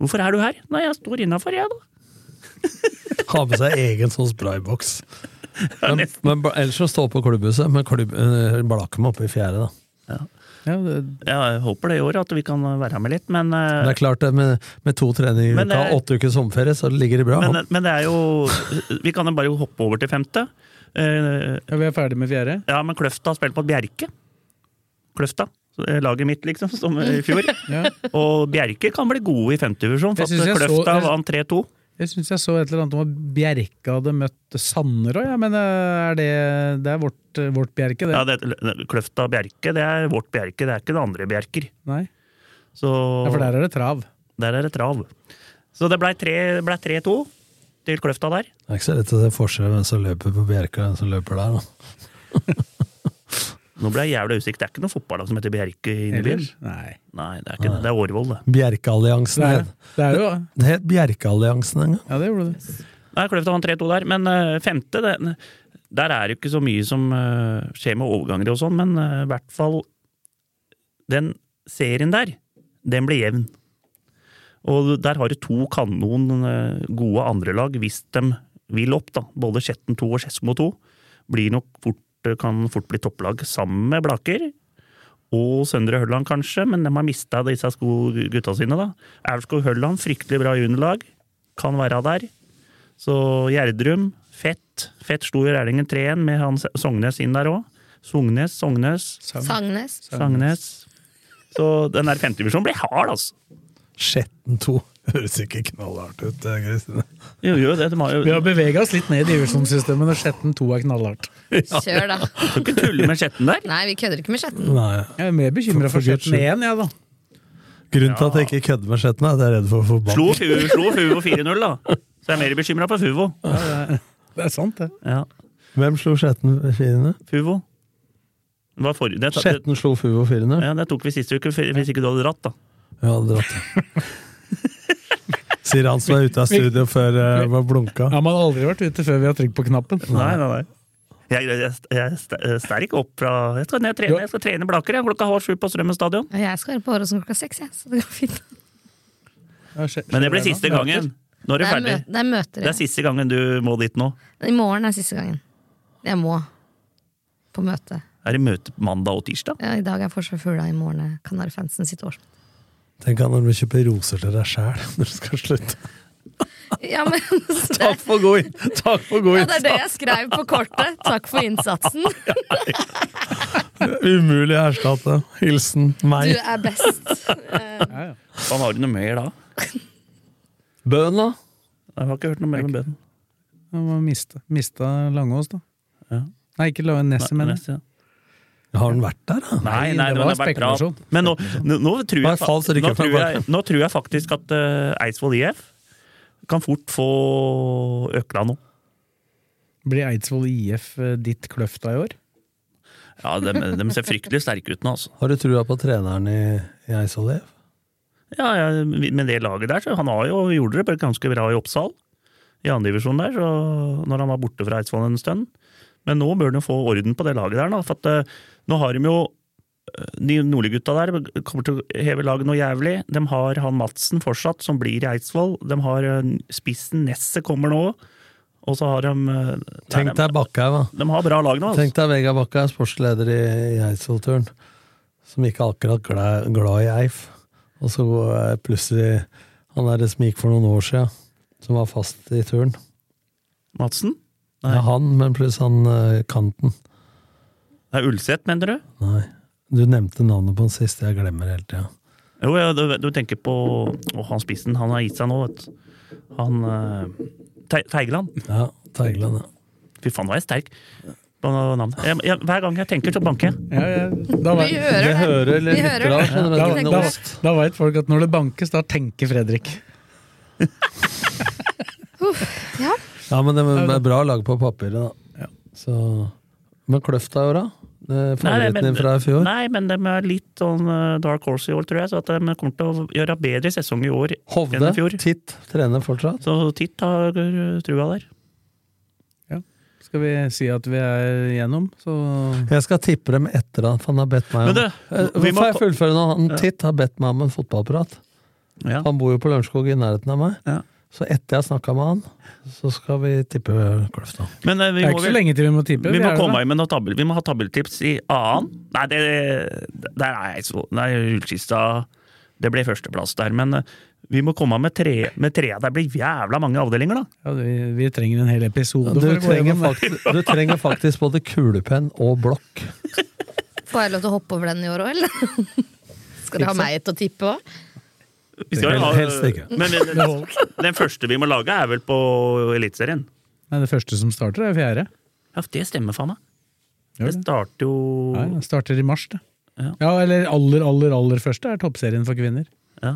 E: 'Hvorfor er du her?' 'Nei, jeg står innafor, jeg, da'.
D: Ha med seg egen sånn sprayboks. Men, men ba- ellers så stå på klubbhuset, men klubb, eh, Blakum oppe i fjerde, da.
E: Jeg håper det i år, at vi kan være med litt, men eh,
D: Det er klart, det, med, med to treninger i
E: Men det
D: uka,
E: er-
D: åtte uker sommerferie, så ligger de bra.
E: Men, men det er jo Vi kan jo bare hoppe over til femte. Eh, ja,
B: Vi er ferdig med fjerde.
E: Ja, men Kløfta har spilt på Bjerke. Kløfta. Så det er Laget mitt, liksom, som i fjor. Og Bjerke kan bli gode i femtedivisjon, for
B: Jeg synes
E: at eh,
B: jeg så-
E: Kløfta
B: jeg-
E: vant 3-2.
B: Jeg syns jeg så et eller annet om at Bjerke hadde møtt Sanderøy, ja, men eh, er det, det er vårt, eh, vårt Bjerke, det?
E: Ja, det, Kløfta og Bjerke, det er vårt Bjerke, det er ikke det andre Bjerker.
B: Nei.
E: Så
B: Ja, for der er det trav.
E: der er det trav. Så det blei tre- det blei 3-2 til Kløfta der.
D: Det er ikke så lett å se forskjell hvem som løper på Bjerka og hvem som løper der. Da.
E: Nå ble jeg jævla usikker. Det er ikke noe fotballag som heter Bjerke inne i byen.
B: Eller? Nei.
E: Nei, det er ikke det. Det er Årvoll, det.
D: Bjerkealliansen
B: Det er,
D: het
B: det er jo
D: Det het Bjerkealliansen en gang.
B: Ja, det gjorde det.
E: Nei, Kløfta vant 3-2 der, men eh, femte det, Der er det jo ikke så mye som eh, skjer med overganger og sånn, men eh, i hvert fall Den serien der, den blir jevn. Og der har du to kanon eh, gode andrelag hvis de vil opp, da. Både Skjetten 2 og Skedsmo 2 blir nok fort, eh, kan fort bli topplag sammen med Blaker. Og Søndre Hølland, kanskje, men de har mista disse sko- gutta sine, da. Aurskog Hølland, fryktelig bra juniorlag, kan være der. Så Gjerdrum, Fett. Fett slo i Rælingen 3-1 med han Sognes inn der òg. Sognes, Sognes,
C: Sagnes.
E: Sagnes. Så den der femtedivisjonen blir hard, altså.
D: Skjetten 2. Høres ikke knallhardt ut, eh, Kristine.
E: Jo, jo, det, de har jo
B: Vi har bevega oss litt ned i divisjonssystemet når Skjetten 2 er knallhardt.
C: Kjør, da.
E: Du kan ikke tulle med Skjetten der.
C: Nei, vi kødder ikke med Skjetten.
D: Nei.
B: Jeg er mer bekymra
D: For- for
B: for
D: Guds
B: Skjetten 1, jeg, da.
D: Grunnen til at jeg ikke kødder med Skjetten, er at jeg er redd for å få bann.
E: Slo Fuvo, slo Fuvo 4-0, da. Så jeg er mer bekymra for Fuvo.
B: Det er sant, det.
E: Ja,
D: Hvem slo Skjetten 4-0?
E: Fuvo. Det, var for, det, det,
D: Skjetten slo Fuvo 4-0.
E: ja, det tok vi sist uke, hvis ikke du hadde dratt, da.
D: Ja, dratt. Sier han som er ute av studio før eh, var blunka.
B: Ja, Man har aldri vært ute før vi har trykt på knappen.
E: Nei, nei, nei. Jeg, jeg, jeg st- jeg står ikke opp fra Jeg skal ned og trene, jeg skal trene Blaker jeg, klokka halv sju på Strømmen stadion.
C: Og jeg skal være på Åråsen klokka seks, jeg. Så det går fint.
B: Ja, Skje-
E: Men det blir
B: Skjetten
E: siste
B: da.
E: gangen. Nå
C: Det
E: er du
C: er,
E: ferdig.
C: mø det er møter.
E: Det er
C: Ja.
E: siste gangen du må dit nå.
C: I morgen er siste gangen. Jeg må på møte.
E: Er det møte mandag og tirsdag?
C: Ja, I dag er Forsvar Fugla, i morgen er Kanarifansen sitt årsmøte.
D: Tenk at når du kjøper roser til deg sjæl når du skal slutte.
C: Ja, men det,
D: Takk for god inn! Takk for god
C: ja, det er det
D: innsats!
C: jeg skrev på kortet. Takk for innsatsen.
D: Umulig å erstatte. Hilsen
C: Du
D: meg.
C: er best.
E: Hva har du noe mer da?
D: Bøen, da?
E: Jeg har ikke hørt noe mer om bønnen.
B: Ja, Man mista, mista Langås, da.
E: Ja.
B: Nei, ikke La- Nesset, men
E: Neste, ja.
D: Har han vært der, da?
E: Nei, nei,
B: det
E: det
B: var
E: var bare prat.
B: spekulasjon.
E: Men nå, nå, nå, tror
D: Bare
E: jeg, fa-
D: falsk rykke
E: nå,
D: fra
E: tror jeg,
D: bakken.
E: nå tror jeg faktisk at eh, Eidsvoll IF kan fort få Økla nå.
B: blir Eidsvoll IF eh, ditt Kløfta i år?
E: Ja, de, de ser fryktelig sterke ut nå, altså.
D: Har du trua på treneren i, i Eidsvoll IF?
E: Ja, ja, med det laget der, så han har jo, gjorde det bare ganske bra i Oppsal. I andredivisjon der, så når han var borte fra Eidsvoll en stund. Men nå bør han jo få orden på det laget der, da. For at, eh, nå har de jo eh, De nordlige gutta der kommer til å heve laget noe jævlig. De har han Madsen fortsatt, som blir i Eidsvoll. De har eh, spissen Nesset kommer nå. Og så har de eh, nei,
D: Tenk
E: de,
D: deg Bakkhaug, da.
E: de har bra lag nå, altså.
D: Tenk deg Vegard Bakke er sportsleder i, i Eidsvollturen, som ikke er akkurat glad, glad i Eif. Og så er plutselig han der som gikk for noen år siden, som var fast i turn.
E: Madsen? Nei.
D: Ja, han, men pluss han eh, kanten.
E: Det er Ulseth, mener du?
D: Nei. Du nevnte navnet på den siste, jeg glemmer hele tida.
E: Jo, ja, du, du tenker på Å, han spissen, han har gitt seg nå, vet du. Han eh, Te- Teigeland.
D: Ja, Teigeland, ja.
E: Fy faen, var jeg sterk på navnet. Jeg, jeg, hver gang jeg tenker, så banker jeg.
B: Ja, ja. Da,
C: Vi
B: vei-
D: Vi
C: hører det.
D: hører
C: Vi
D: eller
C: hører
D: lytter av,
C: det.
D: skjønner
B: da,
D: du.
C: tenker
B: da,
C: det.
D: Nå-
B: da veit folk at når det bankes, da tenker Fredrik.
C: Ja.
D: Ja, men det er- det er bra lag på papiret, da. Så Men Kløfta i år, da? Det er Favoritten din fra i fjor?
E: nei, men de er litt sånn eh, dark horse i år, tror jeg. Så at de kommer til å gjøre bedre sesong i år enn
D: Hovde?
E: i fjor.
D: Titt? Trener fortsatt?
E: Så Titt har eh, trua der.
B: Skal vi si at vi er gjennom, så
D: Jeg skal tippe dem etter han, for han har bedt meg
E: Men
D: om
E: du,
D: Eh,
E: vi må
D: Får jeg
E: ta-
D: fullføre nå? Han Titt har bedt meg om en fotballprat. Han bor jo på Lørenskog i nærheten av meg. Så etter jeg snakka med han, så skal vi tippe Kløfta.
E: Men, eh, vi
B: Det er
E: må
B: ikke så
E: vel-
B: lenge til vi må tippe.
E: Vi
B: er
E: må,
B: det
E: komme
B: da?
E: med noen tabell, vi må ha tabelltips i annen. Nei, det, der er jeg så Nei, Ullkista Det ble førsteplass der, men eh, vi må komme med tre, med trea. Det blir jævla mange avdelinger, da.
B: Ja, vi, vi trenger en hel episode.
D: Du
B: for å gå
D: trenger,
B: gjennom det.
D: faktisk, du trenger faktisk både kulepenn og blokk.
C: Får jeg lov til å hoppe over den i år òg, eller? Skal dere ha meg til å tippe òg?
E: Vi skal
D: Hel-
E: ha-
D: helst ikke.
E: Men den, den første vi må lage, er vel på Eliteserien.
B: Nei, det første som starter, er fjerde.
E: Ja, det stemmer faen meg. Det starter jo
B: Nei, det starter i mars, det. Oh. Ja. eller aller, aller, aller første er Toppserien for kvinner.
E: Ja.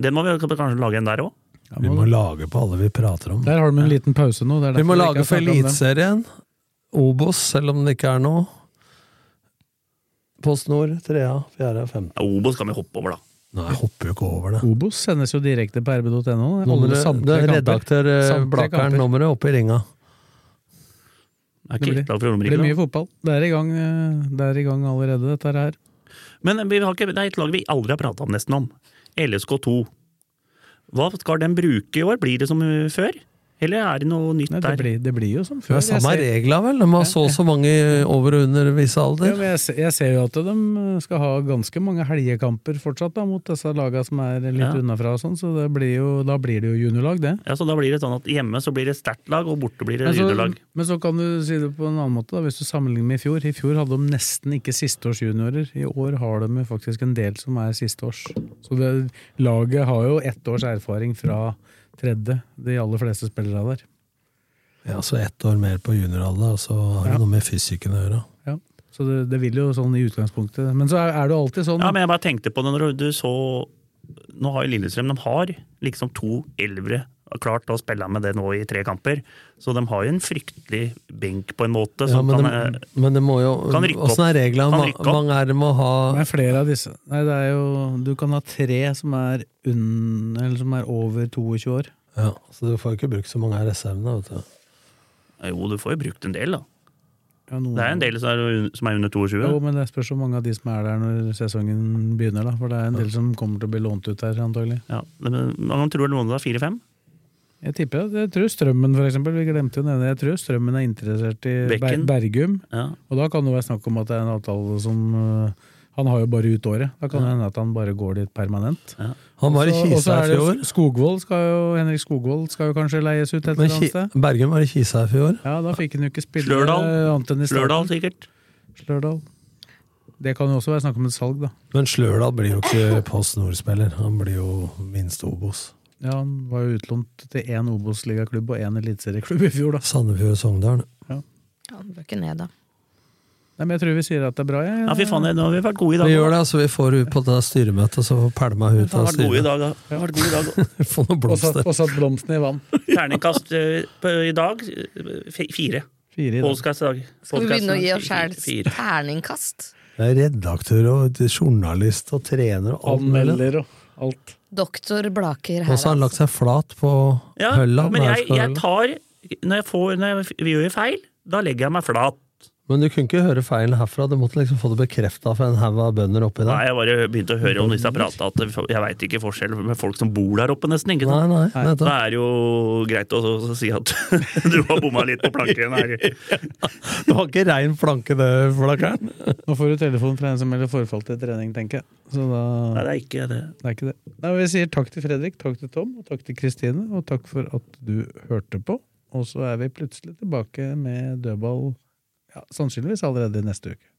E: Den må vi kanskje lage en der òg.
D: Vi må lage på alle vi prater om.
B: Der har de en liten pause nå. Det er
D: Vi må
B: derfor
D: lage
B: ikke
D: for
B: har snakket om
D: Eliteserien,
B: dem.
D: Obos, selv om det ikke er noe. Post Nord, trea, fjerde, femte.
E: Obos kan vi hoppe over, da.
D: Nei, jeg hopper jo ikke over det.
B: Obos sendes jo direkte på rb.no. Det er alle
D: Nummeret, det
B: samtlige
D: er
B: kamper.
D: redaktør eh,
B: Samtlige
D: Blakeren,
B: kamper.
D: nummeret oppe i ringa.
B: Det
E: Er ikke
B: blir,
E: Kirkeland fra
B: blir mye
E: Romerike, da.
B: fotball. Det er i gang, eh, det er i gang allerede, dette her.
E: Men vi har ikke, det er et lag vi aldri har prata om nesten om. LSK2. Hva skal den bruke i år? Blir det som uh, før? Eller er det noe nytt
B: Nei, det,
E: der?
B: blir, det blir jo som
D: Det er
B: før.
D: samme
B: jeg, ser,
D: regler, vel? De har så og så mange over og under visse
B: ja,
D: alder.
B: men jeg, ser, jeg ser jo at de skal ha ganske mange helgekamper fortsatt da, mot disse lagene som er litt
E: Ja.
B: unnafra og sånn, så det blir jo, da blir det jo juniorlag, det.
E: Ja, så da blir det sånn at Hjemme så blir det sterkt lag, og borte blir det
B: Men så,
E: juniorlag.
B: men så kan du si det på en annen måte, da, hvis du sammenligner med i fjor. I fjor hadde de nesten ikke sisteårs juniorer. I år har de jo faktisk en del som er sisteårs. Så det, laget har jo ett års erfaring fra tredje, de aller fleste spillere der.
D: Ja, så ett år mer på junioralder, og så har det noe med fysikken å gjøre.
B: Ja. Så det, det vil jo sånn i utgangspunktet. Men så er, er det jo alltid sånn.
E: Ja, men jeg bare tenkte på det når du så Nå har jo Lillestrøm de har liksom to elvere og klart å spille med det nå i tre kamper. Så de har jo en fryktelig benk, på en måte,
D: Ja,
E: som
D: men,
E: kan
D: det, men det må jo
E: kan rykke opp.
D: Åssen er reglene?
E: Kan
D: Ma-
E: rykke opp.
D: Mange er det med å ha
B: Det er flere av disse. Nei, det er jo, du kan ha tre som er, unn, eller som er over 22 år.
D: ja, Så du får jo ikke brukt så mange av reservene, vet du.
E: eh, Jo, du får jo brukt en del, da.
B: Ja, noen-
E: Det er en del som er, som er under 22.
B: Jo, men det spørs hvor mange av de som er der når sesongen begynner, da. For det er en del som kommer til å bli lånt ut der, antagelig.
E: Ja, men eh, Man tror noen av det er fire-fem.
B: Jeg tipper at jeg tror Strømmen, for eksempel. Vi glemte jo å nevne Jeg tror Strømmen er interessert i Ber
E: Bekken.
B: Bergum.
E: Ja.
B: Og da kan det være snakk om at det er en avtale som øh, Han har jo bare ut året. Da kan det hende at han bare går dit permanent.
D: Han var i
B: Så- og så
D: Kisa
B: er
D: i
B: det
D: fjor.
B: Skogvold skal jo, Henrik Skogvold skal jo kanskje leies ut et eller
D: Men
B: annet
D: Ki
B: sted.
D: Bergum var i Kisa i fjor.
B: Ja, da fikk han jo ikke spille
E: Slørdal.
B: øh, annet enn i
E: Slørdal,
B: starten.
E: sikkert.
B: Slørdal. Det kan jo også være snakk om et salg, da.
D: Men Slørdal blir jo ikke Post Nord-spiller. Han blir jo minst Obos.
B: Ja, Han var jo utlånt til én Obos-ligaklubb og én eliteserieklubb i fjor, da.
D: Sandefjord og Sogndal.
C: Ja, den bør ikke ned, da.
B: Nei, men jeg tror vi sier at det er bra, jeg.
E: Ja, fy faen, nå har vi vært gode i dag.
D: Vi gjør det, altså. Vi får ut på det styremøtet, så får pælma
E: Vi
D: hun ut
E: har
D: av
E: vært gode i
D: styret.
E: dag, da. Vi har vært gode i dag.
D: Få noen
B: Og satt,
D: blomster.
B: og satt blomsten i vann.
E: Terningkast eh, på, i dag eh, fi- fire.
B: Fire i dag.
E: Podcast i dag.
C: Skal vi begynne å gi oss
E: Podcasten,
C: sjæl
E: fire.
C: terningkast?
D: Det er redaktør og journalist og trener og alt mulig.
B: Anmelder og alt.
C: Doktor Blaker her, altså.
D: Og så har han lagt seg flat på
E: Ja,
D: hølla.
E: men jeg, jeg
D: Men,
E: tar Når jeg får Når jeg, vi gjør feil, da legger jeg meg flat.
D: men du kunne ikke høre feilen herfra. Du måtte liksom få det bekrefta fra en haug av bønder oppi
E: Nei,
D: der.
E: jeg bare begynte å høre om disse prata at jeg veit ikke forskjell med folk som bor der oppe, nesten. ikke
D: Nei,
E: sant?
D: nei,
E: Da
D: nettopp.
E: er det jo greit å å si at du har bomma litt på planken her.
D: Det var ikke rein flanke, det, Flakkeren.
B: Nå får du telefon fra en som melder forfall til trening, tenker jeg. Så da
E: Nei, det er ikke det.
B: det er ikke det. Nei, men vi sier takk til Fredrik, takk til Tom, og takk til Kristine, og takk for at du hørte på. Og så er vi plutselig tilbake med dødball, ja, sannsynligvis allerede neste uke.